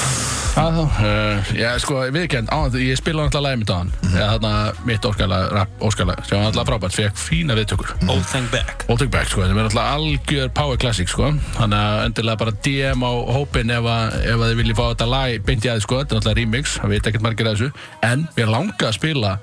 Já, þá, uh, ég sko, viðkend, á, ég spila náttúrulega lagið mitt á hann
Mhm.
mm -hmm. Þannig að mitt óskala, rap, óskala sem var náttúrulega frábært, fekk fína viðtökur
Old thing back
Old Take Back, sko, sem er náttúrulega algjör power classic, sko Þannig að endilega bara DM á hópin ef, að, ef að þið viljið fá þetta lag beint í aðeins, sko Þetta er náttúrulega remix, það veit ekkert margir að þessu En mér langar að spila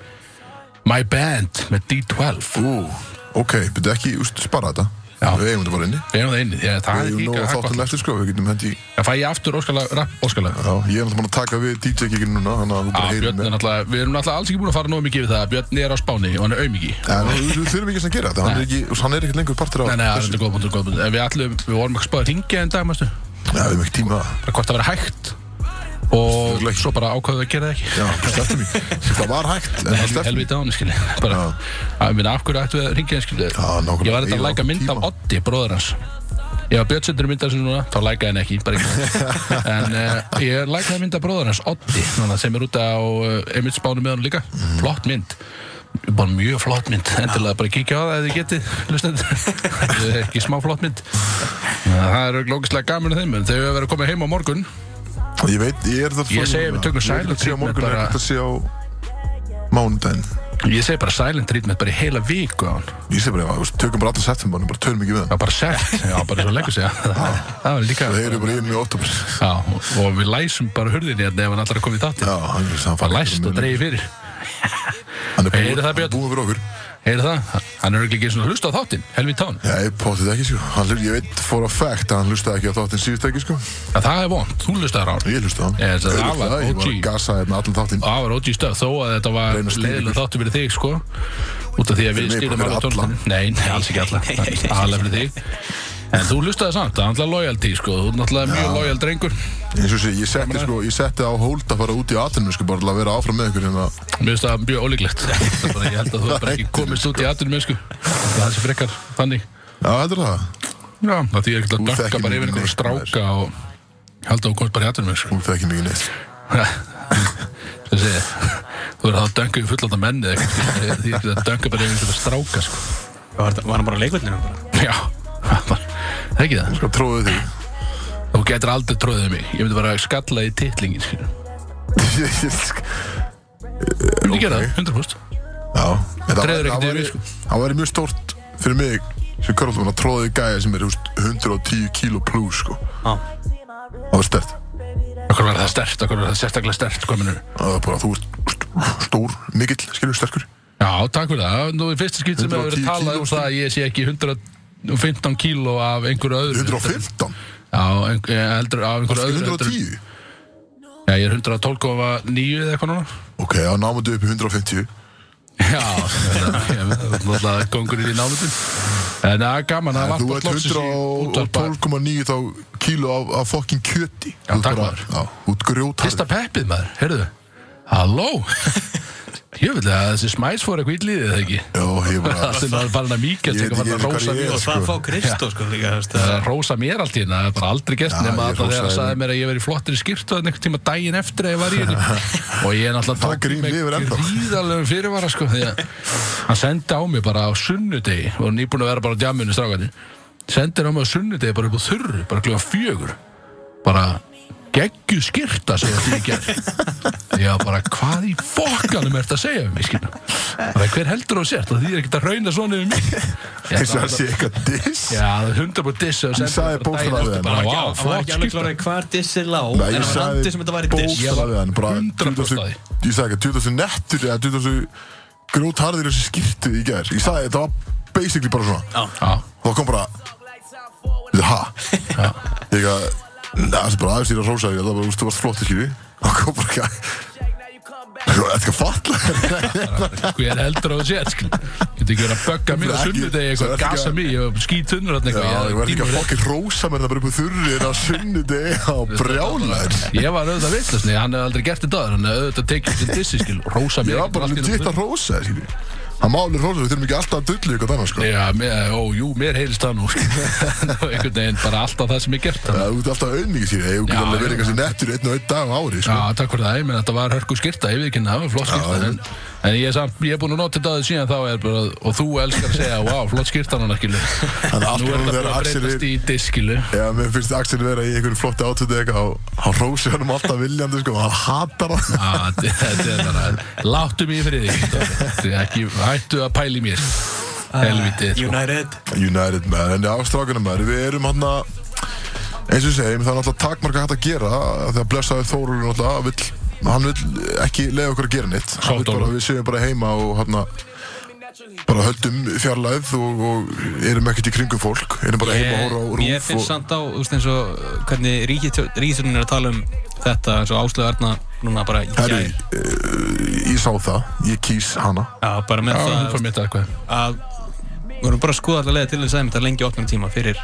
My Band með D12
Ú, ok, byrju ekki úst, spara þetta Við eigum þetta bara inni
Við erum það inni, því að það
Við
er
eigum nóg
líka
að
það er
þáttum
gott.
eftir sko Við getum hendi í
Það fæ ég aftur óskalag, rapp óskalag
Já, ég er náttúrulega búin að taka við DJ-kikinu núna Þannig að þú bara
Já,
heyrir
Björn er
með
náttúrulega, við erum náttúrulega alls ekki búin að fara nógu mikið við það Björn er á Spáni og hann er auðmiki
En við við þurfum ekki að gera þetta Hann er ekki, hann er ekki lengur partur á
Nei, nei, það er
þessu.
þetta góð punktur, góð punktur En Við allum, við vorum ekki spáðið hringja en dag, mæstu
Já, við höfum ekki tíma að-
Bara hvort það verið hægt Og
Örugglega ekki.
svo bara ákvaðum við að gera það ekki
Já, steltum
<laughs>
í Það var hægt, en það
Hel,
steltum í
Helvita á henni, skilji <laughs> Bara,
Já.
að minna, af hverju ættu við að hringja henni, skilji
Já, nákvæmlega.
Ég var þetta
Eigum
að læka
okkur
mynd af
tíma.
Oddi, bróður hans Ég var Björn sendur mynd af þessu núna, þá lækaði henni ekki, bara ekki
<laughs>
En uh, ég lækaði mynd af bróður hans, Oddi núna, Sem er út á uh, einmitt spánu með hann líka
Mm.
Flott mynd bara mjög flott mynd, endilega bara kíkja á það ef þið getið, hlustendur
<laughs>
Þetta er ekki smá flott mynd það er lókislega gaman að þeim en þau hefur verið að koma heim á morgun
Og Ég veit, ég er það
Ég segi við tökum
treatment
silent treatment
morgun, bara
bara-
Ég er að sé á mánudaginn
Ég segi bara silent treatment bara í heila viku á hann
Ég segi bara, já, tökum bara alltaf september og bara tölum ekki við hann
Já, bara sett, já, bara svo leggur
<laughs>
sig já. Það það var líka
Það heyrir bara í henni í oktober Já,
Já, og við læsum bara hurðinni hérna ef hann allar að koma í þátti
hann er saman
Bara læst og dreigi fyrir
Hann er
Heyrið
búinn,
það,
hann er
Björn?
búinn fyrir okkur
Heyrðu það? Hann er örugglega ekki svona hlusta á þáttin, helvið tán
Já, ég potið ekki, sko hann, hlust- Ég veit for a fact að hann hlustaði ekki á þáttinn síðust ekki, sko
Já, það er vond, þú hlustaðar á hann
Ég hlustaði á hann
Ég,
Ég
það var
hlustaði,
Ah.
Ég var
OG.
að gasa hérna allan þáttinn
Það var OG stöð, þó að þetta var
Reyna að stýra
leiðilega
ykkur.
þáttu fyrir þig, sko Út af því að
Fyrir
við
mig,
stýrum
bara
alveg
fyrir alla.
tónlistinni Nei, nei, alls ekki alla Það er Aðalega fyrir þig En þú hlustaði samt, það er náttúrulega loyalty, sko Þú er náttúrulega mjög lojal drengur
Eins og sé, ég setti, sko, ég setti á hold að fara út í aðtunum, sko, bara til að vera áfram með ykkur hérna
Mér finnst það
<laughs>
mjög ólíklegt Það er bara- Ég held að þú er bara ekki komist út í aðtunum mennsku Það er þessi frekar þannig
Já, þetta er það
Já, það því ég er ekkert að
Þú
dökka
þekkir
bara
mig
yfir einhverjum
neitt,
stráka og held að þú komst bara í aðtunum mennsku <laughs>
Hún þekki mikið neitt
Þessi, þú er það að dönka yfir fullanda menni eða eitthvað, skilur. Því ég er ekkert að dönka bara yfir einhverjum stráka sko.
Var, þetta- var hann bara á leikvöldinu bara?
Já, það var- það er ekki það
Hvað tróðu þig?
Þú getur aldrei tróðið mig Ég myndi bara skalla í titlingin skilur.
<laughs> Ég- ég sk-
Ég myndi gera það, 100%
Já en Það
Dreður
væri-
ekkert
það
yfir,
væri-
sko.
það væri mjög stórt fyrir mig sem körlum að tróði gæja sem er þú veist, 110 kíló pluss sko.
Já.
það var stert
Akkur var það stert, akkur var það sérstaklega sko, stert hvað meinarðu?
það var bara þú ert st- stór, mikill, skilur sterkur
Já, takk fyrir það. Nú er fyrsta skipt sem hefur verið
110
talað
kíló,
um það að ég sé ekki 115 kíló af einhverju öðru.
115,
Já, ein, ég heldur af einhverju öðru. heldur en-
110
Já, ég er 112,9 eða eitthvað núna.
ok, það námaðu upp í 150
<laughs> Já, náttúrulega kongurinn í námundum. En það er gaman að
þú
varpa
ert 112,9 þá kíló af, af fucking kjöti
Já,
Þú
takk,
bara-
maður.
já, út
Fyrsta
grjótarður
peppið maður, heyrðu.
<laughs>
Halló? Ég vil að þessi smæs fór eitthvað ítlýðið eða ekki.
já, ég bara
<laughs> Það sem það er farin að mýkja,
Ég
það
veit
er
ekki
farin að rósa
hvað ég er.
mjög.
Og
Sko.
það að fá Kristó sko líka, þú veist
Það er
það
að rósa mér allt í hérna, það er bara aldrei gert
Já, ég
nema alltaf þegar það
hrósaði
sagði
henni.
mér að ég verið í flottri skýrtu þannig tíma daginn eftir að ég var í henni
<laughs>
og ég er náttúrulega
Það grín lifir ennþá.
gríðalegum fyrirvara sko því að hann sendi á mig bara á sunnudegi og nýbúin að vera bara á djamunni strákandi sendir á mig á sunnudegi bara upp á þurru bara kljóðan fjögur bara geggju skýrta segja því ég gerð ég var bara hvað í fokkanum ert að segja um mig skilur bara hver heldur á sért og því er ekkert að rauna svona yfir mig Ég
eins og
ætla-
það sé eitthvað diss
Já, það er hundra búið diss
Ég sagði bókstaflega við hann.
Bara,
Hann var ekki
vá,
al- hann var
flott
ekki alveg
skipta
klárað hvað er dissið lág En
Nei, ég
hann
sagði
randi sem þetta var í diss
bók- Ég var
bókstaflega hann bara
100%
20
að
Ég sagði ekki 20 nettur eða 20 grjótharðir þessi skýrtu í gær Ég sagði þetta var basically bara svona
Já,
Og það kom bara Þetta ha Ég ekki að Það er bara aðeins þér að rósa þér Það var bara, þú veist, þú varst flott ekki Það kom bara ekki að Það er ekki að falla
hver heldur á þessi sko, ég Getur ekki verið að bögga mér á
Ekki-
sunnudegi eitthvað,
það er ekki
gasa
að-
mig ég skýt tunnur hann
Já,
eitthvað
ég verði ekki að
dýnur-
fokkin rósa mér það bara upp úr þurri En á sunnudegi á brjálæður
Ég var auðvitað vitlasni, hann hefði aldrei gert þetta áður, hann hefði auðvitað tekið þessi dissi skil Rósa mér
Ég var
ekkert um
bara
allt í einu
legit
fullt.
að rósa þér skilji. Það máli rósa, við þurfum ekki alltaf að dullu ykkur annars sko
Já, mér- ó, jú, mér heyrist <laughs> það nú skil. Og einhvern veginn bara alltaf það sem ég gert þannig.
Það er út alltaf auðmikið síðan, ég
Já,
get alveg verið
já.
kannski nettur einn og einn dag á ári, sko.
Já, takk fyrir það, ég menn þetta var hörku skýrta, ég veit ekki það var flott skýrta
Já,
en, en ég er samt, ég er búin að nota þetta aðeins síðan þá er bara, og þú elskar að segja, wow, flott skýrta hann skilu
Þannig að allt
Nú er
annað
þetta
þegar
bara að
Axel
breytast
er-
í diskilu
Já, mér finnst Axel vera í einhverju flotti átöðu eitthvað og hann rósi hann um alltaf viljandi, sko, og hann hatar hann. <laughs>
Ah, þetta þetta er bara Láttu mig í friði Þið ekki hættu að pæli mér
Ah,
Helvitið sko.
United
United maður, en já, strákunum maður, við erum hann að, eins og við segjum, það er náttúrulega takmarka hægt að gera, af því að blessaði Þórulur náttúrulega, vill, hann vill ekki leiða okkur að gera neitt. Hann vill
Þórólfur.
bara, við séum bara heima og hann að, bara höldum fjarlæð og, og erum ekkert í kringum fólk erum bara heima að horfa á
Ég
rúf
finnst
og,
samt á, þú veist eins og uh, hvernig ríkistjónin er að tala um þetta eins og Áslöðu Arna núna bara í
herri,
gær.
eh, ég sá það ég kýs hana
Já, bara með
Já, hún
það
fór mitt eitthvað
að við vorum bara að skoða allar leiða til þess að þetta lengi opnum tíma fyrir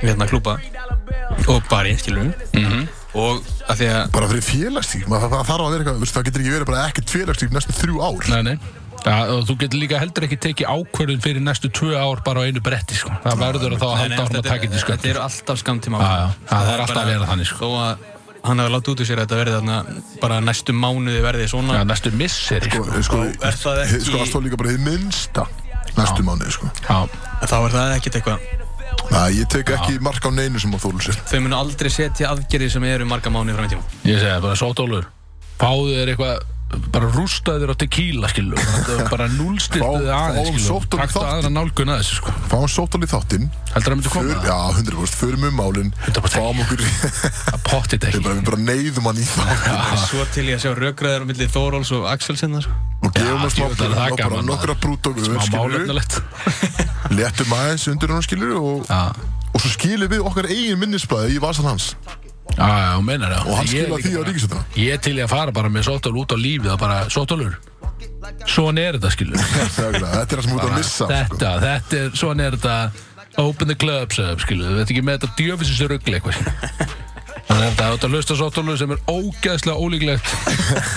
hérna klúpa og bari, skilur við
Mhm.
og að því að
bara fyrir félagslíf, maður, það, það þarf að vera eitthvað þú veist, það getur ekki verið bara ekkert félagslíf næstu þrjú ár
Nei, nei Ja, og þú getur líka heldur ekki tekið ákvörðun fyrir næstu tvö ár bara á einu bretti sko. það verður að þá að
Nei, nei,
halda áfram að
þetta
taka
er-
þetta í
Þetta
sköld
eru alltaf skamtíma
Já, já, já, það er alltaf
bara-
að vera þannig, sko.
Þó að hann hafi látið út úr sér að þetta verði þarna bara næstu mánuði verði svona
ja, næstu missir sko.
sko, sko,
Þá er það ekki-
sko, það stóð líka bara í minnsta næstu mánu, sko
Já,
Þá er það ekkert eitthvað
Nei, ég tek ekki mark á neinu sem á þólu sér
Þau munu aldrei setja aðgerði sem eru marga mánuði fram í tíma
ég segi það bara sótólur fáðu þér eitthvað bara rústaðu þér á tequila skilu bara, bara núlstiltu
Fá-
þið
fáum
aðeins skilu
sóttólur
takta
þátt.
aðra nálgun að þessu sko.
Fáum sóttal í þáttinn
heldur það myndi
för,
koma
Já, 100% förum um málinn
100%.
Fáum
<laughs>
okkur
að potti þetta
Við
ekki
bara, við bara neyðum hann í þáttinn
Svo til ég að sjá rökraðar á milli Þóróls og Axelsson sko.
Og gefum
Já,
hann smá
djöfull er það
bara
gaman,
nokkra brút og
smá
við skilur
málefnilegt
Léttum aðeins undir hann skilur og,
Já,
og svo skilum við okkar eigin minnisblæði í vasan hans
já, já, hún meinar það
Og hann
Ég er
skilur
líka
því á
bara-
ríkisöndina
Ég er til ég að fara bara með sótól út á lífið og bara sótólur svona er þetta skilu
Þetta er það sem við út að missa sko.
þetta, þetta er, svona er þetta open the clubs, skilu við veit ekki með þetta djöfisins ruggli eitthvað skilu. þannig að þetta er þetta hlusta sóttólu sem er ógæðslega ólíklegt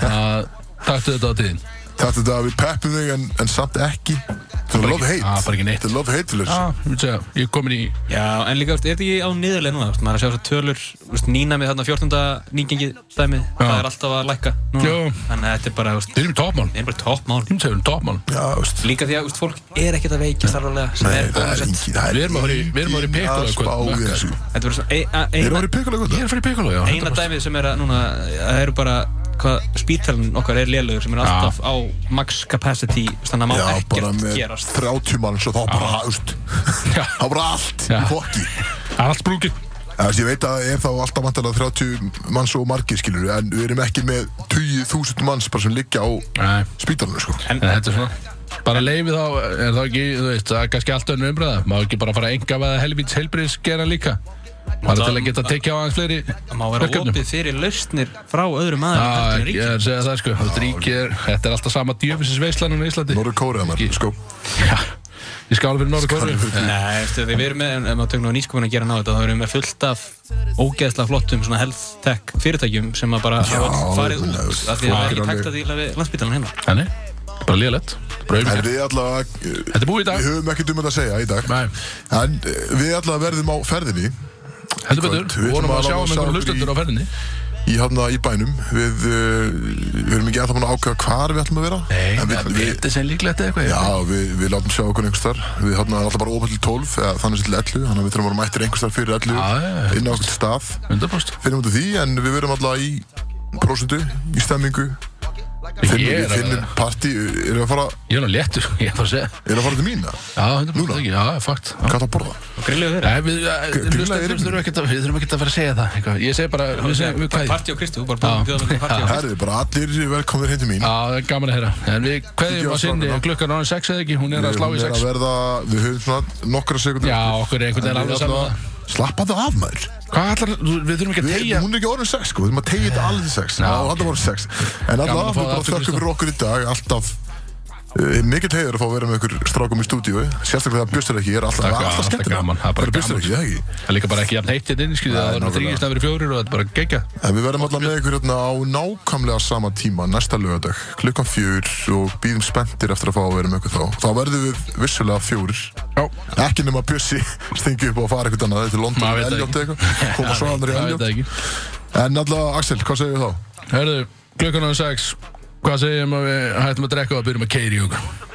að taktu þetta á tíðin
Þetta er það að við peppum þig en, en samt ekki Þetta er
Bara
love
ekki-
hate
Já, bara ekki neitt. Ah.
Þetta er love hate til
Já,
þess
ég myndi segja, ég er komin í
Já, en líka, veist, er þetta ekki á niðurlega núna? Veist, maður er að sjá þessar tölur, veist, nýnamið þarna 14. nýgengið dæmið, það er alltaf að lækka núna.
Jú.
Þannig að þetta er bara, veist,
við erum í toppmál,
þetta er bara toppmál
ég myndi segja við erum í toppmál
Já, veist
Líka því að veist, fólk er ekkert að veikja starflega sem
Nei,
er
það er
bólusett
engin það er
Við erum að fara í- við erum að fara í
engin að
Piccolo í kvöld,
spá í
mökkaður.
þessu.
Þetta verður svona ein- ein-
Við erum að
eina,
fara í píkulega
ég er að fara í píkóla, já
eina
100%.
dæmið sem er að núna, það eru bara hvað spítalinn okkar er lélugur sem er alltaf á max capacity þannig að má
Já, bara
ekkert
með
gerast
30 manns og þá bara, þú veist,
Já.
þá bara allt
Já.
í fokki.
allt brúkið
Þú veist, ég veit að það er þá alltaf vantilega 30 manns og margir, skilur en við erum ekki með 20.000 manns bara sem liggja á
Nei.
spítalunum, sko.
en þetta er svona bara leiði þá, er það ekki, þú veist það er kannski alltaf önnum umræða, maður ekki bara fara að enga veða helvíts helbriðs gera líka bara til að geta tekið á aðeins fleiri
Það má vera
verkefnum.
opið fyrir lausnir frá öðrum aðeins
Já,
heldur en
Ah, ég
ríkið
er að segja það sko Þú veist, ríkið er, þetta er alltaf sama djöfisins veislan núna í Íslandi
Norður Kóriða, maður,
Ekki.
sko.
Já, ég skála fyrir Norður Kóru
Skála fyrir því.
Nei, eftir því við erum með, ef maður tökum á nýsköpun að gera ná þetta, þá erum við með fullt af ógeðslega flottum svona health tech fyrirtækjum sem að bara hafa öll farið
ég
út
meina,
af því að það er
fólk er
ekki
alveg-
takt að díla við landsbytalan hérna.
Þannig, bara liðalett
En
Þetta
við allavega, eh,
er búið í dag
við höfum ekkert um þetta að segja í dag.
Nei.
En eh, við allavega verðum á ferðinni
Heldur
Kvöld.
betur,
Við ætlum
vonum
að
að sjá
láta
um
sjá
einhverjum
okkur í-
hlustendur á ferðinni
í hafna í bænum. Við, eh, við erum ekki alltaf búin að ákveða hvar við ætlum að vera.
Nei,
En
það vitið sem líklegt eitthvað
Já, við, við látum sjá okkur einhvers þar Við þarna er alltaf bara opað til 12 eða þannig sem til 11 Þannig að við þurfum að vera mættir einhvers þar fyrir 11
Já, já, já.
Inn á okkur stað
100%
Finnum út af því en við verum alltaf í prósundu, í stemmingu Finnum,
Ég er
Við
að-
finnum partí, erum við að fara,
Ég er nú léttur, ég er bara að segja
erum við að fara til mína?
Já, 100%
Núna?
ekki, já, fakt Já.
Hvað það að borða?
Og grilluðu þeirra.
Nei, við eh,
Grilla
hlustendur
í rifnum.
þurfum ekkert að- við þurfum ekkert að fara að segja það eitthvað. Ég segi bara, við segjum, við kveðjum
Parti og Kristi, þú bara búin
Já.
að bjóða með
<laughs>
parti og
Herðu, bara allir velkomnir heim til mín
Já, það er gaman að heyra En við
Kíkjum
kveðjum
á
að sinni
strákana.
Klukkan er orðin 6 eða ekki, hún er að slá
Hún
í
er
6
að verða, við höfum svona nokkra sekundur
Já, okkur er einhvern veginn alveg saman
Slappa það af maður
Hvað ætlar, þú- við þurfum ekki að
Við,
tegja
hún er ekki orðin sex sko, við þurfum að tegja þetta alveg til sex Já, alltaf voru sex En
Gaman
alltaf,
að fá
við
það
bara
aftur,
þökkum fyrir okkur í dag Alltaf uh, mikill heiður að fá að vera með ykkur strákum í stúdíu Sérstaklega það bjöstur ekki, er alltaf,
Takk,
alltaf
alltaf
skemmtilega
gaman, það er bara
bjöstur
gaman.
ekki, það ekki
Það er líka bara ekki jafn heitt hérna inn, skiljið
Nei,
Það er
nákvæmlega.
þrýgisna verið fjórir og þetta er bara geggja
En við verðum alltaf með ykkur hérna á nákvæmlega sama tíma Næsta lögadag, klukkan fjör Og býðum spenntir eftir að fá að vera með ykkur þá Þá verðum við vissulega fjórir
Já,
Ekki nema bjössi stingi upp og fara eitthvað annað Þetta er London
Maður
og
veit það
Elliot
ekki.
eitthvað
<laughs>
Koma svo annar í
það veit það
Elliot
ekki
En alltaf, Axel, hvað segir þá?
Hörðu, klukkan á sex Hvað segjum að við hættum að drekka og byrjum að keiri í okkur